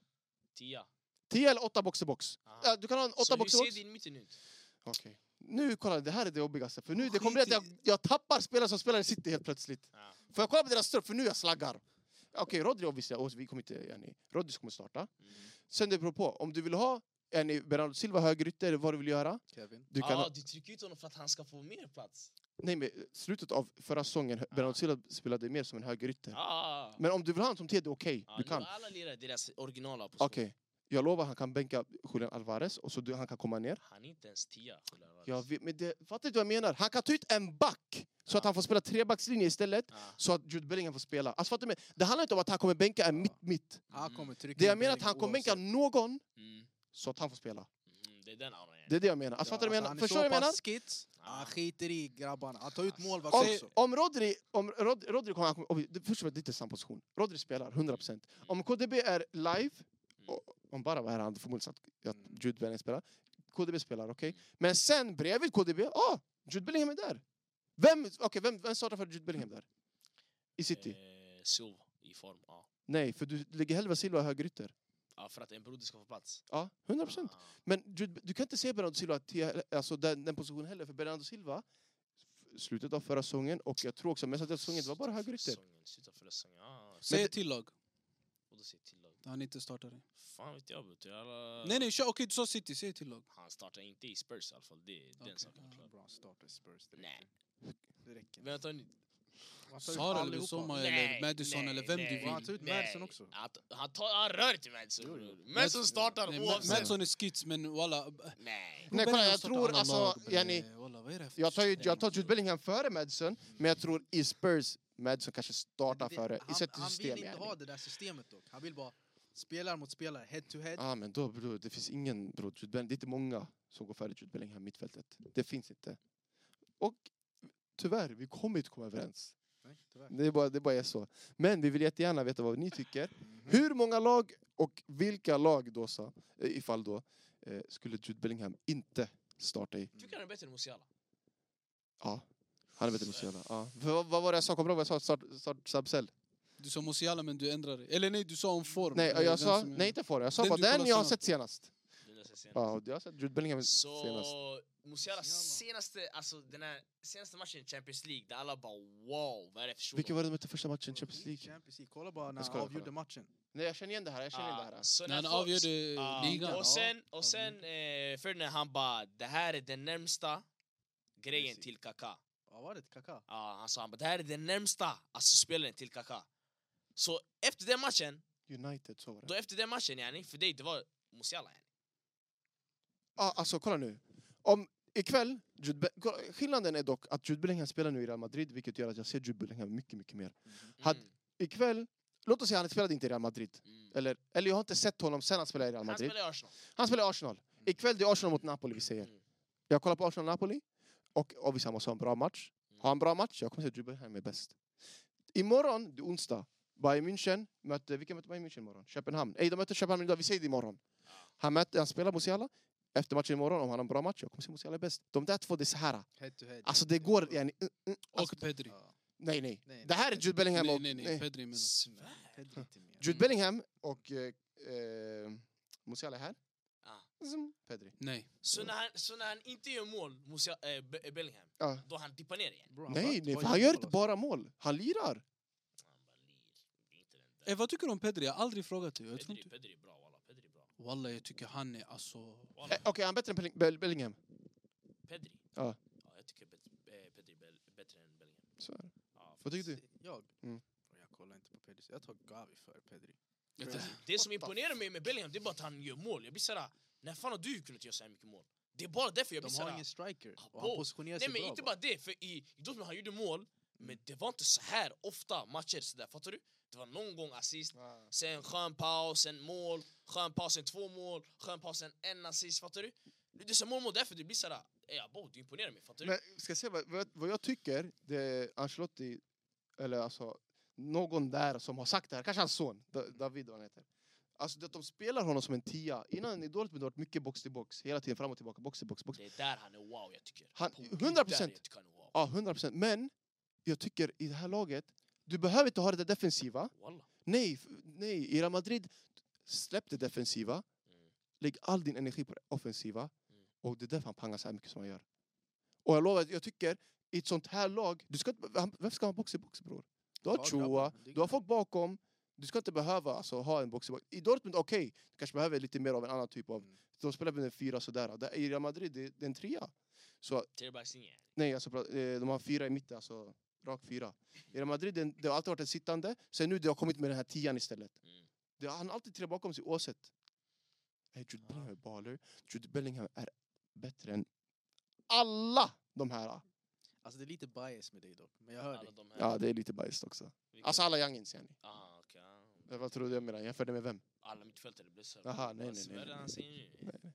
B: Tia.
C: Tia eller åtta box till box.
B: Aha.
C: Ja, Du kan ha en
B: så
C: åtta
B: hur
C: box till
B: ser
C: box.
B: din mitten ut?
C: Okej. Nu kolla, det här är det jobbigaste. För nu det kommer
D: Skit
C: bli att jag, jag tappar spelare som spelar i City helt plötsligt.
B: Ja.
C: För jag kollar på deras trupp, för nu jag slaggar. Okej, Rodri obviously, och vi kommer inte... Yani, Rodri kommer starta.
B: Mm.
C: Sen det beror på. Om du vill ha yani, Bernardo Silva högerytter, vad du vill göra.
D: Kevin.
C: Du kan
B: ah,
C: ha,
B: du trycker ut honom för att han ska få mer plats.
C: nej, men slutet av förra säsongen,
D: Ah.
C: hö- Bernardo Silva spelade mer som en högerytter.
B: Ah.
C: Men om du vill ha honom som Ted, det är okej.
B: Ah,
C: Du
B: nu
C: kan.
B: Alla lirar deras originala position.
C: Okej. Jag lovar, han kan bänka Julian Alvarez och så du, han kan komma ner.
B: Han är inte ens tia. skulle jag vara.
C: Jag vet, men det, fattar du vad jag menar? Han kan ta ut en back så att
B: Ja.
D: Ah.
C: han får spela trebackslinje istället.
B: Ah.
C: Så att Jude Bellingham får spela. Alltså, fattar du? mig? Det handlar inte om att han kommer bänka en
D: Ja.
C: mitt-mitt.
D: Han
B: Mm.
D: kommer trycka
C: Det jag
D: in
C: menar är att
D: Ah. Bellingham
C: han kommer bänka
D: oavsett.
C: någon
B: Mm.
C: så att han får spela.
B: Mm. Det är den auran.
C: Det är det jag menar. Alltså,
D: Ja,
C: fattar du vad jag menar?
D: alltså, han är
C: Förstår du vad jag
D: så
C: menar?
D: pass skits, han
B: Ah.
D: skiter i grabbarna. Han tar ut
B: Alltså.
D: målvakt
C: Om,
D: också.
C: om Rodri, om Rod, Rodri kommer, han kommer, oj, det- först och främst, det är inte samma position. Rodri spelar, 100%.
B: Mm.
C: Om KDB är live, och, om bara var här, han förmodligen satt att
D: Mm.
C: Jude Bellingham spelar. KDB spelar, okej.
B: Mm.
C: Men sen bredvid KDB, ah, Jude Bellingham är där. Vem, okay, vem, vem startar för Jude Bellingham där? I City?
B: Eh, Silva i form, ja.
C: Nej, för du lägger hellre Silva högerytter.
B: ja. För att en broder ska få plats.
C: Ja, 100%.
B: Ah.
C: Men du, du kan inte se Bernardo Silva till, alltså den, den positionen heller, för Bernardo Silva f- slutet av förra säsongen och jag tror också mest av säsongen, det var bara högerytter.
B: Säsongen, Sluta förra säsongen. Ah.
A: Säg
C: Men-
A: ett till lag
B: Och då säger till lag.
A: där han inte startade.
B: Fan vet jag bror. Alla...
A: Nej, nej, kör. Okej, du sa City. Säg ett till lag.
B: Han startar inte i Spurs i alla fall. Det är
A: Okej.
B: den saken är klar.
D: Bra start i Spurs. det
B: Nej.
D: räcker. Det räcker.
B: Vem tar ni?
D: Han tar ut
A: Sara eller
D: allihopa.
A: Soma
B: Nej,
A: eller Madison
B: nej,
A: eller vem
B: nej,
A: du
D: Och han
A: vill.
D: tar ut
B: nej.
D: Madison också.
B: Han, han, tar, han rör inte Madison.
D: Jo, jo.
B: bror.
A: Madison-
B: Madison startar
A: Nej, Ma-
B: oavsett.
A: Madson är skits, men walla...
B: Nej.
D: Mm.
C: Nej, kolla, jag
A: startar
C: tror,
A: alla
C: alltså,
A: lag, men,
C: Jenny,
A: eh, Walla, vad är det här för
C: Jag tar, ju,
A: system?
C: jag tar Jude Bellingham före Madison, men jag tror i Spurs Madison kanske startar
D: Det-
C: före i
D: han,
C: sitt
D: han vill
C: system.
D: inte
C: yani.
D: ha det där systemet dock. Han vill bara spelare mot spelare, head to head.
C: Ja, men då bror, det finns ingen bror. Jude Bellingham, det är inte många som går före Jude Bellingham i mittfältet. Det finns inte. Och tyvärr, vi kommer inte komma överens.
D: Nej, tyvärr.
C: Det är bara, det bara är så. Men vi vill jättegärna veta vad ni tycker.
D: Mhm.
C: Hur många lag och vilka lag då, sa, eh, ifall då, eh, skulle Jude Bellingham inte starta i?
B: Tycker han är bättre än Musiala?
C: Ja, han är bättre än Musiala. Ja. För Vad, vad var det jag sa? Kommer du ihåg vad jag sa? Start, start Sabsel?
A: Du sa Musiala men du ändrade dig. Eller nej, du sa om form.
C: Nej,
A: Det är
C: jag
A: den
C: sa,
A: som är-
C: nej inte förra. Jag sa
A: Den
C: bara
A: du
C: den
A: kollade
C: jag har
A: senast.
C: sett senast.
B: Det läser jag senast.
C: Ja, och jag har sett Jude Bellingham
B: Så
C: senast.
B: Musialas
D: Musiala.
B: senaste, alltså den här senaste matchen i Champions League där alla bara wow, vad är det för
C: Vilken
B: shuno?
C: var det de mötte första matchen i Champions League?
D: Champions League. Kolla bara när
C: Jag ska
D: han
C: kolla,
D: avgjorde
C: kolla.
D: matchen.
C: Nej, jag känner igen det här. Jag känner igen det här.
B: Ah, så
A: När han
B: folk-
A: avgjorde
B: Ja,
A: ligan.
B: Och sen, och sen eh, Ferdinand han bara, det här är den närmsta grejen
D: Messi.
B: till Kaká.
D: Ja, var det Kaka?
B: Ja, han sa han bara, det här är den närmsta alltså, spelaren till Kaká. Så efter den matchen,
C: Ah, United, så var det.
B: då efter den matchen yani, för dig det var Musiala yani.
C: Ah, alltså, kolla nu. Om ikväll... Jude Be- kolla, skillnaden är dock att Jude Bellingham spelar nu i Real Madrid vilket gör att jag ser Jude Bellingham mycket, mycket mer. Had- Ikväll... Låt oss säga att han spelade inte i Real Madrid.
B: Mm.
C: Eller, eller jag har inte sett honom sen han spelade i Real
B: Han
C: Madrid.
B: spelar i Arsenal.
C: Han spelar i Arsenal.
A: Mm.
C: Ikväll det är Arsenal mot Napoli vi säger.
B: Mm.
C: Jag kollar på Arsenal-Napoli och Obisam måste ha en bra match.
A: Mm.
C: Har han en bra match, jag kommer säga att Jude Bellingham är bäst. Imorgon, det är onsdag, Bayern München möter, vilka möter Bayern München imorgon? Köpenhamn. Nej, de möter Köpenhamn idag, vi säger det imorgon. Han, möter, han spelar Musiala. Efter matchen imorgon, om han har en bra match, jag kommer säga att Musiala är bäst. De där två, det är så här.
D: Head to head.
C: Alltså det går... Ja, nej,
A: Och Pedri.
D: Ja.
C: nej, nej.
D: Nej,
C: Det här är Jude Bellingham
A: Nej,
C: och...
A: nej, nej. Pedri menar
D: Pedri inte mer.
C: Jude Bellingham och eh, eh, Musiala är här.
B: Ja.
A: Ah.
C: Zoom. Pedri.
A: Nej.
B: Så när han, så när han inte gör mål, Musiala, eh, Be- eh, Bellingham,
C: Ja.
B: då han dippar ner igen.
D: Bro, han
C: Nej,
D: sköt
C: nej,
D: två
C: för han gör inte
D: jättemål,
C: bara mål. Han lirar.
B: Han bara, "Lir, det är inte den där."
A: Eh, vad tycker du om Pedri? Jag har aldrig frågat dig. Jag tror
B: Pedri,
A: inte...
B: Pedri är bra, walla, Pedri är bra.
A: Wallah, jag tycker han är alltså...
C: Eh,
B: Walla,
C: Okej, han är bättre än Belling- Bell- Bellingham.
B: Pedri.
C: Ja.
B: Ja, jag tycker Bet- eh, Pedri är bel- bättre än Bellingham.
C: Så är det.
B: Ja,
C: Vad tycker du?
D: alltså. Jag?
C: Mm.
D: Bro, Jag kollar inte på Pedri. så Jag tar Gavi för Pedri.
B: Det som
C: What the
B: imponerar mig med Bellingham det är bara att han gör mål. Jag blir såhär, när fan har du kunnat göra så här mycket mål? Det är bara därför jag blir
D: De har
B: såhär...
D: ingen striker.
B: Ah,
D: Och han
B: bro.
D: positionerar
B: Nej
D: sig
B: men
D: bra.
B: inte bara det, för i i Dortmund han gjorde mål, men
C: Mm.
B: det var inte så här ofta matcher sådär, fattar du? Det var någon gång assist, sen skön paus, sen mål, skön paus, sen två mål, skön paus, sen en assist, fattar du? Det är så mål, mål därför det blir såhär, ja bo, du imponerar mig, fattar du?
C: Men ska jag säga vad, vad, vad jag tycker, det är Ancelotti, eller alltså någon där som har sagt det här, kanske hans son, Da- David vad han heter. Alltså det att de spelar honom som en tia. Innan i Dortmund har det varit mycket box till box, hela tiden fram och tillbaka, box till box, box.
B: Det är där han är wow, jag tycker.
C: Han,
B: På Gud,
C: 100
B: där
C: procent!
B: jag tycker han är wow.
C: Ja, 100 procent. Men jag tycker i det här laget, du behöver inte ha det där defensiva.
B: Walla.
C: Nej, f- nej, i Real Madrid, släpp det defensiva.
B: Mm.
C: Lägg all din energi på det offensiva.
B: Mm.
C: Och det är därför han pangar så här mycket som han gör. Och jag lovar, jag tycker i ett sånt här lag, du ska, inte- han, varför ska han ha box i box bror? Du har
D: Ja,
C: Chua,
D: grabbar, det är
C: du har folk bakom. Du ska inte behöva alltså, ha en box i box. I Dortmund, okej, du kanske behöver lite mer av en annan typ av...
D: Mm.
C: De spelar väl en fyra sådär. Där- I Real Madrid, det, det är en trea. Så
B: Trebackslinje.
C: nej, alltså, pra- eh, de har fyra i mitten, alltså rak fyra. I Real Madrid, det, det har alltid varit en sittande. Sen nu, det har kommit med den här tian istället.
B: Mm.
C: Det, han har alltid tre bakom sig oavsett. Nej, Jude Bellingham är baller. Jude Bellingham är bättre än alla de här.
D: Alltså det är lite bias med dig dock. Men jag hör dig.
B: Alla de här.
C: Ja, det är lite bajs också.
B: Vilka-
C: Alltså alla youngins, yani.
B: Ah, okej. ah.
C: Vad trodde jag med den? Jämförde med vem?
B: Alla mittfältare blir så
C: Aha, nej,
B: Vad
C: nej, nej,
B: Sverre
C: nej,
B: han
C: nej.
B: säger nu?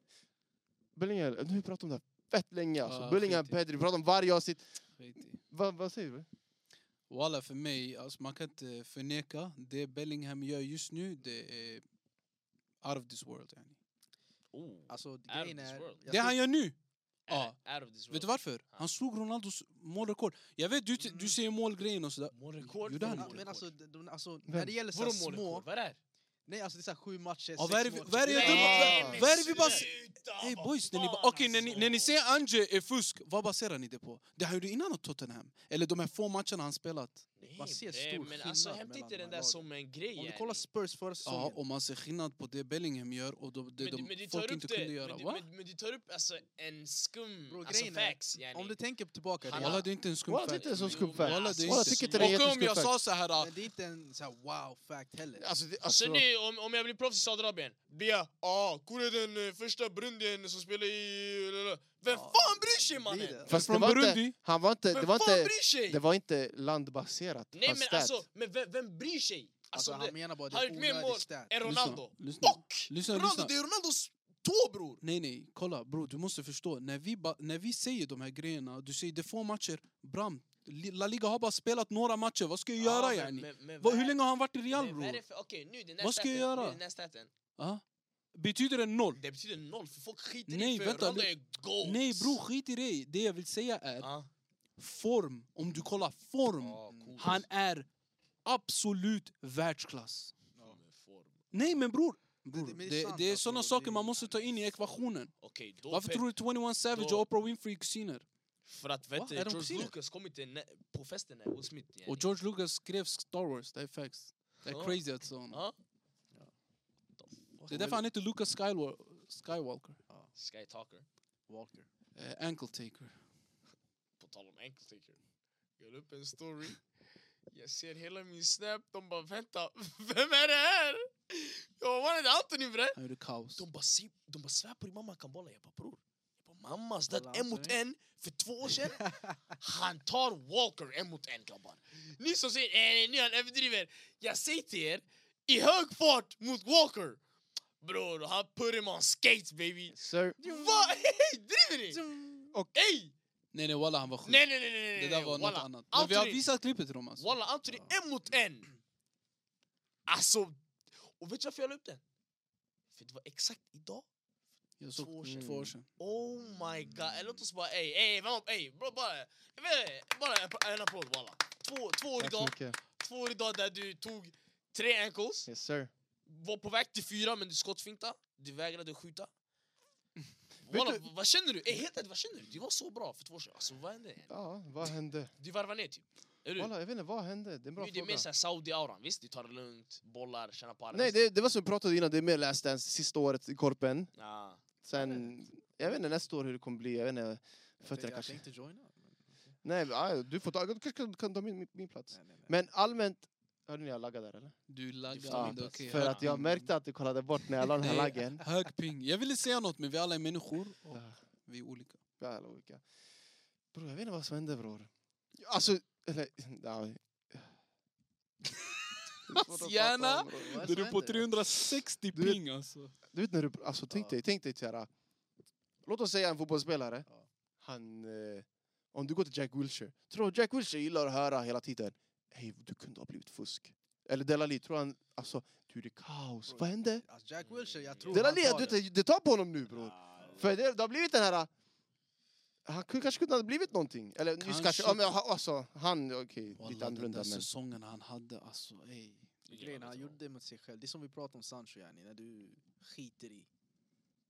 C: Bellingham, nu har vi pratat om det här fett länge alltså.
A: Ja,
C: Bellingham,
A: skit i det.
C: Pedri, vi pratar om varje avsnitt.
A: Skit i.
C: Va, vad säger du?
A: Walla, för mig, alltså, man kan inte förneka det Bellingham gör just nu, det är out of this world. Yani.
B: Oh.
D: Alltså
B: of
D: grejen
B: this
D: är...
B: world.
D: jag
A: Det han
D: tror-
A: gör nu!
B: Är
A: Ja.
B: det Out of this world.
A: Vet du varför? Han slog Ronaldos målrekord. Jag vet, du,
D: Mm.
A: du säger målgrejen och sådär.
B: Målrekord?
A: Gjorde han
D: Ja,
A: inte?
D: Men alltså, de, de, alltså
C: Vem?
D: när det gäller så
B: Vadå
D: här små...
B: målrekord? Vad är det här?
D: Nej alltså det är så här sju matcher,
A: Ja, vad är det
D: sex
A: vi-
D: Typ matcher.
A: vad är det jag
D: Nej,
A: dömer?
D: men-
A: Vad- vad är det vi bara-
B: sluta,
A: Hey
B: vad
A: boys, när ni,
B: fan,
A: ba- Okej, när, ni, när ni
B: alltså.
A: säger Ange är fusk, vad baserar ni det på? Det han gjorde innan åt Tottenham? Eller de här få matcherna han spelat?
B: Nej,
D: Man
B: bre,
D: ser stor
B: Men alltså
D: skillnad
B: hämta
D: mellan
B: inte
D: de
B: den
D: här
B: där
D: lagen.
B: som en grej.
D: Om du
B: yani.
D: kollar Spurs förra
A: Ja,
D: säsongen.
A: och man ser skillnad på det Bellingham gör och de, det
B: Men du-
A: de
B: men du tar
A: folk
B: upp
A: inte
B: det-
A: kunde göra.
B: men du-
A: Va?
B: men- Men du tar upp alltså en skum...
D: Bro,
B: alltså
D: grejen är,
B: facts yani.
D: Om du tänker tillbaka...
B: Han-
D: det-
A: Walla, det är inte en skum
C: Walla, det är
A: fact.
C: inte en så
B: Jo,
C: skum
B: men
C: fact.
A: Walla,
B: alltså,
A: det är
C: Walla,
A: inte
C: tycker
A: så.
C: inte det är
A: Och om
C: jätteskum
A: jag
C: fact.
A: sa så här... ah,
D: Men det är inte en så här wow fact heller.
C: Alltså, det,
B: Alltså,
C: alltså,
B: nu, om, om jag blir proffs i Saudiarabien, blir jag ah, Kure är den eh, första brundien som spelar i... Lalala. Vem
D: Ja.
B: fan bryr sig
D: Blir
B: mannen?
D: det?
C: Fast det
A: Från
C: var inte,
A: Burundi?
C: han var inte,
B: Vem
C: det var
B: fan
C: inte,
B: bryr sig?
C: det var inte landbaserat.
B: Nej
C: fast
B: men
C: stat.
B: alltså, men vem, vem bryr sig?
D: Alltså,
B: Alltså,
D: han
B: det
D: menar bara det
B: har
D: är
B: gjort mer mål
D: onödigt stat.
B: är Ronaldo.
A: Lyssna, Mm.
B: Och!
A: lyssna, lyssna.
B: Ronaldo, det är Ronaldos tå bror!
A: Nej, nej, kolla bro, du måste förstå. När vi, ba- när vi säger de här grejerna, du säger det är få matcher. Bram, Li- La Liga har bara spelat några matcher, vad ska jag göra
B: Ja,
A: yani?
B: men- men
A: Vad-
B: vad
A: Hur
B: är-
A: länge har han varit i Real
B: men vad är
A: bror?
B: det för- Okej, nu den här
A: Vad ska jag
B: staten,
A: göra?
B: nu den här staten.
A: Ja. Betyder det noll?
B: Det betyder noll, för folk skiter
A: Nej,
B: i för
A: vänta,
B: Ronaldo
A: li-
B: är goat.
A: Nej bror, skit i det. Det jag vill säga är
B: Ah.
A: form. Om du kollar form,
B: Ah, cool.
A: han är absolut världsklass.
B: Ja, men form.
A: Nej men bror,
D: det-
A: bror
D: men det är
A: det,
D: sant,
A: det är
D: alltså,
A: såna
D: det-
A: saker man måste ta in i ekvationen.
B: Okej, då
A: Varför
B: Pep-
A: tror du 21 Savage
B: då-
A: och Oprah Winfrey är kusiner?
B: För att vet
A: Va?
B: du,
A: Är de
B: George
A: kusiner?
B: Lucas kom inte nä- på festen när Will Smith... yani.
A: Och George Lucas skrev Star Wars, det är facts. Det är
B: Ja.
A: crazy att sånt.
B: Ja.
A: Det är därför han heter Lucas Skywalker. Skywalker.
B: Sky Talker,
D: Walker.
A: Eh, ankle taker.
B: på tal om ankle taker. Jag la upp en story. Jag ser hela min snap, de bara vänta, <laughs> vem är det här? Jag bara, var är det Anthony bre?
A: Han gjorde kaos.
B: De bara, se- de bara svär på din mamma kan bolla. Jag bara bror. Jag bara, mamma
D: Kolla,
B: stött en mot
D: Anthony.
B: en för två år sedan. Han tar Walker en mot en grabbar. Ni som säger eh, nu han överdriver. Jag säger till er, i hög fart mot Walker. Bror, han put him on skates baby.
C: Sir.
B: <laughs> Vad? Hey, driver ni?
C: Och-
B: Ey!
A: Nej nej walla han var sjuk.
B: Nej, nej, nej, nej, nej.
A: det där var
B: nej, walla.
A: något annat. Men vi har
B: Anthony-
A: visat klippet till dem alltså.
B: Walla, Anthony, en mot en. Alltså, och vet du varför jag la upp den? För det var exakt idag.
A: Jag såg
B: två
A: två
B: år
A: år
B: sedan.
A: sedan.
B: Oh my god, låt oss bara, ey, ey, vem, ey, bro, bara, jag vet inte, bara en, en applåd walla. Två, två år
C: Tack så
B: idag,
C: mycket.
B: två år idag där du tog tre ankles,
C: Yes sir.
B: var på väg till fyra men du skottfintade, du vägrade
C: <laughs>
B: skjuta. Walla,
C: du-
B: vad känner du? Ey, helt ärligt, vad känner du? Du var så bra för två år sedan, alltså vad hände?
C: Ja, vad hände?
B: Du varvade ner typ. Är du?
C: Walla, jag vet inte, vad hände? Det är en bra
B: Nu är det mer
C: fråga.
B: såhär Saudi-auran, visst? Du tar det lugnt, bollar, tjänar på arrest.
C: Nej, det, det var som vi pratade innan, det är mer Last Dance sista året i Korpen.
B: Ja.
C: Sen, jag vet inte nästa år hur det kommer bli, jag vet inte.
D: Jag
C: Fötterna
D: tänkte- Jag
C: kanske.
D: tänkte joina.
C: Nej,
D: men-
C: ja, du får ta, du kanske kan, kan ta min, min, min plats.
D: Nej, nej, nej.
C: Men allmänt, hörde ni jag laggade där eller?
A: Du
B: Du
A: laggar.
B: förstår
A: Ja,
B: inte.
A: okej.
C: För
A: Hög
C: att jag
A: ping.
C: märkte att du kollade bort när jag la den här
A: Nej.
C: laggen.
A: Hög ping. Jag ville säga något men vi alla är människor och
C: Ja.
A: vi är olika.
C: Ja, alla olika. Bror, jag vet inte vad som hände bror. Alltså, eller... Ja.
A: Gärna.
D: Vad är
A: Du
D: som
A: är på
D: händer?
A: 360
C: Du vet-
A: ping alltså.
C: Du vet när du, alltså tänk
D: Ja.
C: dig, tänk dig såhär. Låt oss säga en fotbollsspelare.
D: Ja.
C: Han, eh, om du går till Jack Wilshere. Tror du Jack Wilshere gillar att höra hela tiden. Hej, du kunde ha blivit fusk. Eller Delali, tror han, alltså, du det är kaos. Vad hände?
D: Alltså, Jack Wilshere,
A: Mm.
D: jag tror han
C: Delali,
D: tar
C: du
D: det.
C: vet, det tar på honom nu bror. För det, det har blivit den här... Han kunde- kanske kunde ha blivit någonting. Eller kanske. just kanske,
A: Kanske.
C: ja, men, ha- alltså, han, okej, lite
A: Walla den
C: annorlunda
A: där
C: men...
A: säsongen han hade alltså ey.
D: Grejen, han gjorde det mot sig själv. Det är som vi pratade om Sancho, yani, när du skiter i.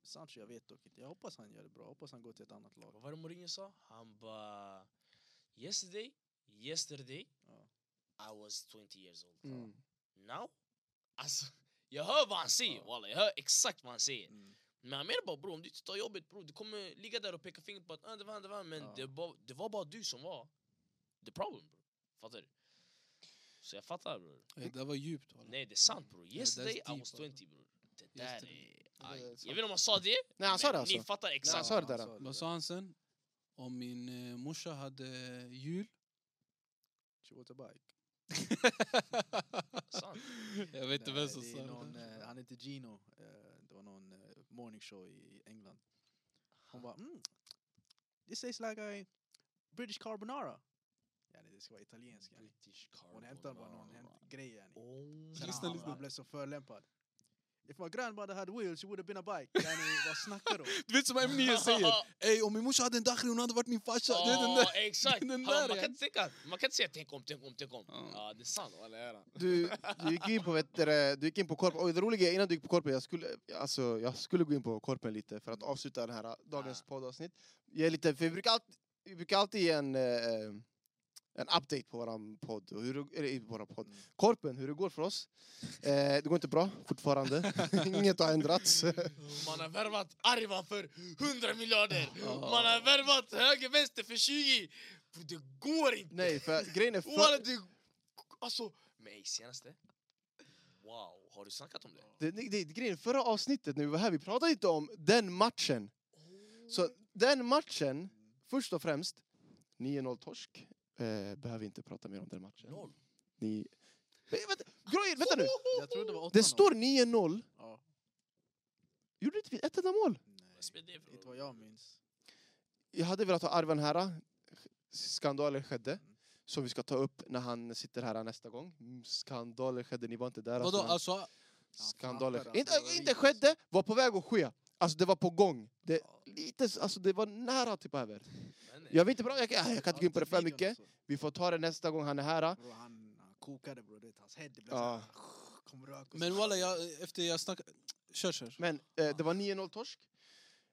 D: Sancho, jag vet dock inte. Jag hoppas han gör det bra. Jag hoppas han går till ett annat lag.
B: Vad var det Mourinho sa? Han bara... Yesterday, yesterday,
D: Ja.
B: I was 20 years old.
C: Mm.
B: Now? Alltså, <laughs> jag hör vad han säger,
D: Ja.
B: walla. Jag hör exakt vad han säger.
D: Mm.
B: Men han menar bara bror, om du inte tar jobbet bror, du kommer ligga där och peka fingret på att ah, det var han, det var han. Men
D: Ja.
B: det, var, det var bara du som var the problem bror. Fattar du? Så jag fattar bror.
A: Ey, det var djupt walla.
B: Nej det är sant bror.
A: that's
B: Yesterday I
A: deep,
B: was
A: alltså.
B: 20 bror. Det
A: Just
B: där
A: det.
B: är...
C: är
B: aj. Jag
C: sant.
B: vet inte om han sa det.
C: Nej, han sa
B: men
C: det alltså.
B: Ni fattar
C: han
B: exakt.
C: sa det där.
A: Vad sa han sen? Om min eh, morsa hade jul.
D: She was a bike.
B: Sant.
A: <laughs> jag vet inte vem
D: Nej,
A: som
D: det
A: sa
D: är
A: det.
D: någon, eh, Han heter Gino. Eh, Det var någon eh, morning show i England. Hon bara, mm, this tastes like a British carbonara. Yani, det ska vara italiensk. yani.
B: British
D: Hon hämtade bara någon hämt- grej. yani.
B: Oh.
D: Sen
A: Lyssna,
D: han,
A: lyssna.
D: han blev så förolämpad. If my grandmother had wheels she would have been a bike. Yani, vad snackar
C: <laughs>
D: du om?
A: Du vet som M9 säger. <laughs> Ey om min morsa hade en dachri hon hade varit min farsa. Du vet den
B: Ja,
A: där.
B: <laughs>
C: <laughs>
B: exakt.
A: den där,
B: Han bara, Man
A: ja.
B: kan inte tänka- man kan inte säga tänk om, tänk om, tänk om.
A: Ja.
B: Ja, det är sant. walla, jag är det.
C: Du, du gick in på, vet du, det, du gick in på korpen. Och det roliga är, innan du gick på korpen, jag skulle, alltså, jag skulle gå in på korpen lite för att avsluta den här dagens
B: Ah.
C: poddavsnitt. Jag är lite, för vi brukar, alltid, vi brukar alltid ge en, eh, en update på våran podd. Och hur, det- eller, i våran podd.
D: Mm.
C: Korpen, hur det går för oss. Eh, det går inte bra fortfarande. Inget har ändrats.
B: Man har värvat Arvan för 100 miljarder.
A: Ja.
B: Man har värvat höger, vänster för 20. Bro, det går inte.
C: Nej, för grejen är...
B: Walla,
C: För,
B: det... Alltså... Men ey, senaste... Wow, har du snackat om det?
C: det, det, det, grejen, är, förra avsnittet när vi var här, vi pratade inte om den matchen. Så den matchen, först och främst, 9-0 torsk. Eh, behöver inte prata mer om den matchen.
B: Noll.
C: Ni... Men, vänta, grejen, vänta nu!
D: Jag tror det var 8-0.
C: Det står 9-0.
D: Ja.
C: Gjorde inte vi ett enda mål?
D: Nej,
B: Vad spelar det för
D: inte
B: roll?
D: vad jag minns.
C: Jag hade velat ha Arven här. Skandaler skedde. Som vi ska ta upp när han sitter här nästa gång. Mm, Skandaler skedde, ni var inte där.
A: Vadå,
C: alltså.
A: alltså?
C: Skandaler.
D: fattar,
C: inte,
D: alltså, det var
C: inte
D: riktigt.
C: skedde, var på väg att ske. Alltså det var på gång. Det, lite, så- alltså, det var nära typ över.
B: Men, eh,
C: Jag vet inte bra, jag, kan- jag kan inte gå in på det för
D: Videon
C: mycket.
D: alltså.
C: Vi får ta det nästa gång han är här.
D: Bro, han, han kokade bror, du vet hans head det blev
C: Ja.
D: såhär, kom rök och
A: Men
D: så.
A: walla, jag, efter jag snackade... Kör, kör.
C: Men eh, det var 9-0 torsk.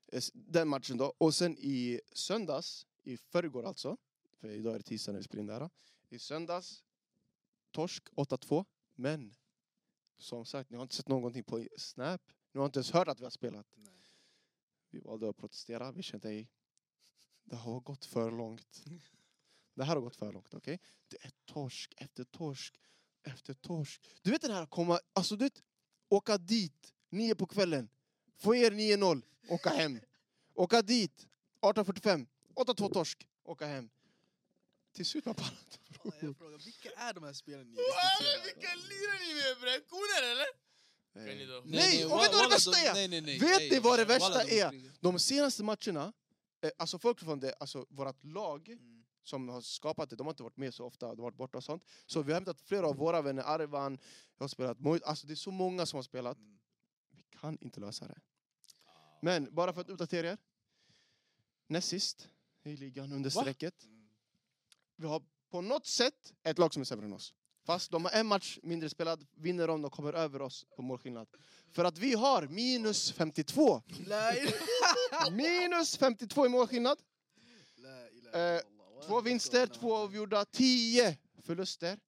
C: Eh, s- Den matchen då. Och sen i söndags, i förrgår alltså. För idag är det tisdag när vi spelar in det här. I söndags, torsk 8-2. Men, som sagt, ni har inte sett någonting på Snap. Ni har inte ens hört att vi har spelat.
D: Nej.
C: Vi valde att protestera. Vi kände ej. Det har gått för långt. <laughs> Det här har gått för långt, okej? Det är torsk efter torsk efter torsk. Du vet den här komma, alltså du vet, åka dit nio på kvällen, få er 9-0, åka hem. Åka dit 18.45, 8-2 torsk, åka hem. Till slut man pallar inte,
D: Ja,
C: bror.
D: <laughs> Jag frågar, vilka är de här spelen ni
B: Walla,
D: rekryterar?
B: Vilka lirar ni med bre? Koner eller? Kan ni
C: Eh,
B: då?
C: Nej, och vet du vad det
A: walla,
C: värsta
A: de-
C: är?
A: Nej, nej, nej,
C: Vet
A: nej,
C: ni vad det
A: walla,
C: värsta
D: Alltså,
A: de-
C: De senaste matcherna, eh, alltså folk från det, alltså vårt lag
D: Mm.
C: som har skapat det, de har inte varit med så ofta, de har varit borta och sånt. Så
D: Mm.
C: vi har hämtat flera av våra vänner, Arvan, jag har spelat Mojt, alltså det är så många som har spelat.
D: Mm. Ah,
C: Vi kan inte lösa det. Men bara för att uppdatera er. Näst sist i ligan under
A: Va?
C: strecket.
D: Mm.
C: Vi har på något sätt ett lag som är sämre än oss. Fast de har en match mindre spelad, vinner de, de kommer över oss på målskillnad. För att vi har minus 52.
D: Nej, <laughs>
C: Minus 52 i målskillnad.
D: la ilaha
C: Eh,
D: illallah.
C: Två vinster, två avgjorda, tio förluster.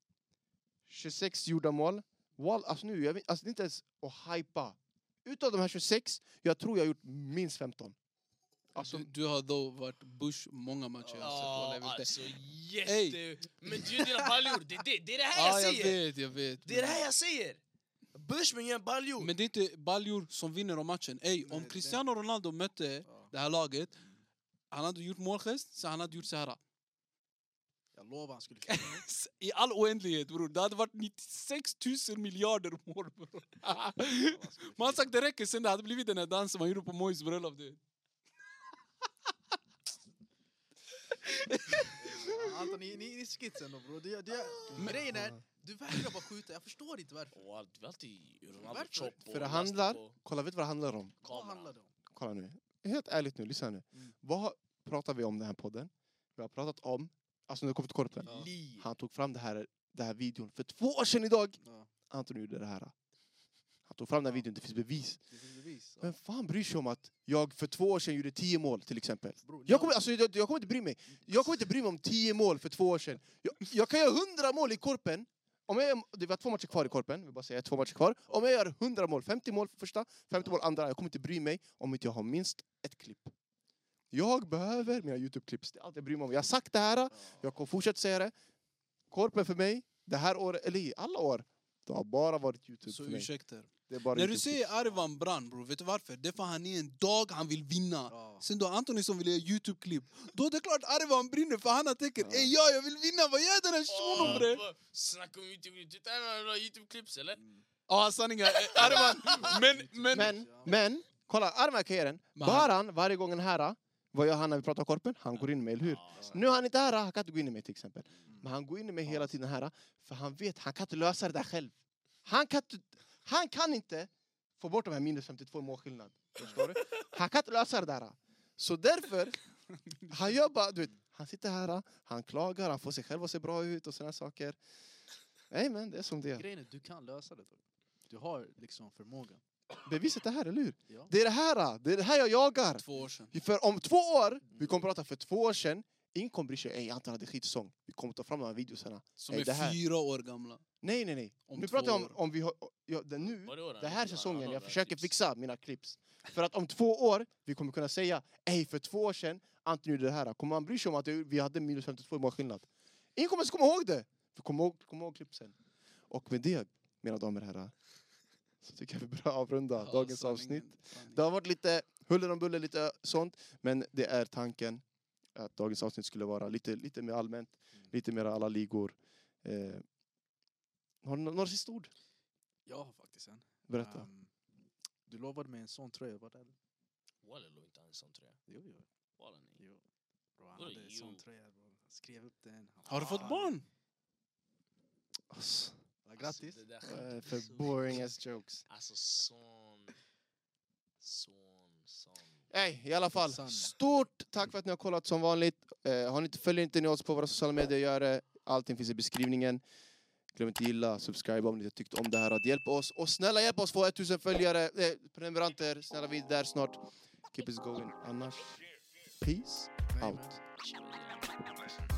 C: 26 gjorda mål. Wall, alltså nu, jag, vet- alltså det är inte ens att hypa. Utav de här 26, jag tror jag har gjort minst 15. Alltså,
A: Du, du har då varit Bush många matcher. jag har sett, walla,
B: Ja,
A: jag vet det.
B: alltså jätte... Men du är dina baljor, det, det, det är det här
A: Ja,
B: jag
A: jag
B: säger!
A: vet, jag vet.
B: Det är det här jag säger! Bushman gör en baljor!
A: Men det är inte baljor som vinner om matchen. Ey,
D: Nej,
A: om
D: det-
A: Cristiano Ronaldo mötte
D: Ja.
A: det här laget, han hade gjort målgest, så han hade gjort så här.
D: Jag lovar han skulle killa mig.
A: I all oändlighet, bror. Det hade varit 96 000 miljarder mål, bror.
C: <laughs>
D: Han skulle
A: Man har
D: killa
A: sagt det räcker sen det hade blivit den här dansen man gjorde på Mois bröllop. du vet.
D: mig. Ja, Anton, ni, ni, ni skits ändå bror. Det, det, grejen är, du vägrar bara skjuta, jag förstår inte varför.
B: Och allt, vi har alltid Ronaldo
D: Varför?
B: chop och
C: För det
B: lasta
C: handlar,
B: på
C: kolla vet du vad det handlar om?
D: Vad
B: kameran.
D: handlar det om?
C: Kolla nu, helt ärligt nu, lyssna nu.
D: Mm.
C: Vad har- pratar vi om i den här podden? Vi har pratat om, alltså när det kommer till korpen.
A: Ja.
D: Li.
C: Han tog fram det här, det här videon för två år sedan idag.
D: Ja,
C: Anton gjorde det här. Han tog fram den här
D: Ja.
C: videon, det finns bevis.
D: det finns bevis. Ja.
C: Vem fan bryr sig om att jag för två år sedan gjorde tio mål till exempel?
D: Bror,
C: Jag kommer, alltså, jag, jag kommer inte bry mig. Jag kommer inte bry mig om tio mål för två år sedan. Jag, jag kan göra hundra mål i korpen. Om jag, det var två matcher kvar i korpen, vi bara säger två matcher kvar. Om jag gör hundra mål, 50 mål för första, 50 mål andra. Jag kommer inte bry mig om inte jag har minst ett klipp. Jag behöver mina Youtube-klipps, det är allt jag bryr mig om. Jag har sagt det här,
D: Ja.
C: jag kommer fortsätta säga det. Korpen för mig, det här året, eller i alla år, det har bara varit Youtube
D: Typ
A: Så
C: för mig.
A: ursäkter.
C: Det är typ bara
A: När du
C: YouTube-klipp.
A: säger Arvan Brann, bror, vet du varför? Det är för han är en dag, han vill vinna.
D: Ja.
A: Sen då Antoni som vill göra Youtube-klipp. Då är det klart Arvan brinner för han tänker
C: Ja.
A: Ey ja, jag vill vinna, vad gör den här shunon bre?
B: Åh, Snacka om Youtube, du tittar några bra Youtube-klipps eller?
D: Mm.
A: Ja, sanningen. eh,
C: <laughs>
A: Arvan, men... men,
C: Men, men, kolla, Arman kan ge den.
A: Men han-
C: Baran, varje gång han är här, vad gör han när vi pratar korpen? Han går in med, eller hur?
B: Ja,
C: Nu är han inte här, han kan inte gå in i mig till exempel. Men han går in i mig hela tiden här, för han vet, han kan inte lösa det där själv. Han kan inte, han kan inte få bort de här minus 52 i målskillnad. Förstår du? Han kan inte lösa det där. Så därför, han gör bara, du vet, han sitter här, han klagar, han får sig själv att se bra ut och sådana saker. Nej men, det är som det är.
D: Grejen är, du kan lösa det. Då. Du har liksom förmågan.
C: Beviset är här, eller hur?
D: Ja.
C: Det är det här, det är det här jag jagar.
A: Två år sedan.
C: För om två år, vi kommer prata för två år sedan, ingen kommer bry sig. Ey, Anton hade skitsäsong. Vi kommer ta fram de här videosarna.
A: Som
C: Ey, det
A: är
C: här-
A: fyra år gamla.
C: Nej, nej, nej.
A: Om
C: nu
A: två
C: pratar jag om,
A: år.
C: om vi har, ja, det nu,
B: Var det år han
C: den
B: gjorde?
C: här
B: Han-
C: säsongen,
B: han
C: jag
B: har
C: försöker
B: klips.
C: fixa mina klipps. För att om två år, vi kommer kunna säga, ey, för två år sedan, Anton gjorde det här. Kommer man bry sig om att vi hade minus 52 i målskillnad? Ingen kommer ens komma ihåg det. För kom ihåg, kom ihåg klippsen. Och med det, mina damer och herrar, så tycker jag vi börjar avrunda
A: Ja,
C: dagens
A: sanningen,
C: avsnitt.
A: sanningen.
C: Det har varit lite huller om buller, lite sånt. Men det är tanken att dagens avsnitt skulle vara lite, lite mer allmänt,
A: Mm.
C: lite mer alla ligor. Eh, har du nå- några sista ord?
D: Jag har faktiskt en.
C: Berätta.
D: Ehm, du lovade mig en sån tröja, var det? eller?
B: Walla låg inte ens sån tror jag.
D: Jo, jo.
B: Walla nej.
D: jo. Bro, han
B: Vadå,
D: hade en sån
B: jo?
D: tröja. Bro. Han Skrev upp den. Han-
A: Har du fått
D: Fan.
A: barn?
C: Ass,
D: Ja, Grattis.
B: Alltså, det där
C: vad är det
B: skämtet är
C: Eh, för
B: så-
C: boring ass jokes.
B: Alltså sån... Sån, sån...
C: Nej, i alla fall.
D: Sann.
C: Stort tack för att ni har kollat som vanligt. Eh, har ni inte, följer inte ni oss på våra sociala medier, gör det. Allting finns i beskrivningen. Glöm inte gilla, subscribe om ni har tyckt om det här. Att hjälpa oss. Och snälla hjälp oss få 1000 följare, eh, prenumeranter. Snälla vi är där snart. Keep us going. Annars, peace
D: Nej,
C: out.
D: men-